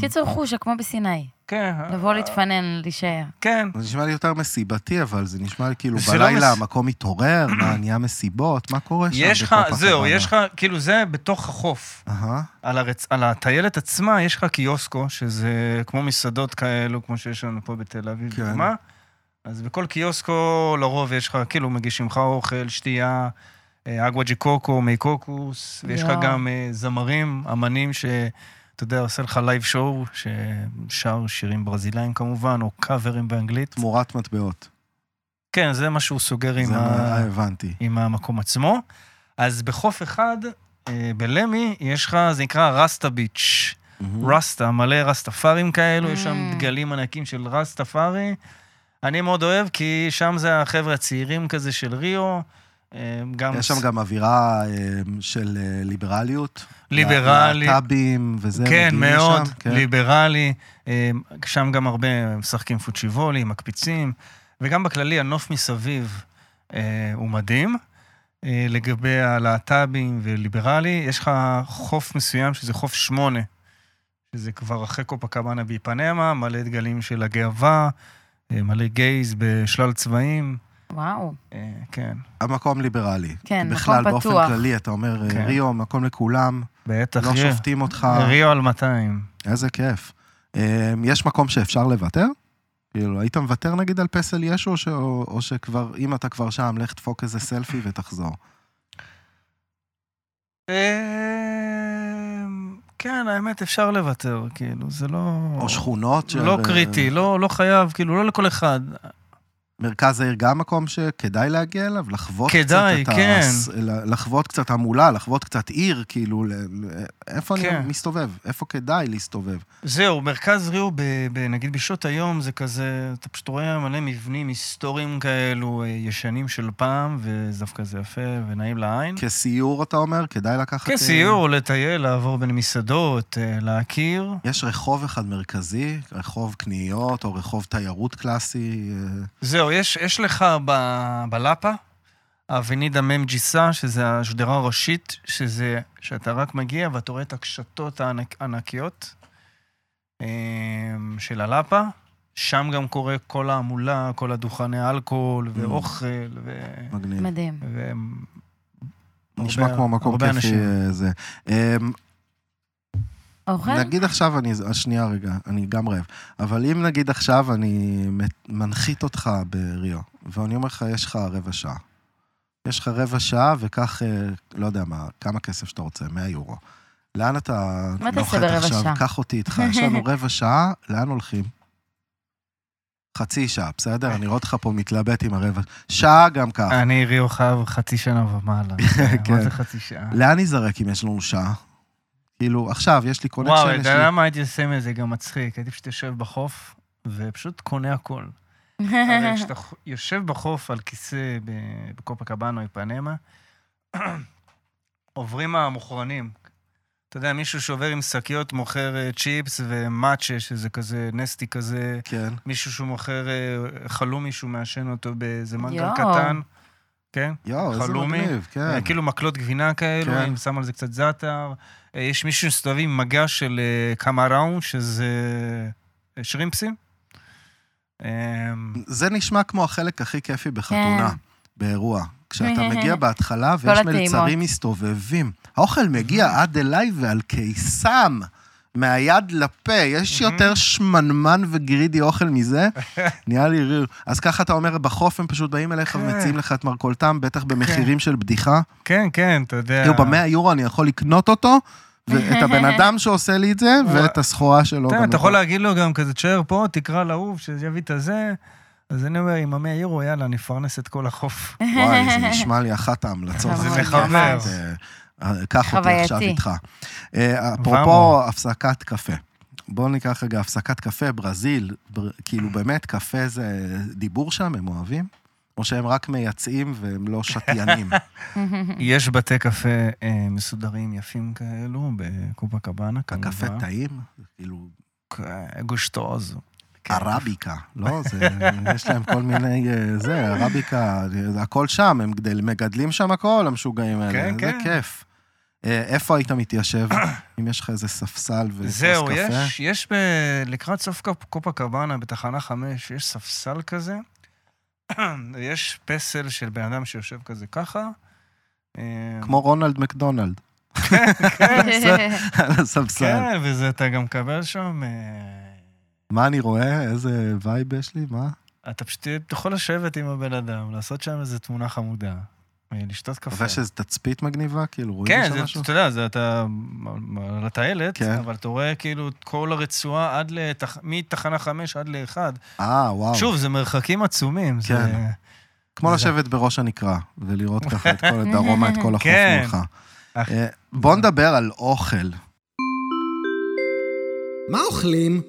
[SPEAKER 3] קיצור חושה, כמו בסיני.
[SPEAKER 2] כן,
[SPEAKER 1] אה,
[SPEAKER 3] לבוא להתפנן, להישאר.
[SPEAKER 2] כן,
[SPEAKER 1] זה נשמע לי יותר מסיבתי, אבל זה נשמע לי כאילו
[SPEAKER 2] זה לא
[SPEAKER 1] בלילה
[SPEAKER 2] מס-
[SPEAKER 1] המקום מתעורר, מה, נהיה מסיבות, מה קורה שם?
[SPEAKER 2] יש לך,
[SPEAKER 1] בקופקבנה?
[SPEAKER 2] זהו, יש לך, כאילו זה בתוך החוף.
[SPEAKER 1] אהה,
[SPEAKER 2] על, הרצ... על הטיילת עצמה יש לך קיוסקו, שזה כמו מסעדות כאלו, כמו שיש לנו פה בתל אביב,
[SPEAKER 1] כן.
[SPEAKER 2] כן. מה? אז בכל קיוסקו לרוב יש לך, כאילו, מגישים לך אוכל, שתייה, אה, אגווה ג'י קוקו, מי קוקוס, ויש לך
[SPEAKER 3] יואו.
[SPEAKER 2] גם אה, זמרים, אמנים ש... אתה יודע, עושה לך לייב שואו, ששר שירים ברזילאים כמובן, או קאברים באנגלית.
[SPEAKER 1] תמורת מטבעות.
[SPEAKER 2] כן, זה אה, מה שהוא סוגר עם
[SPEAKER 1] זה
[SPEAKER 2] ה...
[SPEAKER 1] מה הבנתי.
[SPEAKER 2] עם המקום עצמו. אז בחוף אחד, אה, בלמי, יש לך, זה נקרא רסטה ביץ'.
[SPEAKER 1] מהמם.
[SPEAKER 2] רסטה, מלא רסטפארים כאלו, יש שם
[SPEAKER 3] Mm.
[SPEAKER 2] דגלים ענקים של רסטפארי. אני מאוד אוהב, כי שם זה החבר'ה הצעירים כזה של ריו. אה, גם
[SPEAKER 1] יש שם גם אווירה אה, של אה, ליברליות.
[SPEAKER 2] ליברלי.
[SPEAKER 1] להט"בים וזה.
[SPEAKER 2] כן,
[SPEAKER 1] מגיעים
[SPEAKER 2] מאוד,
[SPEAKER 1] לשם, כן.
[SPEAKER 2] ליברלי. אה, שם גם הרבה משחקים פוצ'יבולי, מקפיצים, וגם בכללי הנוף מסביב אה, הוא מדהים. אה, לגבי הלהט"בים וליברלי, יש לך חוף מסוים שזה חוף שמונה, שזה כבר אחרי קופקבנה ביפנמה, מלא דגלים של הגאווה, אה, מלא גייז בשלל צבעים.
[SPEAKER 3] וואו,
[SPEAKER 2] אה, כן,
[SPEAKER 1] המקום ליברלי.
[SPEAKER 3] כן, מקום
[SPEAKER 1] בכלל, באופן
[SPEAKER 3] פתוח.
[SPEAKER 1] כללי, אתה אומר, אה,
[SPEAKER 2] כן.
[SPEAKER 1] ריו, מקום לכולם,
[SPEAKER 2] בטח.
[SPEAKER 1] לא
[SPEAKER 2] ריו.
[SPEAKER 1] שופטים אותך,
[SPEAKER 2] ריו על 200.
[SPEAKER 1] איזה כיף. אה, יש מקום שאפשר לוותר? כאילו, היית מוותר נגיד על פסל ישו, או ש- או- או שכבר, אם אתה כבר שם, לך תדפוק איזה סלפי ותחזור.
[SPEAKER 2] אמ, כן, האמת, אפשר לוותר, כאילו, זה לא...
[SPEAKER 1] או שכונות של...
[SPEAKER 2] לא
[SPEAKER 1] אה,
[SPEAKER 2] קריטי, לא לא חייב, כאילו, לא לכל אחד.
[SPEAKER 1] מרכז העיר גם מקום שכדאי להגיע אליו, לחוות
[SPEAKER 2] כדאי,
[SPEAKER 1] קצת את
[SPEAKER 2] כן.
[SPEAKER 1] הס- ל- לחוות קצת המולה, לחוות קצת עיר, כאילו, ל- ל- איפה
[SPEAKER 2] כן.
[SPEAKER 1] אני מסתובב? איפה כדאי להסתובב?
[SPEAKER 2] זהו, מרכז ריו, ב- ב- נגיד בשעות היום, זה כזה, אתה פשוט רואה מלא מבנים היסטוריים כאלו, אה, ישנים של פעם, וזה דווקא זה יפה ונעים לעין.
[SPEAKER 1] כן, כסיור, אתה אומר? כדאי לקחת... אה,
[SPEAKER 2] כסיור, לטייל, לעבור בין מסעדות, אה, להכיר.
[SPEAKER 1] יש רחוב אחד מרכזי, רחוב קניות או רחוב תיירות קלאסי. אה,
[SPEAKER 2] זהו, יש, יש לך ב, בלאפה, אבנידה מ' ג'יסה, שזה השדרה הראשית, שזה, שאתה רק מגיע ואתה רואה את הקשתות הענק- הענקיות אמ, של הלאפה. שם גם קורה כל ההמולה, כל הדוכני אלכוהול ואוכל, ו...
[SPEAKER 1] מגניב.
[SPEAKER 3] מדהים.
[SPEAKER 2] ו...
[SPEAKER 1] נשמע
[SPEAKER 2] הרבה-
[SPEAKER 1] כמו מקום
[SPEAKER 2] הרבה
[SPEAKER 1] כיפי
[SPEAKER 2] אנשים.
[SPEAKER 1] אה, זה. אמ,
[SPEAKER 3] אוכל?
[SPEAKER 1] אה, נגיד עכשיו, אני, אה, שנייה רגע, אני גם רעב, אבל אם נגיד עכשיו אני מת- מנחית אותך בריו, ואני אומר לך, יש לך רבע שעה. יש לך רבע שעה, וקח, אה, לא יודע מה, כמה כסף שאתה רוצה, 100 יורו. לאן אתה
[SPEAKER 3] מה אתה
[SPEAKER 1] נוחת
[SPEAKER 3] עושה ברבע
[SPEAKER 1] עכשיו?
[SPEAKER 3] שעה?
[SPEAKER 1] קח אותי איתך, יש
[SPEAKER 3] *laughs*
[SPEAKER 1] לנו רבע שעה, לאן הולכים? חצי שעה, בסדר? אני רואה אותך פה מתלבט עם הרבע... שעה גם ככה.
[SPEAKER 2] אני ריו חייב חצי שנה ומעלה. מה זה חצי שעה?
[SPEAKER 1] לאן ניזרק אם יש לנו שעה? כאילו, עכשיו, יש לי
[SPEAKER 2] וואו,
[SPEAKER 1] קונקשן, יש
[SPEAKER 2] אתה
[SPEAKER 1] לי...
[SPEAKER 2] יודע מה הייתי עושה מזה? גם מצחיק. הייתי פשוט יושב בחוף, ופשוט קונה הכל.
[SPEAKER 3] *laughs*
[SPEAKER 2] הרי כשאתה ח- יושב בחוף על כיסא ב- בקופה קבאנו, איפנמה, *clears throat* עוברים המוכרנים. אתה יודע, מישהו שעובר עם שקיות מוכר אה, צ'יפס ומאצ'ה, שזה כזה נסטי כזה,
[SPEAKER 1] כן.
[SPEAKER 2] מישהו שמוכר אה, חלומי שהוא מעשן אותו באיזה מנגל
[SPEAKER 3] יואו.
[SPEAKER 2] קטן. כן?
[SPEAKER 1] יואו, איזה
[SPEAKER 2] חלומי.
[SPEAKER 1] מגניב, כן.
[SPEAKER 2] אה, כאילו מקלות גבינה כאלו,
[SPEAKER 1] כן.
[SPEAKER 2] אני שם על זה קצת זעתר. אה, יש מישהו שמסתובב עם מגע של אה, קמראון, שזה אה, שרימפסים. אמ, אה,
[SPEAKER 1] זה נשמע כמו החלק הכי כיפי בחתונה,
[SPEAKER 3] כן.
[SPEAKER 1] באירוע.
[SPEAKER 2] *laughs*
[SPEAKER 1] כשאתה מגיע בהתחלה ויש
[SPEAKER 3] כל הטעימות.
[SPEAKER 1] מלצרים מסתובבים. האוכל
[SPEAKER 2] *laughs*
[SPEAKER 1] מגיע עד אליי ועל קיסם, מהיד לפה.
[SPEAKER 2] Mhm.
[SPEAKER 1] יש יותר שמנמן וגרידי אוכל מזה?
[SPEAKER 2] *laughs*
[SPEAKER 1] נהיה לי ריר. אז ככה אתה אומר, בחוף הם פשוט באים אליך
[SPEAKER 2] כן.
[SPEAKER 1] ומציעים לך את מרכולתם, בטח במחירים של
[SPEAKER 2] *laughs*
[SPEAKER 1] בדיחה.
[SPEAKER 2] כן, כן, אתה יודע.
[SPEAKER 1] כאילו, במאה יורו אני יכול לקנות אותו,
[SPEAKER 2] *laughs*
[SPEAKER 1] ואת הבן אדם שעושה לי את זה, ואת הסחורה שלו.
[SPEAKER 2] אתה יודע,
[SPEAKER 1] גם
[SPEAKER 2] אתה
[SPEAKER 1] אותו.
[SPEAKER 2] יכול להגיד לו גם כזה, תשאר פה, תקרא להוא, שיביא את הזה. אז אני אומר, עם המאה יורו, יאללה, נפרנס את כל החוף.
[SPEAKER 1] וואי, זה נשמע לי אחת ההמלצות.
[SPEAKER 3] זה
[SPEAKER 1] הכי
[SPEAKER 2] מחבר.
[SPEAKER 1] יפות. אה, קח אותי
[SPEAKER 3] חווייתי.
[SPEAKER 1] עכשיו איתך. אה, אפרופו
[SPEAKER 2] ואמו.
[SPEAKER 1] הפסקת קפה. בואו ניקח רגע הפסקת קפה, ברזיל, בר- כאילו באמת קפה זה דיבור שם, הם אוהבים? או שהם רק מייצאים והם
[SPEAKER 3] *laughs*
[SPEAKER 1] לא שתיינים?
[SPEAKER 2] יש בתי קפה אה, מסודרים יפים כאלו בקופה קבאנה, כמובן.
[SPEAKER 1] הקפה טעים? כאילו,
[SPEAKER 2] אה, גושטוזו. כן.
[SPEAKER 1] ערביקה, לא? זה, יש להם כל מיני, אה, זה, ערביקה, זה הכל שם, הם גדל, מגדלים שם הכל, המשוגעים האלה,
[SPEAKER 2] כן,
[SPEAKER 1] זה
[SPEAKER 2] כן.
[SPEAKER 1] כיף. אה, איפה היית
[SPEAKER 2] *coughs*
[SPEAKER 1] מתיישב? אם יש לך איזה ספסל וכוס קפה?
[SPEAKER 2] זהו, יש, יש ב... לקראת סוף קופ- קופה קבאנה, בתחנה חמש, יש ספסל כזה, *clears throat* יש פסל של בן אדם שיושב כזה ככה. אה,
[SPEAKER 1] כמו רונלד מקדונלד, *laughs* כן, על הספסל.
[SPEAKER 2] כן, וזה אתה גם מקבל שם... אה,
[SPEAKER 1] מה אני רואה? איזה וייב יש לי? מה?
[SPEAKER 2] אתה פשוט יכול לשבת עם הבן אדם, לעשות שם איזו תמונה חמודה, אה, לשתות קפה.
[SPEAKER 1] אבל יש איזו תצפית מגניבה? כאילו, רואים
[SPEAKER 2] כן,
[SPEAKER 1] שם
[SPEAKER 2] זה,
[SPEAKER 1] משהו?
[SPEAKER 2] אתה יודע, זה אתה על הטיילת,
[SPEAKER 1] כן.
[SPEAKER 2] אבל אתה רואה כאילו את כל הרצועה עד לתח... מתחנה חמש עד לאחד.
[SPEAKER 1] אה, וואו.
[SPEAKER 2] שוב, זה מרחקים עצומים. זה...
[SPEAKER 1] כן. כמו
[SPEAKER 2] זה-
[SPEAKER 1] לשבת בראש הנקרה, ולראות ככה את
[SPEAKER 3] *laughs*
[SPEAKER 1] כל הדרומה, את כל החוף
[SPEAKER 2] כן.
[SPEAKER 1] מולך.
[SPEAKER 2] אך-
[SPEAKER 1] אה, בוא נדבר על אוכל.
[SPEAKER 4] מה אוכלים?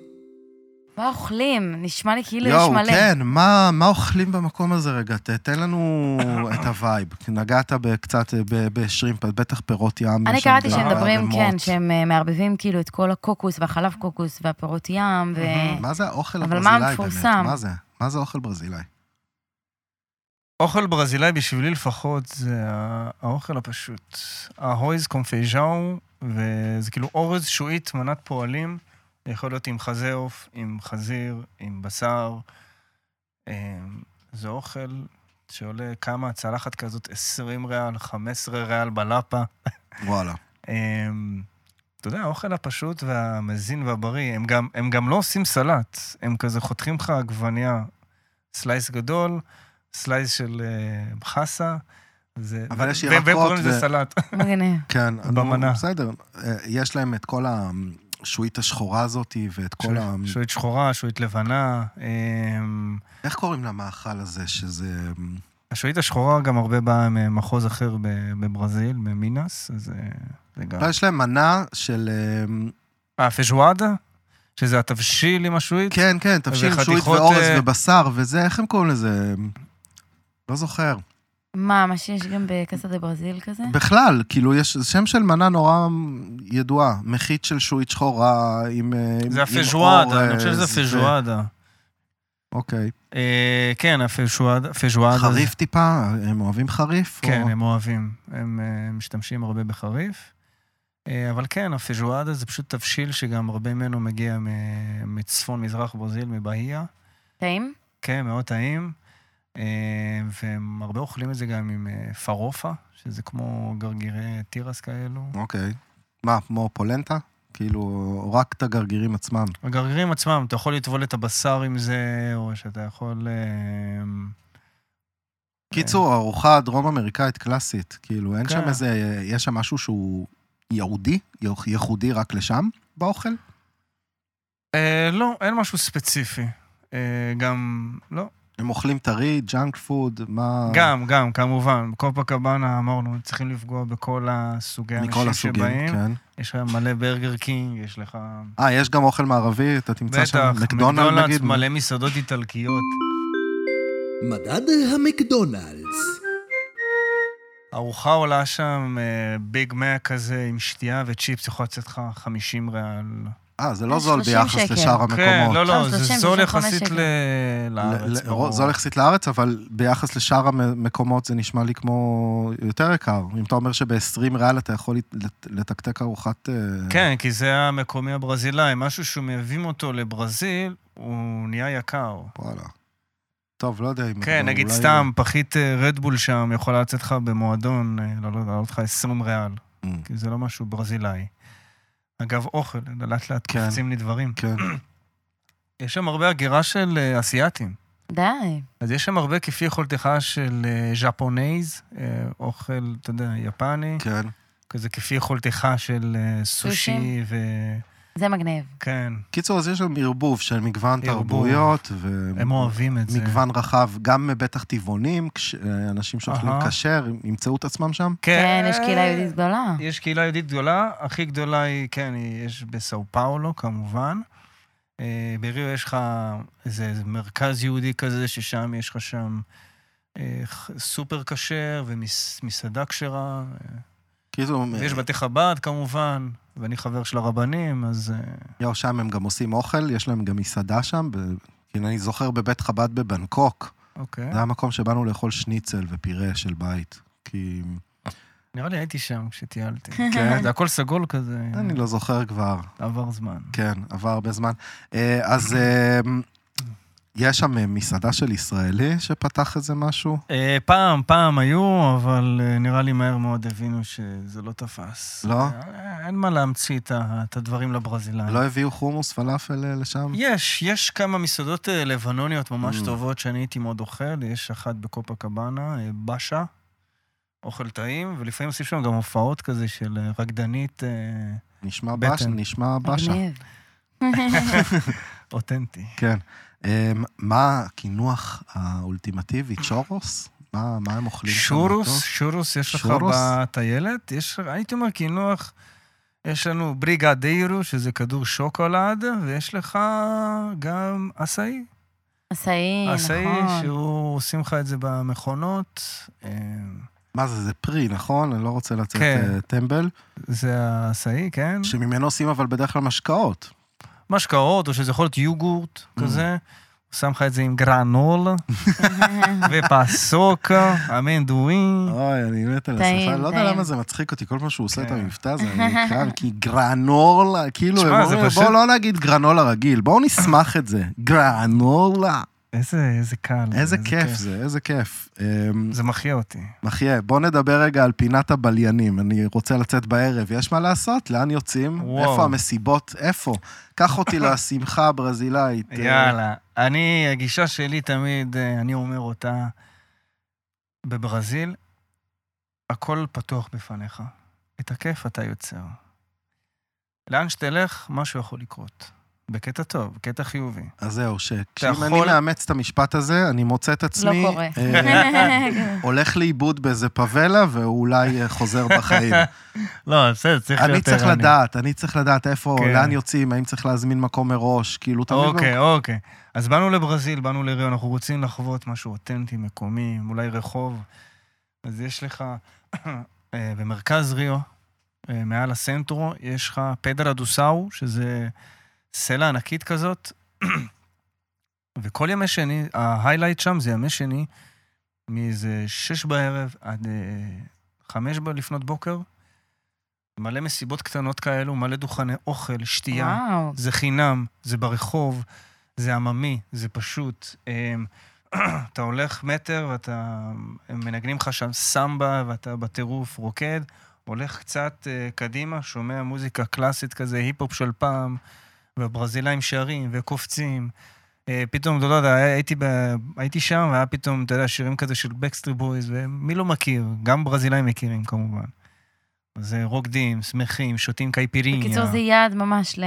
[SPEAKER 3] מה אוכלים? נשמע לי כאילו יש
[SPEAKER 1] יואו,
[SPEAKER 3] מלא.
[SPEAKER 1] כן, מה, מה אוכלים במקום הזה רגע? ת- תן
[SPEAKER 3] *laughs*
[SPEAKER 1] לנו את הווייב. כי נגעת בקצת ב- בשרימפ, אז בטח פירות ים.
[SPEAKER 3] אני
[SPEAKER 1] יש שם
[SPEAKER 3] קראתי
[SPEAKER 1] גם
[SPEAKER 3] שהם מדברים,
[SPEAKER 1] ערימות.
[SPEAKER 3] כן, שהם אה, מערבבים כאילו את כל הקוקוס והחלב קוקוס והפירות ים, ו...
[SPEAKER 1] מה זה האוכל
[SPEAKER 3] אבל
[SPEAKER 1] הברזילאי
[SPEAKER 3] מה
[SPEAKER 1] באמת?
[SPEAKER 3] המפורסם?
[SPEAKER 1] מה זה? מה זה אוכל ברזילאי?
[SPEAKER 2] אוכל ברזילאי בשבילי לפחות זה ה- האוכל הפשוט. ההויז קונפייז'או, וזה כאילו אורז שועית, מנת פועלים. זה יכול להיות עם חזה עוף, עם חזיר, עם בשר. אה, זה אוכל שעולה כמה, צלחת כזאת 20 ריאל, 15 ריאל בלאפה.
[SPEAKER 1] וואלה.
[SPEAKER 2] אה, אתה יודע, האוכל הפשוט והמזין והבריא, הם גם, הם גם לא עושים סלט, הם כזה חותכים לך עגבנייה, סלייס גדול, סלייס של אה, חסה, זה...
[SPEAKER 1] אבל יש
[SPEAKER 2] והם- והם
[SPEAKER 1] ירקות
[SPEAKER 2] קוראים
[SPEAKER 1] ו-
[SPEAKER 2] לזה סלט.
[SPEAKER 3] מגניב.
[SPEAKER 1] כן, נו,
[SPEAKER 2] במנה.
[SPEAKER 1] בסדר. אה, יש להם את כל השועית השחורה הזאת, ואת כל ה...
[SPEAKER 2] *laughs* שועית- שועית שחורה, שועית לבנה. אה,
[SPEAKER 1] איך קוראים למאכל הזה, שזה...
[SPEAKER 2] השועית השחורה גם הרבה באה ממחוז אחר ב- בברזיל, במינס, אז אה, זה גם...
[SPEAKER 1] לא, יש להם מנה של... אה,
[SPEAKER 2] אה, פז'ואדה? שזה התבשיל עם השועית?
[SPEAKER 1] כן, כן, תבשיל שועית
[SPEAKER 2] וחתיכות,
[SPEAKER 1] ואורז
[SPEAKER 2] אה,
[SPEAKER 1] ובשר וזה, איך הם קוראים לזה? לא זוכר.
[SPEAKER 3] מה, מה שיש גם בקסה דה ברזיל כזה?
[SPEAKER 1] בכלל, כאילו, יש שם של מנה נורא ידועה, מחית של שועית שחורה עם אה, עם- אה,
[SPEAKER 2] זה
[SPEAKER 1] עם
[SPEAKER 2] הפז'ואדה, אני
[SPEAKER 1] אורז
[SPEAKER 2] חושב שזה
[SPEAKER 1] ו-
[SPEAKER 2] פז'ואדה.
[SPEAKER 1] אוקיי.
[SPEAKER 2] אה, כן, הפז'ואדה. פז'ואדה אה, זה-
[SPEAKER 1] חריף טיפה, הם אוהבים חריף?
[SPEAKER 2] כן,
[SPEAKER 1] או-
[SPEAKER 2] הם אוהבים. הם אה, משתמשים הרבה בחריף. אה, אבל כן, הפז'ואדה זה פשוט תבשיל שגם הרבה ממנו מגיע מ- מצפון-מזרח ברזיל, מבאיה.
[SPEAKER 3] טעים?
[SPEAKER 2] כן, מאוד טעים. אה, והם הרבה אוכלים את זה גם עם אה, פרופה, שזה כמו גרגירי תירס כאלו.
[SPEAKER 1] אוקיי. מה, כמו פולנטה? כאילו, רק את הגרגירים עצמם.
[SPEAKER 2] הגרגירים עצמם, אתה יכול לטבול את הבשר עם זה, או שאתה יכול... אה,
[SPEAKER 1] קיצור, ארוחה דרום אמריקאית קלאסית, כאילו, אין
[SPEAKER 2] כן.
[SPEAKER 1] שם איזה, יש שם משהו שהוא יהודי, ייחודי רק לשם באוכל?
[SPEAKER 2] אה, לא, אין משהו ספציפי. אה, גם, לא,
[SPEAKER 1] הם אוכלים טרי, ג'אנק פוד, מה...
[SPEAKER 2] גם, גם, כמובן. בקופה קבאנה אמרנו, צריכים לפגוע בכל הסוגי
[SPEAKER 1] מכל
[SPEAKER 2] האנשים
[SPEAKER 1] הסוגים,
[SPEAKER 2] שבאים.
[SPEAKER 1] כן.
[SPEAKER 2] יש לך מלא ברגר קינג, יש לך...
[SPEAKER 1] אה, יש גם אוכל מערבי, אתה תמצא שם
[SPEAKER 2] בטח,
[SPEAKER 1] מקדונלד
[SPEAKER 2] מקדונלדס,
[SPEAKER 1] נגיד.
[SPEAKER 2] מלא מסעדות איטלקיות.
[SPEAKER 4] מדד המקדונלדס.
[SPEAKER 2] ארוחה עולה שם, אה, ביג מק כזה עם שתייה וצ'יפס, יכול לצאת לך 50 ריאל.
[SPEAKER 1] אה, זה לא זול
[SPEAKER 3] 30
[SPEAKER 1] ביחס
[SPEAKER 3] שקל.
[SPEAKER 1] לשאר המקומות.
[SPEAKER 2] כן, לא, לא,
[SPEAKER 3] שם
[SPEAKER 2] זה
[SPEAKER 3] 30,
[SPEAKER 2] זול
[SPEAKER 3] 35
[SPEAKER 2] יחסית
[SPEAKER 3] שקל.
[SPEAKER 2] ל-
[SPEAKER 1] ל-
[SPEAKER 2] לארץ.
[SPEAKER 1] ל-
[SPEAKER 2] ברור.
[SPEAKER 1] זול יחסית לארץ, אבל ביחס לשאר המקומות זה נשמע לי כמו יותר יקר. אם אתה אומר שב-20 ריאל אתה יכול לת- לתקתק ארוחת... אה,
[SPEAKER 2] כן, כי זה המקומי הברזילאי, משהו שמביאים אותו לברזיל, הוא נהיה יקר.
[SPEAKER 1] וואלה. טוב, לא יודע אם...
[SPEAKER 2] כן,
[SPEAKER 1] אבל
[SPEAKER 2] נגיד
[SPEAKER 1] אולי-
[SPEAKER 2] סתם, פחית אה, רדבול שם יכולה לצאת לך במועדון, אה, לא לא יודע, לעלות לך 20 ריאל,
[SPEAKER 1] Mm,
[SPEAKER 2] כי זה לא משהו ברזילאי. אגב, אוכל, לאט לאט
[SPEAKER 1] כן.
[SPEAKER 2] קופצים לי דברים. *clears throat*
[SPEAKER 1] כן,
[SPEAKER 2] יש שם הרבה הגירה של אה, אסיאתים.
[SPEAKER 3] די.
[SPEAKER 2] אז יש שם הרבה כפי יכולתך של אה, ז'פונאיז, אה, אוכל, אתה יודע, יפני,
[SPEAKER 1] כן.
[SPEAKER 2] כזה כפי יכולתך של אה, סושי
[SPEAKER 3] סושי.
[SPEAKER 2] ו...
[SPEAKER 3] זה מגניב.
[SPEAKER 2] כן,
[SPEAKER 1] קיצור, אז יש שם ערבוב של מגוון
[SPEAKER 2] ערבוב.
[SPEAKER 1] תרבויות,
[SPEAKER 2] הם אוהבים את זה.
[SPEAKER 1] ומגוון רחב, גם בטח טבעונים, כש- אנשים שאוכלים
[SPEAKER 2] אהה.
[SPEAKER 1] כשר, ימצאו את עצמם שם.
[SPEAKER 3] כן, יש קהילה יהודית גדולה.
[SPEAKER 2] יש קהילה יהודית גדולה, הכי גדולה היא, כן, היא- יש בסאו פאולו כמובן. אה, בריו יש לך איזה איזה מרכז יהודי כזה, ששם יש לך שם אה, ח- סופר כשר ומסעדה כשרה.
[SPEAKER 1] כאילו,
[SPEAKER 2] ויש בתי חב"ד כמובן, ואני חבר של הרבנים, אז... אה,
[SPEAKER 1] יו, שם הם גם עושים אוכל, יש להם גם מסעדה שם. ב... כאילו, אני זוכר בבית חב"ד בבנקוק,
[SPEAKER 2] אוקיי.
[SPEAKER 1] זה היה המקום שבאנו לאכול שניצל ופירה של בית. כי...
[SPEAKER 2] נראה לי הייתי שם כשטיילתי.
[SPEAKER 1] כן,
[SPEAKER 2] זה הכל סגול כזה,
[SPEAKER 1] אני לא זוכר כבר.
[SPEAKER 2] עבר זמן.
[SPEAKER 1] כן, עבר הרבה זמן. אה, אז אה, יש שם אה, מסעדה של ישראלי שפתח איזה משהו?
[SPEAKER 2] אה, פעם, פעם היו, אבל אה, נראה לי מהר מאוד הבינו שזה לא תפס.
[SPEAKER 1] לא?
[SPEAKER 2] אה, אין מה להמציא את ה- את הדברים לברזילאים.
[SPEAKER 1] לא הביאו חומוס פלאפל אה, לשם?
[SPEAKER 2] יש, יש כמה מסעדות אה, לבנוניות ממש
[SPEAKER 1] Mm.
[SPEAKER 2] טובות שאני הייתי מאוד אוכל, יש אחת בקופה קבאנה, אה, בשה, אוכל טעים, ולפעמים עושים שם גם הופעות כזה של אה, רקדנית אה,
[SPEAKER 1] נשמע
[SPEAKER 2] בטן.
[SPEAKER 1] בש, נשמע בשה.
[SPEAKER 3] מגניב.
[SPEAKER 1] *laughs*
[SPEAKER 2] אותנטי.
[SPEAKER 1] כן. אה, מה הקינוח האולטימטיבי? צ'ורוס? מה מה הם אוכלים? שם
[SPEAKER 2] שורוס,
[SPEAKER 1] בטוח?
[SPEAKER 2] שורוס יש לך
[SPEAKER 1] שורוס?
[SPEAKER 2] בטיילת, יש, הייתי אומר קינוח, יש לנו בריגדיירו, שזה כדור שוקולד, ויש לך גם אסאי.
[SPEAKER 3] עשאי,
[SPEAKER 2] אסאי,
[SPEAKER 3] נכון.
[SPEAKER 2] שהוא עושים לך את זה במכונות, אה,
[SPEAKER 1] מה זה, זה פרי, נכון? אני לא רוצה לצאת
[SPEAKER 2] כן.
[SPEAKER 1] אה, טמבל.
[SPEAKER 2] זה האסאי, כן?
[SPEAKER 1] שממנו עושים אבל בדרך כלל משקאות.
[SPEAKER 2] משקאות, או שזה יכול להיות יוגורט
[SPEAKER 1] Mm.
[SPEAKER 2] כזה. הוא שם לך את זה עם גרנול,
[SPEAKER 3] *laughs*
[SPEAKER 1] *laughs*
[SPEAKER 2] ופסוקה, המנדואין.
[SPEAKER 1] אוי, אני מת על
[SPEAKER 3] טעים,
[SPEAKER 1] השפה. לא יודע
[SPEAKER 3] טעים.
[SPEAKER 1] למה זה מצחיק אותי, כל פעם שהוא עושה את
[SPEAKER 2] כן.
[SPEAKER 1] המבטא הזה,
[SPEAKER 3] *laughs*
[SPEAKER 1] אני נקרב, כי גרנולה, כאילו,
[SPEAKER 2] תשמע,
[SPEAKER 1] הם
[SPEAKER 2] זה
[SPEAKER 1] אומרים,
[SPEAKER 2] פשוט-
[SPEAKER 1] בואו לא נגיד גרנולה רגיל, בואו נשמח את
[SPEAKER 2] *laughs*
[SPEAKER 1] זה. גרנולה.
[SPEAKER 2] איזה איזה קל.
[SPEAKER 1] איזה כיף זה, איזה כיף. אמ,
[SPEAKER 2] זה מחיה אותי.
[SPEAKER 1] מחיה, בואו נדבר רגע על פינת הבליינים. אני רוצה לצאת בערב, יש מה לעשות? לאן יוצאים?
[SPEAKER 2] וואו.
[SPEAKER 1] איפה המסיבות? איפה? קח
[SPEAKER 2] *laughs*
[SPEAKER 1] אותי לשמחה הברזילאית. אה,
[SPEAKER 2] יאללה. אני, הגישה שלי תמיד, אה, אני אומר אותה, בברזיל, הכל פתוח בפניך. את הכיף אתה יוצר. לאן שתלך, משהו יכול לקרות. בקטע טוב, בקטע חיובי.
[SPEAKER 1] אז זהו, שכשאם אני
[SPEAKER 2] יכול-
[SPEAKER 1] מאמץ את המשפט הזה, אני מוצא את עצמי...
[SPEAKER 3] לא קורה.
[SPEAKER 1] אה,
[SPEAKER 3] *laughs*
[SPEAKER 1] הולך לאיבוד באיזה פאבלה ואולי אה, חוזר
[SPEAKER 2] *laughs*
[SPEAKER 1] בחיים.
[SPEAKER 2] לא, בסדר, צריך
[SPEAKER 1] אני צריך לדעת, אני צריך לדעת איפה,
[SPEAKER 2] כן.
[SPEAKER 1] לאן יוצאים, האם צריך להזמין מקום מראש, כאילו, תמיד...
[SPEAKER 2] אוקיי, אוקיי. אז באנו לברזיל, באנו לריו, אנחנו רוצים לחוות משהו אותנטי, מקומי, אולי רחוב. אז יש לך, אה, במרכז ריו, אה, מעל הסנטרו, יש לך פדרה דוסאו, שזה סלע ענקית כזאת, *clears throat* וכל ימי שני, ההיילייט שם זה ימי שני, מאיזה שש בערב עד אה, חמש ב- לפנות בוקר. מלא מסיבות קטנות כאלו, מלא דוכני אוכל, שתייה.
[SPEAKER 3] וואו.
[SPEAKER 2] זה חינם, זה ברחוב, זה עממי, זה פשוט. אמ, *clears throat* אתה הולך מטר ואתה, הם מנגנים לך שם סמבה ואתה בטירוף רוקד, הולך קצת אה, קדימה, שומע מוזיקה קלאסית כזה, היפ-הופ של פעם, והברזילאים שרים וקופצים. אה, פתאום, אתה לא יודע, הייתי, ב... הייתי שם, והיה פתאום, אתה יודע, שירים כזה של בקסטרי בויז, ומי לא מכיר? גם ברזילאים מכירים כמובן. זה רוקדים, שמחים, שותים קייפיריניה.
[SPEAKER 3] בקיצור, זה יעד ממש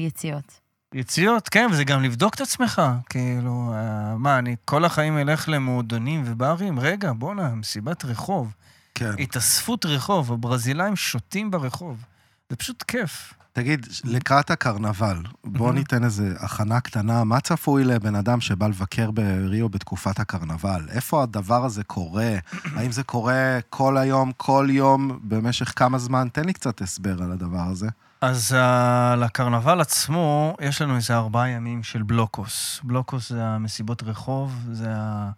[SPEAKER 3] ליציאות.
[SPEAKER 2] יציאות, כן, וזה גם לבדוק את עצמך. כאילו, אה, מה, אני כל החיים אלך למועדונים וברים? רגע, בואנה, מסיבת רחוב.
[SPEAKER 1] כן.
[SPEAKER 2] התאספות רחוב, הברזילאים שותים ברחוב. זה פשוט כיף.
[SPEAKER 1] תגיד, לקראת הקרנבל, בוא
[SPEAKER 2] מהמם.
[SPEAKER 1] ניתן איזה הכנה קטנה. מה צפוי לבן אדם שבא לבקר בריו בתקופת הקרנבל? איפה הדבר הזה קורה? האם זה קורה כל היום, כל יום, במשך כמה זמן? תן לי קצת הסבר על הדבר הזה.
[SPEAKER 2] אז אה, לקרנבל עצמו, יש לנו איזה ארבעה ימים של בלוקוס. בלוקוס זה המסיבות רחוב, זה ה...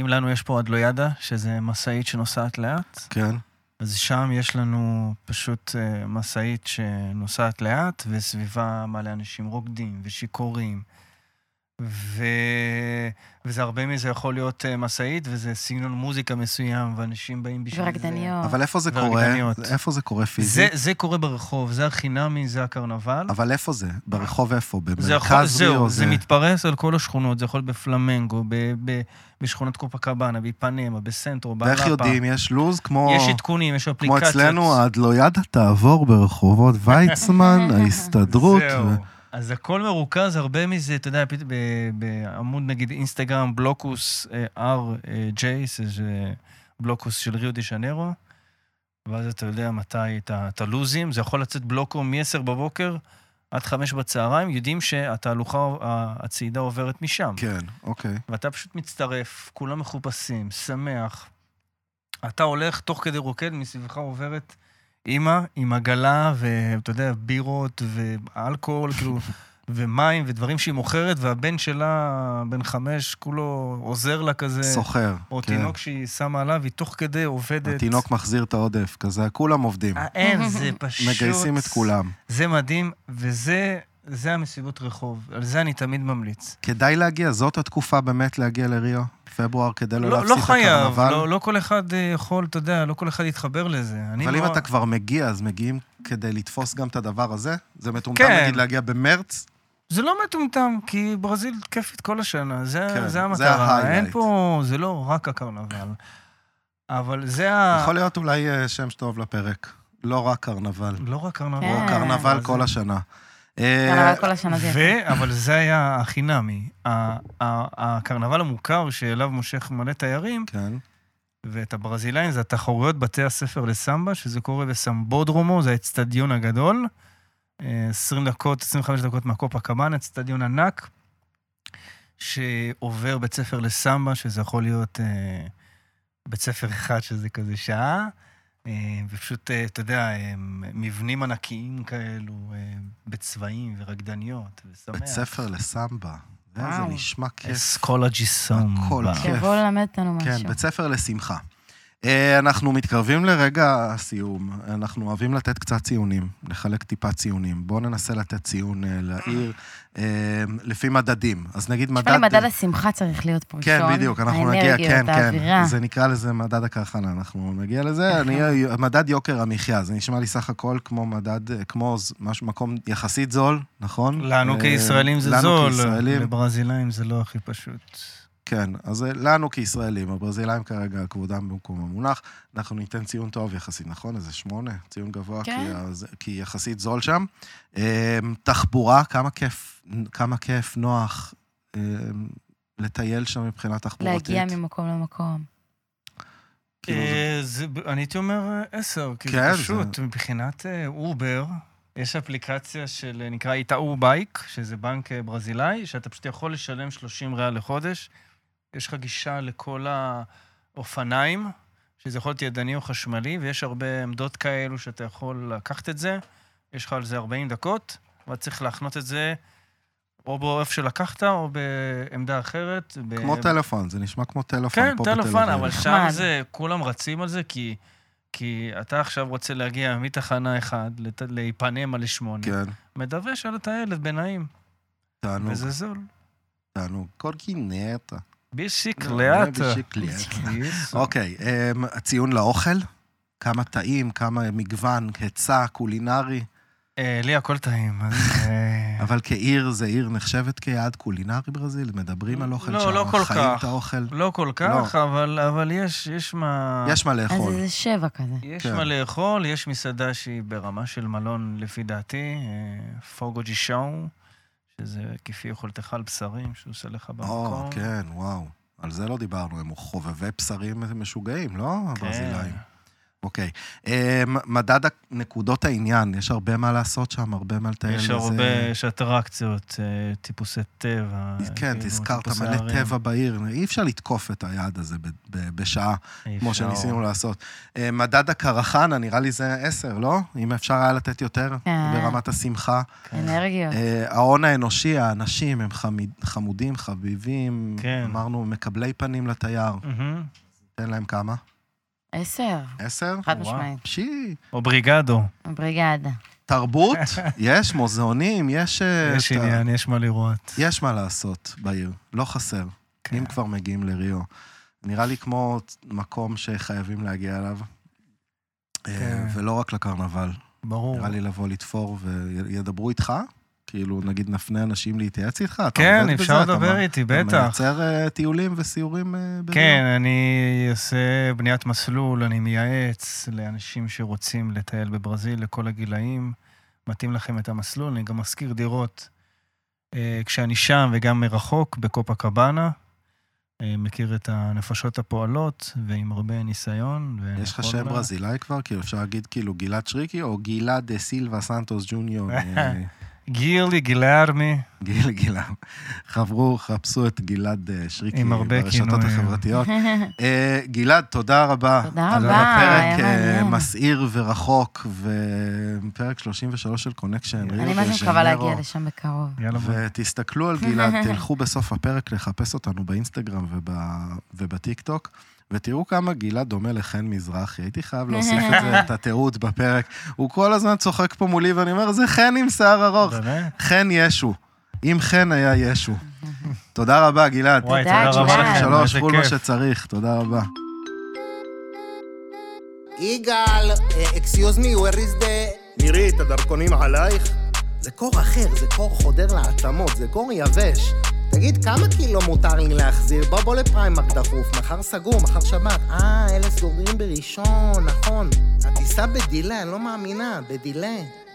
[SPEAKER 2] אם לנו יש פה אדלוידה, שזה משאית שנוסעת לאט,
[SPEAKER 1] כן.
[SPEAKER 2] אז שם יש לנו פשוט אה, משאית שנוסעת לאט, וסביבה מלא אנשים רוקדים ושיכורים, ו... וזה הרבה מזה יכול להיות אה, משאית, וזה סגנון מוזיקה מסוים, ואנשים באים בשביל זה.
[SPEAKER 3] ורקדניות.
[SPEAKER 1] אבל איפה זה קורה?
[SPEAKER 2] והרקדניות.
[SPEAKER 1] איפה זה קורה
[SPEAKER 2] לא, זה,
[SPEAKER 1] פיזית?
[SPEAKER 2] זה קורה ברחוב, זה החינמי, זה הקרנבל.
[SPEAKER 1] אבל איפה זה? ברחוב איפה?
[SPEAKER 2] זה יכול,
[SPEAKER 1] במרכז
[SPEAKER 2] זהו,
[SPEAKER 1] ריו?
[SPEAKER 2] זה מתפרס על כל השכונות, זה יכול להיות בפלמנגו, ב, ב, בשכונות קופה קבאנה, באיפנמה, בסנטרו,
[SPEAKER 1] ואיך
[SPEAKER 2] באלאפה.
[SPEAKER 1] יודעים? יש לו"ז כמו...
[SPEAKER 2] יש עדכונים, יש
[SPEAKER 1] כמו
[SPEAKER 2] אפליקציות.
[SPEAKER 1] אצלנו, הדלוידה תעבור
[SPEAKER 2] *laughs*
[SPEAKER 1] ברחובות ויצמן, ההסתדרות.
[SPEAKER 2] זהו.
[SPEAKER 1] ו-
[SPEAKER 2] אז הכל מרוכז, הרבה מזה, אתה יודע, פת- ב- בעמוד נגיד אינסטגרם, בלוקוס אה, RJ, שזה בלוקוס של ריו דה ז'נרו, ואז אתה יודע מתי את ה- את הלוזים, זה יכול לצאת בלוקו מ-10 בבוקר עד 5 בצהריים, יודעים שהתהלוכה, ה- הצעידה עוברת משם.
[SPEAKER 1] כן, אוקיי.
[SPEAKER 2] ואתה פשוט מצטרף, כולם מחופשים, שמח. אתה הולך, תוך כדי רוקד, מסביבך עוברת אימא עם עגלה, ואתה יודע, בירות
[SPEAKER 1] *laughs*
[SPEAKER 2] ואלכוהול, כאילו, ומים ודברים שהיא מוכרת, והבן שלה, בן חמש, כולו עוזר לה כזה.
[SPEAKER 1] סוחר.
[SPEAKER 2] או
[SPEAKER 1] כן.
[SPEAKER 2] תינוק שהיא שמה עליו, היא תוך כדי עובדת.
[SPEAKER 1] התינוק מחזיר את העודף, כזה, כולם עובדים.
[SPEAKER 2] אה, אין, זה פשוט...
[SPEAKER 1] מגייסים את כולם.
[SPEAKER 2] זה מדהים, וזה זה המסיבות רחוב. על זה אני תמיד ממליץ.
[SPEAKER 1] כדאי להגיע, זאת התקופה באמת להגיע לריו? פברואר, כדי לא
[SPEAKER 2] לא, לא
[SPEAKER 1] להפסיד את
[SPEAKER 2] חייב,
[SPEAKER 1] הקרנבל?
[SPEAKER 2] לא, לא כל אחד אה, יכול, אתה יודע, לא כל אחד יתחבר לזה. אני
[SPEAKER 1] אבל
[SPEAKER 2] לא...
[SPEAKER 1] אם אתה כבר מגיע, אז מגיעים כדי לתפוס גם את הדבר הזה? זה מטומטם
[SPEAKER 2] כן.
[SPEAKER 1] נגיד להגיע במרץ?
[SPEAKER 2] זה לא מטומטם, כי ברזיל כיפית כל השנה, זה,
[SPEAKER 1] כן, זה
[SPEAKER 2] זה המטרה.
[SPEAKER 1] ה-highlight.
[SPEAKER 2] אין פה, זה לא רק הקרנבל. אבל זה ה...
[SPEAKER 1] יכול להיות אולי אה, שם שטוב לפרק. לא רק קרנבל.
[SPEAKER 2] לא רק קרנבל.
[SPEAKER 1] או
[SPEAKER 3] כן.
[SPEAKER 1] קרנבל כל השנה. אה,
[SPEAKER 3] קרנבל כל השנה זה יפה.
[SPEAKER 2] ו... אבל זה היה החינמי. ה- ה- הקרנבל המוכר שאליו מושך מלא תיירים,
[SPEAKER 1] כן.
[SPEAKER 2] ואת הברזילאים זה התחרויות בתי הספר לסמבה, שזה קורה בסמבודרומו, זה האצטדיון הגדול. אה, 20 דקות, 25 דקות מהקופה קבאן, אצטדיון ענק, שעובר בית ספר לסמבה, שזה יכול להיות אה, בית ספר אחד, שזה כזה שעה. אה, ופשוט, אה, אתה יודע, אה, מבנים ענקיים כאלו, אה, בצבעים ורקדניות, ושמח.
[SPEAKER 1] בית ספר לסמבה. אה, זה
[SPEAKER 3] וואו.
[SPEAKER 1] נשמע כיף.
[SPEAKER 2] אסקולג'י סמבה.
[SPEAKER 1] כיף.
[SPEAKER 3] שיבואו ללמד אותנו משהו.
[SPEAKER 1] כן, בית ספר לשמחה. אה, אנחנו מתקרבים לרגע הסיום. אנחנו אוהבים לתת קצת ציונים, לחלק טיפה ציונים. בואו ננסה לתת ציון אה, לעיר אה, לפי מדדים. אז נגיד מדד...
[SPEAKER 3] נשמע לי מדד השמחה צריך להיות פה ראשון.
[SPEAKER 1] כן, בדיוק, אנחנו נגיע,
[SPEAKER 3] האנרגיות,
[SPEAKER 1] כן,
[SPEAKER 3] האווירה. נכון.
[SPEAKER 1] כן. זה נקרא לזה מדד הקרחנה, אנחנו נגיע לזה. אני, מדד יוקר המחיה, זה נשמע לי סך הכל כמו מדד, אה, כמו ז- משהו, מקום יחסית זול, נכון?
[SPEAKER 2] לנו
[SPEAKER 1] אה,
[SPEAKER 2] כישראלים זה זול,
[SPEAKER 1] לנו כישראלים,
[SPEAKER 2] לברזילאים זה לא הכי פשוט.
[SPEAKER 1] כן, אז אה, לנו כישראלים, הברזילאים כרגע כבודם במקום המונח, אנחנו ניתן ציון טוב יחסית, נכון? איזה שמונה, ציון גבוה,
[SPEAKER 3] כן.
[SPEAKER 1] כי, הז- כי יחסית זול שם. אה, תחבורה, כמה כיף, כמה כיף, נוח אה, לטייל שם מבחינה תחבורתית.
[SPEAKER 3] להגיע ממקום למקום.
[SPEAKER 1] כאילו, זה-
[SPEAKER 2] אה, זה- אני הייתי אומר אה, עשר, כי זה
[SPEAKER 1] כן,
[SPEAKER 2] פשוט, מבחינת אה, אובר, יש אפליקציה של, אה, נקרא איתאו בייק, שזה בנק אה, ברזילאי, שאתה פשוט יכול לשלם 30 ריאל לחודש, יש לך גישה לכל האופניים, שזה יכול להיות ידני או חשמלי, ויש הרבה עמדות כאלו שאתה יכול לקחת את זה, יש לך על זה 40 דקות, ואתה צריך להחנות את זה או באיפה שלקחת, או בעמדה אחרת. ב-
[SPEAKER 1] כמו טלפון, זה נשמע כמו טלפון
[SPEAKER 2] אה, כן,
[SPEAKER 1] לא פה בתל אביב.
[SPEAKER 2] טלפון, אבל שם
[SPEAKER 3] נחמד.
[SPEAKER 2] זה, כולם רצים על זה, כי, כי אתה עכשיו רוצה להגיע מתחנה 1 לת- לאיפנמה לשמונה,
[SPEAKER 1] כן,
[SPEAKER 2] מדווש על הטיילת בנעים,
[SPEAKER 1] תענוג,
[SPEAKER 2] וזה זול.
[SPEAKER 1] תענוג. קורקינטה. כן,
[SPEAKER 2] בישיקלט.
[SPEAKER 1] בשיקלט. אוקיי, אמ, הציון לאוכל? כמה טעים, כמה מגוון, היצע, קולינרי.
[SPEAKER 2] אה, לי הכל טעים, אז... אה,
[SPEAKER 1] אבל כעיר, זה עיר נחשבת כיעד קולינרי ברזיל? מדברים על אוכל
[SPEAKER 2] לא,
[SPEAKER 1] שם,
[SPEAKER 2] לא כל
[SPEAKER 1] חיים
[SPEAKER 2] כך.
[SPEAKER 1] את האוכל.
[SPEAKER 2] לא כל כך, אבל אבל יש יש מה...
[SPEAKER 1] יש מה
[SPEAKER 3] אז אה,
[SPEAKER 1] לאכול.
[SPEAKER 3] זה שבע כזה.
[SPEAKER 2] יש
[SPEAKER 1] כן.
[SPEAKER 2] מה לאכול, יש מסעדה שהיא ברמה של מלון, לפי דעתי, אה, פוגו ג'י שאו, שזה כפי יכולתך על בשרים, שהוא עושה לך
[SPEAKER 1] או,
[SPEAKER 2] במקום.
[SPEAKER 1] כן, וואו. על זה לא דיברנו, הם חובבי בשרים משוגעים, לא?
[SPEAKER 2] כן.
[SPEAKER 1] הברזילאים. אוקיי. אמ, מדד נקודות העניין, יש הרבה מה לעשות שם, הרבה מה לטייל.
[SPEAKER 2] יש
[SPEAKER 1] וזה-
[SPEAKER 2] הרבה, יש אטרקציות, אה, טיפוסי טבע.
[SPEAKER 1] כן,
[SPEAKER 2] כאילו,
[SPEAKER 1] תזכרת
[SPEAKER 2] טיפוסי
[SPEAKER 1] מלא
[SPEAKER 2] ערים.
[SPEAKER 1] טבע בעיר, אי אפשר לתקוף את היעד הזה ב- ב- בשעה,
[SPEAKER 2] אי
[SPEAKER 1] כמו
[SPEAKER 2] אפשר.
[SPEAKER 1] שניסינו לעשות. אה, מדד הקרחנה, נראה לי זה עשר, לא? אם אפשר היה לתת יותר,
[SPEAKER 3] כן.
[SPEAKER 1] ברמת השמחה.
[SPEAKER 2] כן.
[SPEAKER 3] אנרגיות.
[SPEAKER 1] אה, ההון האנושי, האנשים, הם חמיד- חמודים, חביבים.
[SPEAKER 2] כן.
[SPEAKER 1] אמרנו, מקבלי פנים לתייר,
[SPEAKER 2] מהמם.
[SPEAKER 1] תן להם כמה.
[SPEAKER 3] עשר,
[SPEAKER 1] עשר?
[SPEAKER 3] חד
[SPEAKER 2] וואו.
[SPEAKER 3] משמעית.
[SPEAKER 1] שי,
[SPEAKER 2] אובריגדו.
[SPEAKER 3] בריגדה.
[SPEAKER 2] *laughs*
[SPEAKER 1] תרבות, יש מוזיאונים, יש... אה,
[SPEAKER 2] יש
[SPEAKER 1] את ה-
[SPEAKER 2] עניין, יש מה לראות.
[SPEAKER 1] יש מה לעשות בעיר, לא חסר.
[SPEAKER 2] כן.
[SPEAKER 1] אם כבר מגיעים לריו. נראה לי כמו מקום שחייבים להגיע אליו, אה,
[SPEAKER 2] כן.
[SPEAKER 1] ולא רק לקרנבל.
[SPEAKER 2] ברור.
[SPEAKER 1] נראה לי לבוא לתפור וידברו איתך, כאילו נגיד נפנה אנשים להתייעץ איתך. אתה
[SPEAKER 2] כן,
[SPEAKER 1] עובד
[SPEAKER 2] אפשר
[SPEAKER 1] בזה, אתה
[SPEAKER 2] לדבר
[SPEAKER 1] מ-
[SPEAKER 2] איתי,
[SPEAKER 1] אתה
[SPEAKER 2] בטח.
[SPEAKER 1] מייצר אה, טיולים וסיורים אה, בריו.
[SPEAKER 2] כן, אני עושה בניית מסלול, אני מייעץ לאנשים שרוצים לטייל בברזיל לכל הגילאים. מתאים לכם את המסלול, אני גם משכיר דירות אה, כשאני שם וגם מרחוק, בקופה קבאנה. אה, מכיר את הנפשות הפועלות ועם הרבה ניסיון. ואני
[SPEAKER 1] יש לך
[SPEAKER 2] יכול
[SPEAKER 1] שם
[SPEAKER 2] לה-
[SPEAKER 1] ברזילאי כבר? כאילו אפשר להגיד כאילו גלעד שריקי או גלעד דה סילבה סנטוס ג'וניור.
[SPEAKER 2] *laughs*
[SPEAKER 1] אה,
[SPEAKER 2] גילי, גילארמי.
[SPEAKER 1] גיל גילם. חברו, חפשו את גלעד אה, שריקי
[SPEAKER 2] עם הרבה
[SPEAKER 1] ברשתות
[SPEAKER 2] כינויים.
[SPEAKER 1] החברתיות.
[SPEAKER 2] *laughs*
[SPEAKER 1] אה, גלעד, תודה רבה.
[SPEAKER 3] תודה
[SPEAKER 1] על
[SPEAKER 3] רבה, היה
[SPEAKER 1] הפרק אה,
[SPEAKER 3] מעניין.
[SPEAKER 1] מסעיר ורחוק, ופרק 33 של קונקשן.
[SPEAKER 2] אני
[SPEAKER 3] אני
[SPEAKER 1] ריו
[SPEAKER 3] מה
[SPEAKER 1] דה
[SPEAKER 3] זה מקווה
[SPEAKER 1] ז'ניירו.
[SPEAKER 3] להגיע לשם בקרוב.
[SPEAKER 2] יאללה, בוא.
[SPEAKER 1] ותסתכלו על גלעד, *laughs* תלכו בסוף הפרק לחפש אותנו באינסטגרם וב, ובטיקטוק, ותראו כמה גלעד דומה לחן מזרחי. הייתי חייב להוסיף את *laughs* זה, את התיעוד בפרק. הוא כל הזמן צוחק פה מולי, ואני אומר, זה חן עם שיער ארוך.
[SPEAKER 2] באמת?
[SPEAKER 1] חן ישו. אם חן היה ישו. תודה רבה, גלעד.
[SPEAKER 2] וואי,
[SPEAKER 3] תודה,
[SPEAKER 2] תודה רבה
[SPEAKER 3] גלעד.
[SPEAKER 2] לכם,
[SPEAKER 1] שלוש,
[SPEAKER 2] איזה
[SPEAKER 1] חול מה
[SPEAKER 2] כיף.
[SPEAKER 1] שצריך, תודה רבה.
[SPEAKER 4] יגאל, אקסיוז מי, where is the... נירי, את הדרכונים עלייך? זה קור אחר, זה קור חודר לעצמות, זה קור יבש. תגיד, כמה קילו מותר לי להחזיר? בוא בוא לפריימק דחוף, מחר סגור, מחר שבת. אה, אלה סוגרים בראשון, נכון. הטיסה בדילה, אני לא מאמינה, בדילה.